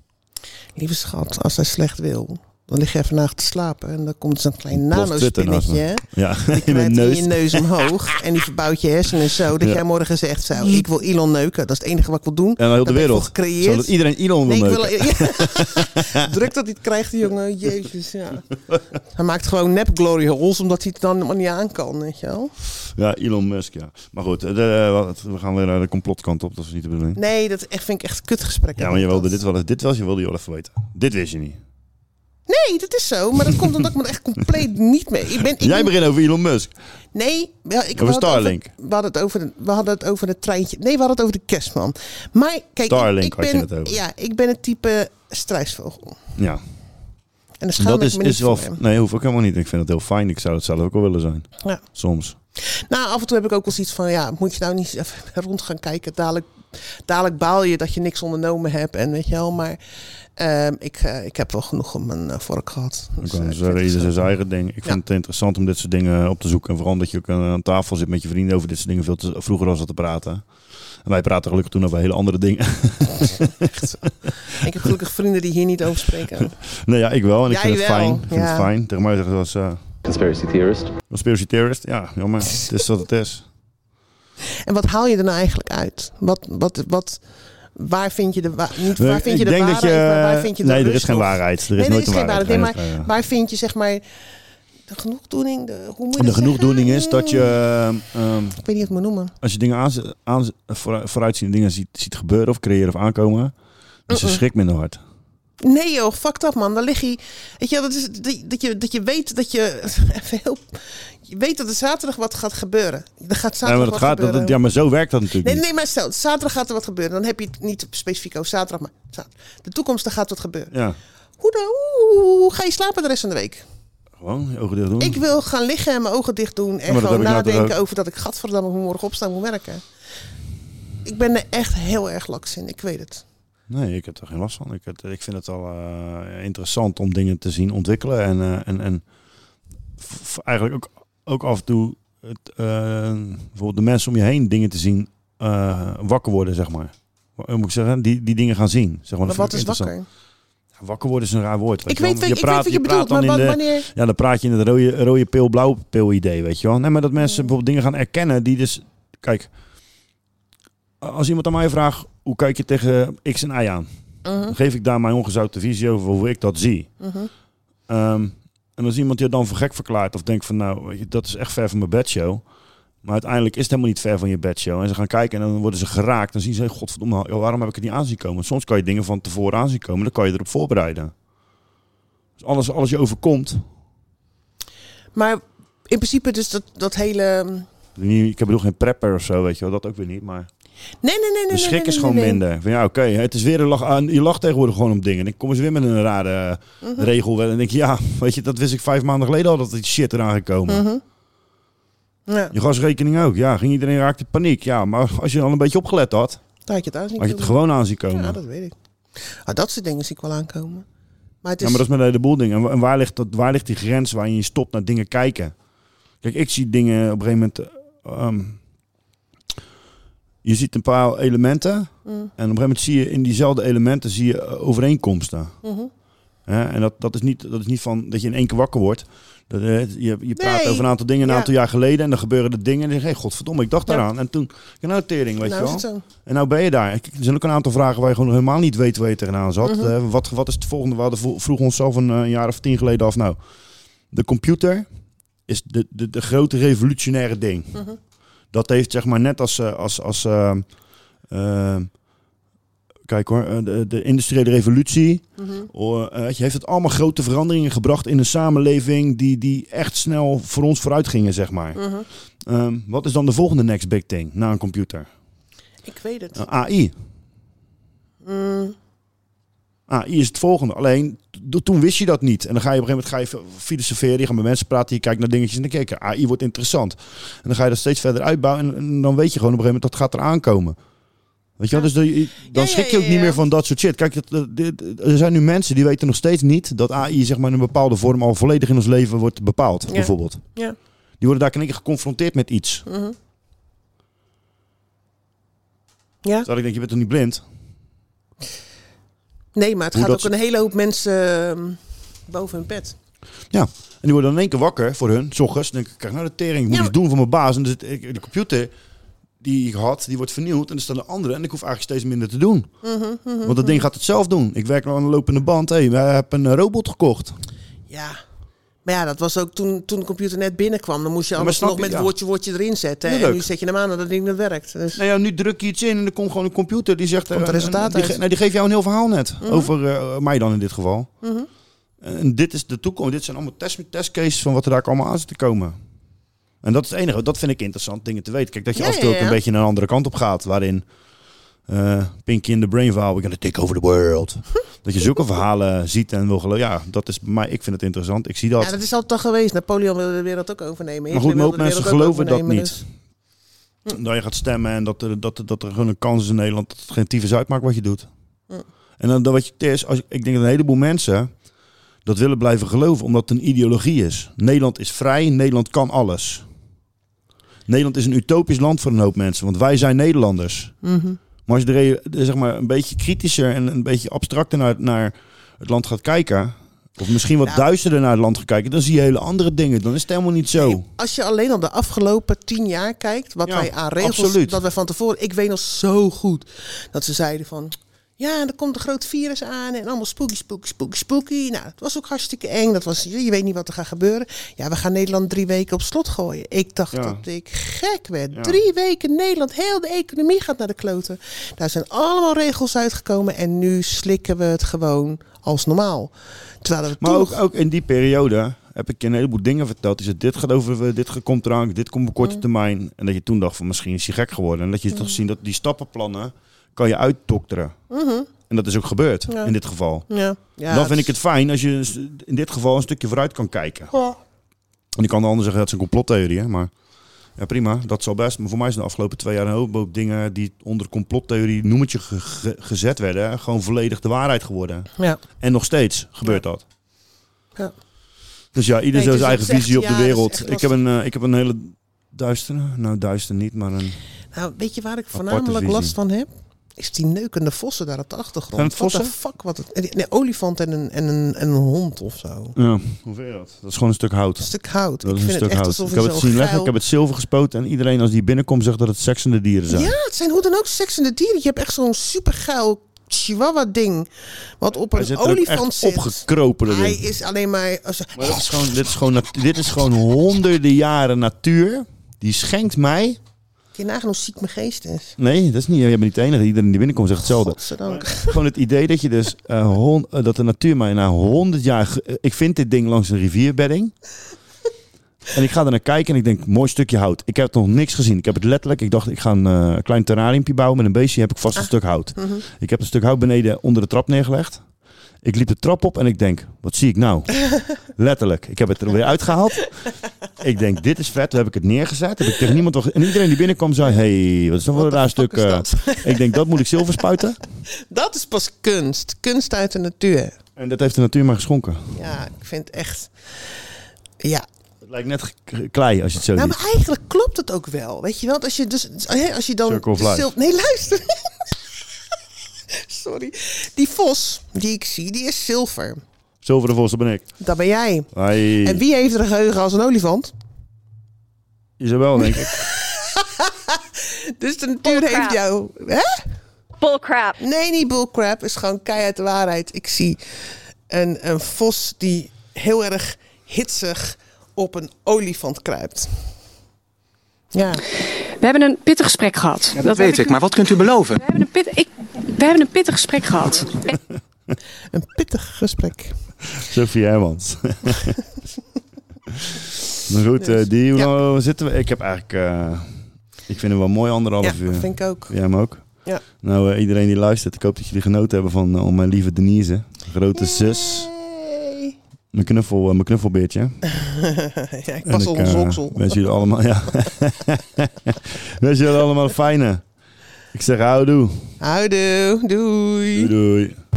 Lieve schat, als hij slecht wil, dan lig jij vandaag te slapen en dan komt zo'n klein
Ploft
nanospinnetje.
Twitter naast me. Ja,
Die
[LAUGHS] in mijn
knijpt in
neus.
je neus
[LAUGHS]
omhoog en die verbouwt je hersenen zo dat
Ja.
jij morgen zegt zo, ik wil Elon neuken. Dat is het enige wat ik wil doen.
En heel de
Daar ben ik voor
wereld.
gecreëerd.
Zodat iedereen Elon wil
Nee, ik
neuken.
Ja.
[LAUGHS]
Druk dat hij het krijgt, die jongen. Jezus, ja. Hij maakt gewoon nep glory holes, omdat hij het dan helemaal niet aan kan, weet je wel.
Ja, Elon Musk, ja. Maar goed, eh, de- eh, wat- we gaan weer naar de complotkant op. Dat is niet de bedoeling.
Nee, dat echt, vind ik echt kutgesprek.
Ja, maar je wilde dit wel eens. Dit was, je wilde je wel even weten. Dit wist je niet.
Nee, dat is zo. Maar dat komt omdat ik me er echt compleet niet mee... Ik ben, ik
Jij
ben-
begint over Elon Musk.
Nee, wel, ik
Over
we hadden het
Starlink.
over- we, hadden het over, de- we hadden het over het treintje. Nee, we hadden het over de kerstman. Maar kijk, ik,
Starlink
ik
had je
ben,
het over.
Ja, ik ben het type struisvogel.
Ja.
En dan schaam
Dat
ik
is,
me niet
is wel.
voor hem.
Nee, hoef ik helemaal niet. Ik vind het heel fijn. Ik zou het zelf ook wel willen zijn.
Ja.
Soms.
Nou, af en toe heb ik ook wel zoiets van, ja, moet je nou niet even [LAUGHS] rond gaan kijken. Dadelijk, dadelijk baal je dat je niks ondernomen hebt en weet je wel. Maar ehm, ik, eh, ik heb wel genoeg om mijn eh, vork gehad.
Ik
Dus, eh,
kan zeggen, ieder zijn eigen ding. Ik vind het interessant om dit soort dingen op te zoeken. En vooral omdat je ook eh, aan aan tafel zit met je vrienden over dit soort dingen veel te, vroeger was dat te praten. En wij praten gelukkig toen over hele andere dingen. [LAUGHS]
ik heb gelukkig vrienden die hier niet over
[LAUGHS]
spreken.
nee, ja, ik wel. En ik
Jij
vind het
wel,
fijn. Ik vind
ja.
het fijn. Tegen mij zeggen ze als... Conspiracy theorist. Conspiracy theorist, ja. Jammer. het is wat het is.
En wat haal je er nou eigenlijk uit? Wat, wat, wat, waar vind je de, wa- niet,
Nee,
waar vind je de
ik denk dat
waarheid,
je-
maar waar vind je de
nee, er is
rust
geen
of-
waarheid. Er is
nee,
nooit
er is
een
geen
waarheid.
waarheid. Nee, maar
Nee, dat, ja.
waar vind je zeg maar de genoegdoening? De, hoe moet je
De
dat
genoegdoening
zeggen?
is dat je... ehm, ehm,
Ik weet niet hoe ik het moet noemen.
als je dingen aan, aan, voor- vooruitziende dingen ziet, ziet gebeuren of creëren of aankomen... is je
Mm-mm.
schrik minder hard.
Nee joh, fuck dat man. Dan lig je... Weet je, wel, dat, is, dat- dat je, dat je weet dat je... [LAUGHS] Even heel, je weet dat er zaterdag wat gaat gebeuren. Er gaat zaterdag
Ja maar, dat
wat
gaat,
gebeuren.
dat, ja, maar zo werkt dat natuurlijk
Nee,
niet.
nee, maar stel, zaterdag gaat er wat gebeuren. Dan heb je het niet specifiek over zaterdag, maar zaterdag. De toekomst, er gaat wat gebeuren.
Ja,
Hoe, dan, hoe, hoe- hoe ga je slapen de rest van de week?
gewoon je ogen dicht doen.
Ik wil gaan liggen en mijn ogen dicht doen. En
maar
gewoon
dat heb ik nou toch
nadenken
ook?
over dat ik gadverdamme hoe morgen opstaan moet werken. Ik ben er echt heel erg laks in, ik weet
Oh,
het.
Nee, ik heb er geen last van. Ik, het- ik vind het al eh, interessant om dingen te zien ontwikkelen. En, eh, en, en f- eigenlijk ook, ook af en toe het, eh, bijvoorbeeld de mensen om je heen dingen te zien eh, wakker worden, zeg maar. Hoe moet ik zeggen? Die, die dingen gaan zien. Zeg maar.
Maar
Dat
wat
vind
is
ik interessant.
wakker?
Ja, wakker worden is een raar woord.
Ik
je wel.
weet wat- ik weet wat je bedoelt,
dan
maar
in
wa-
de-
wanneer-
Ja, dan praat je in het rode, rode pil, blauw pil idee, weet je wel. Nee, maar dat
Mm.
mensen bijvoorbeeld dingen gaan erkennen die dus... Kijk, als iemand aan mij vraagt, hoe kijk je tegen X en Y aan?
Mhm.
Dan geef ik daar mijn ongezouten visie over hoe ik dat zie.
Mhm.
Ehm, en als iemand je dan voor gek verklaart of denkt van nou, weet je, dat is echt ver van mijn bedshow. Maar uiteindelijk is het helemaal niet ver van je bedshow. En ze gaan kijken en dan worden ze geraakt. Dan zien ze, godverdomme, joh, waarom heb ik het niet aanzien komen? Soms kan je dingen van tevoren aanzien komen. Dan kan je erop voorbereiden. Dus alles, alles je overkomt.
Maar in principe dus dat, dat hele...
niet- Ik bedoel geen prepper of zo, weet je wel. Dat ook weer niet, maar...
Nee, nee, nee, nee.
De schrik
nee, nee,
is gewoon
nee, nee.
minder. Van ja, oké, het is weer een lach. aan- Je lacht tegenwoordig gewoon om dingen. En ik kom eens weer met een rare eh,
Mhm.
regel. wel. En denk je, ja, weet je, dat wist ik vijf maanden geleden al dat die shit eraan gekomen.
Mhm. Ja,
Je gasrekening ook. Ja, ging iedereen raakte in paniek. Ja, maar als je al een beetje opgelet had,
daar had je het thuis niet
had je het
kunnen
gewoon aan zien
doen.
komen.
Ja,
Ja,
dat weet ik. Ah, dat soort dingen zie ik wel aankomen. Maar het is...
maar dat is met een heleboel dingen. En wa- En waar ligt, dat, waar ligt die grens waarin je stopt naar dingen kijken? Kijk, ik zie dingen op een gegeven moment. eh, ehm, je ziet een paar elementen. En
Mm.
op een gegeven moment zie je in diezelfde elementen zie je eh, overeenkomsten.
Mhm.
Hè, en dat, dat, is niet, dat is niet van dat je in één keer wakker wordt. Dat, eh, je, je praat
Nee.
over een aantal dingen een
Ja.
aantal jaar geleden en dan gebeuren er dingen en dan denk je, hey, godverdomme, ik dacht
Ja.
daaraan. En toen, ja, nou tering, weet
Nou
je
is
wel.
het zo.
En nou ben je daar. Kijk, er zijn ook een aantal vragen waar je gewoon helemaal niet weet waar je tegenaan zat.
Mhm.
Eh, wat, wat is het volgende? We hadden vro- vroegen onszelf een, eh, een jaar of tien geleden af, nou, de computer is de, de, de grote revolutionaire ding.
Mhm.
Dat heeft zeg maar net als, eh, als, als eh, eh, kijk hoor, eh, de, de industriële revolutie. Oh, eh, weet je, heeft het allemaal grote veranderingen gebracht in een samenleving die, die echt snel voor ons vooruit gingen, zeg maar.
Mhm.
Ehm, wat is dan de volgende next big thing na een computer?
Ik weet het.
Een AI.
Mm,
Ah, hier is het volgende. Alleen, to- toen wist je dat niet. En dan ga je op een gegeven moment ga je filosoferen, je gaat met mensen praten, je kijkt naar dingetjes en dan kijk je, AI wordt interessant. En dan ga je dat steeds verder uitbouwen en, en dan weet je gewoon op een gegeven moment dat gaat eraan komen. Weet je wel, dus dan- dan schrik je ook niet meer van dat soort shit. Kijk, dat- dat- dit- er zijn nu mensen die weten nog steeds niet dat AI zeg maar, in een bepaalde vorm al volledig in ons leven wordt bepaald,
Ja.
bijvoorbeeld.
Ja.
Die worden daar in één keer geconfronteerd met iets.
Mhm.
Terwijl ik denk, je bent toch niet blind?
Nee, maar het
Hoe
gaat ook
dat
een hele hoop mensen ehm, boven hun pet.
Ja, en die worden dan in één keer wakker voor hun, s ochtends. Dan denk ik, kijk nou de tering, ik moet iets doen voor mijn baas. En dan zit ik- de computer die ik had, die wordt vernieuwd. En er staan de andere en ik hoef eigenlijk steeds minder te doen.
Mhm, mhm,
Want dat ding gaat het zelf doen. Ik werk nou aan de lopende band. Hé, hey, we hebben een robot gekocht.
Ja. Maar ja, dat was ook toen, toen de computer net binnenkwam. Dan moest je
Ja, maar
alles
snap
nog
je,
met
ja.
woordje woordje erin zetten.
Ja,
en
leuk.
nu zet je hem aan en dat ding dat werkt. Dus
Nou ja, nu druk je iets in en er komt gewoon een computer die zegt...
Komt het
eh,
resultaat
eh, die,
uit.
ge- nou, die geeft jou een heel verhaal net.
Mhm.
Over eh, mij dan in dit geval.
Mhm.
En dit is de toekomst. Dit zijn allemaal test, testcases van wat er daar allemaal aan zit te komen. En dat is het enige. Dat vind ik interessant, dingen te weten. Kijk, dat je
Ja,
af en toe
ja,
ook een
ja.
beetje naar een andere kant op gaat. Waarin eh, Pinky in the Brain verhaal, we're gonna take over the
[LAUGHS]
world. dat je zulke verhalen ziet en wil geloven. Ja, dat is bij mij, ik vind het interessant. Ik zie dat.
Ja, dat is altijd al geweest. Napoleon wilde de wereld ook overnemen.
maar
Hitler
goed, maar ook
wilde de
mensen
wereld ook
geloven dat
overnemen,
niet.
dus-
Dat Nou, je gaat stemmen en dat, er- dat, dat er gewoon een kans is in Nederland dat het geen tyfus uitmaakt wat je doet.
Hm.
En dan, dan wat je, het is, als, ik denk dat een heleboel mensen dat willen blijven geloven, omdat het een ideologie is. Nederland is vrij, Nederland kan alles. Nederland is een utopisch land voor een hoop mensen, want wij zijn Nederlanders.
Mhm.
Maar als je er eh, zeg maar, een beetje kritischer en een beetje abstracter naar, naar het land gaat kijken, of misschien wat duisterder naar het land gaat kijken, dan zie je hele andere dingen. Dan is het helemaal niet zo.
Als je alleen al de afgelopen tien jaar kijkt, wat
Ja,
wij aan regels,
absoluut.
dat wij van tevoren, ik weet nog zo goed dat ze zeiden van, ja, er komt een groot virus aan en allemaal spooky, spooky, spooky, spooky. Nou, het was ook hartstikke eng. Dat was, je weet niet wat er gaat gebeuren. Ja, we gaan Nederland drie weken op slot gooien. Ik dacht
Ja.
dat ik gek werd.
Ja.
Drie weken Nederland, heel de economie gaat naar de kloten. Daar zijn allemaal regels uitgekomen en nu slikken we het gewoon als normaal. Terwijl we
Maar
toen-
ook, ook in die periode heb ik je een heleboel dingen verteld. Die zei, dit gaat over, eh, dit ge- komt eraan, dit komt op korte
Mm.
termijn. En dat je toen dacht van misschien is hij gek geworden. En dat je
Mm.
toch zien dat die stappenplannen kan je uitdokteren.
Mhm.
En dat is ook gebeurd
Ja.
in dit geval.
Ja. Ja,
Dan
het
vind ik het fijn als je een s- in dit geval een stukje vooruit kan kijken.
Ja.
En ik kan de ander zeggen dat is een complottheorie, hè, maar ja, prima, dat zal best. Maar voor mij zijn de afgelopen twee jaar een hele hoop dingen die onder complottheorie noemetje ge- ge- gezet werden, gewoon volledig de waarheid geworden.
Ja.
En nog steeds gebeurt dat.
Ja.
Dus ja, ieder
Nee,
zo
het
zijn
is-
eigen
het is
visie
echt-
op de
ja, dus het is
wereld.
echt
Ik heb, een, eh, ik heb een hele duistere, nou duister niet, maar een...
Nou, weet je waar ik
Aparte
voornamelijk
visie.
last van heb? Is die neukende vossen daar op de achtergrond.
Zijn het vossen?
What the fuck? Wat het, een, een olifant en een, en, een, en een hond of zo.
Ja, hoeveel dat? Dat is gewoon een stuk hout.
Een stuk hout.
Dat
Ik
is een
vind het
stuk
echt
hout.
alsof
Ik
je
heb het
zo'n
zien leggen,
geil-
ik heb het zilver gespoten en iedereen als die binnenkomt zegt dat het seksende dieren zijn.
Ja, het zijn hoe dan ook seksende dieren. Je hebt echt zo'n supergeil chihuahua ding. Wat op
Hij
een
zit er ook
olifant
echt
zit.
opgekropen, dat
Hij
ding.
is alleen maar... als-
Maar dat is gewoon, dit, is gewoon, nat- dit is gewoon honderden jaren natuur. Die schenkt mij.
Kun je nagaan hoe ziek mijn geest is.
Nee, dat is niet. Je bent niet de enige. Iedereen die binnenkomt zegt hetzelfde.
Godzijdank.
Gewoon het idee dat je dus eh, hon- eh, dat de natuur mij na honderd jaar. ge- eh, ik vind dit ding langs een rivierbedding. En ik ga er naar kijken en ik denk, mooi stukje hout. Ik heb nog niks gezien. Ik heb het letterlijk. Ik dacht, ik ga een eh, klein terrariumpje bouwen met een beestje. Heb ik vast een stuk hout.
mhm.
Ik heb een stuk hout beneden onder de trap neergelegd. Ik liep de trap op en ik denk, wat zie ik nou? Letterlijk. Ik heb het er weer uitgehaald. Ik denk, dit is vet. Toen heb ik het neergezet. Heb ik tegen niemand wat ge- En iedereen die binnenkwam zei, hey, wat is dat voor een raar stuk? eh?" ik denk, dat moet ik zilver spuiten.
Dat is pas kunst. Kunst uit de natuur.
En dat heeft de natuur maar geschonken.
Ja, ik vind het echt... Ja,
Het lijkt net ge- klei als je het zo
Nou,
ziet.
maar eigenlijk klopt het ook wel. Weet je wel, als je dus. hè, Als je dan.
Circle of
de
life.
zil- nee, luister. [LAUGHS] Sorry. Die vos die ik zie, die is zilver.
Zilveren vos, dat ben ik.
Dat ben jij.
Hey.
En wie heeft er een geheugen als een olifant?
Isabel,
[LAUGHS]
denk ik.
Dus de natuur heeft jou. Hè?
Bullcrap.
Nee, niet bullcrap. Is gewoon keihard de waarheid. Ik zie een, een vos die heel erg hitsig op een olifant kruipt. Ja.
We hebben een pittig gesprek gehad.
dat weet ik, maar
wat kunt u beloven? We hebben een, pit, ik, we hebben een pittig gesprek gehad.
Een pittig gesprek.
Sophie Hermans.
[LAUGHS]
maar goed,
Dus,
eh, die, hoe lang zitten we? Ik heb eigenlijk... eh, ik vind hem wel mooi anderhalf
Ja,
uur.
dat vind ik ook.
Jij hem ook?
Ja.
Nou, eh, iedereen die luistert, ik hoop dat jullie genoten hebben van eh, om mijn lieve Denise. Grote zus. Mijn, knuffel, eh, mijn knuffelbeertje.
[LAUGHS] ja, ik
En
pas al
eh,
onze oksel.
Wens jullie
[LAUGHS]
allemaal, ja. [LAUGHS] wens jullie allemaal een fijne. Ik zeg houdoe.
Houdoe, doei.
Doei doei.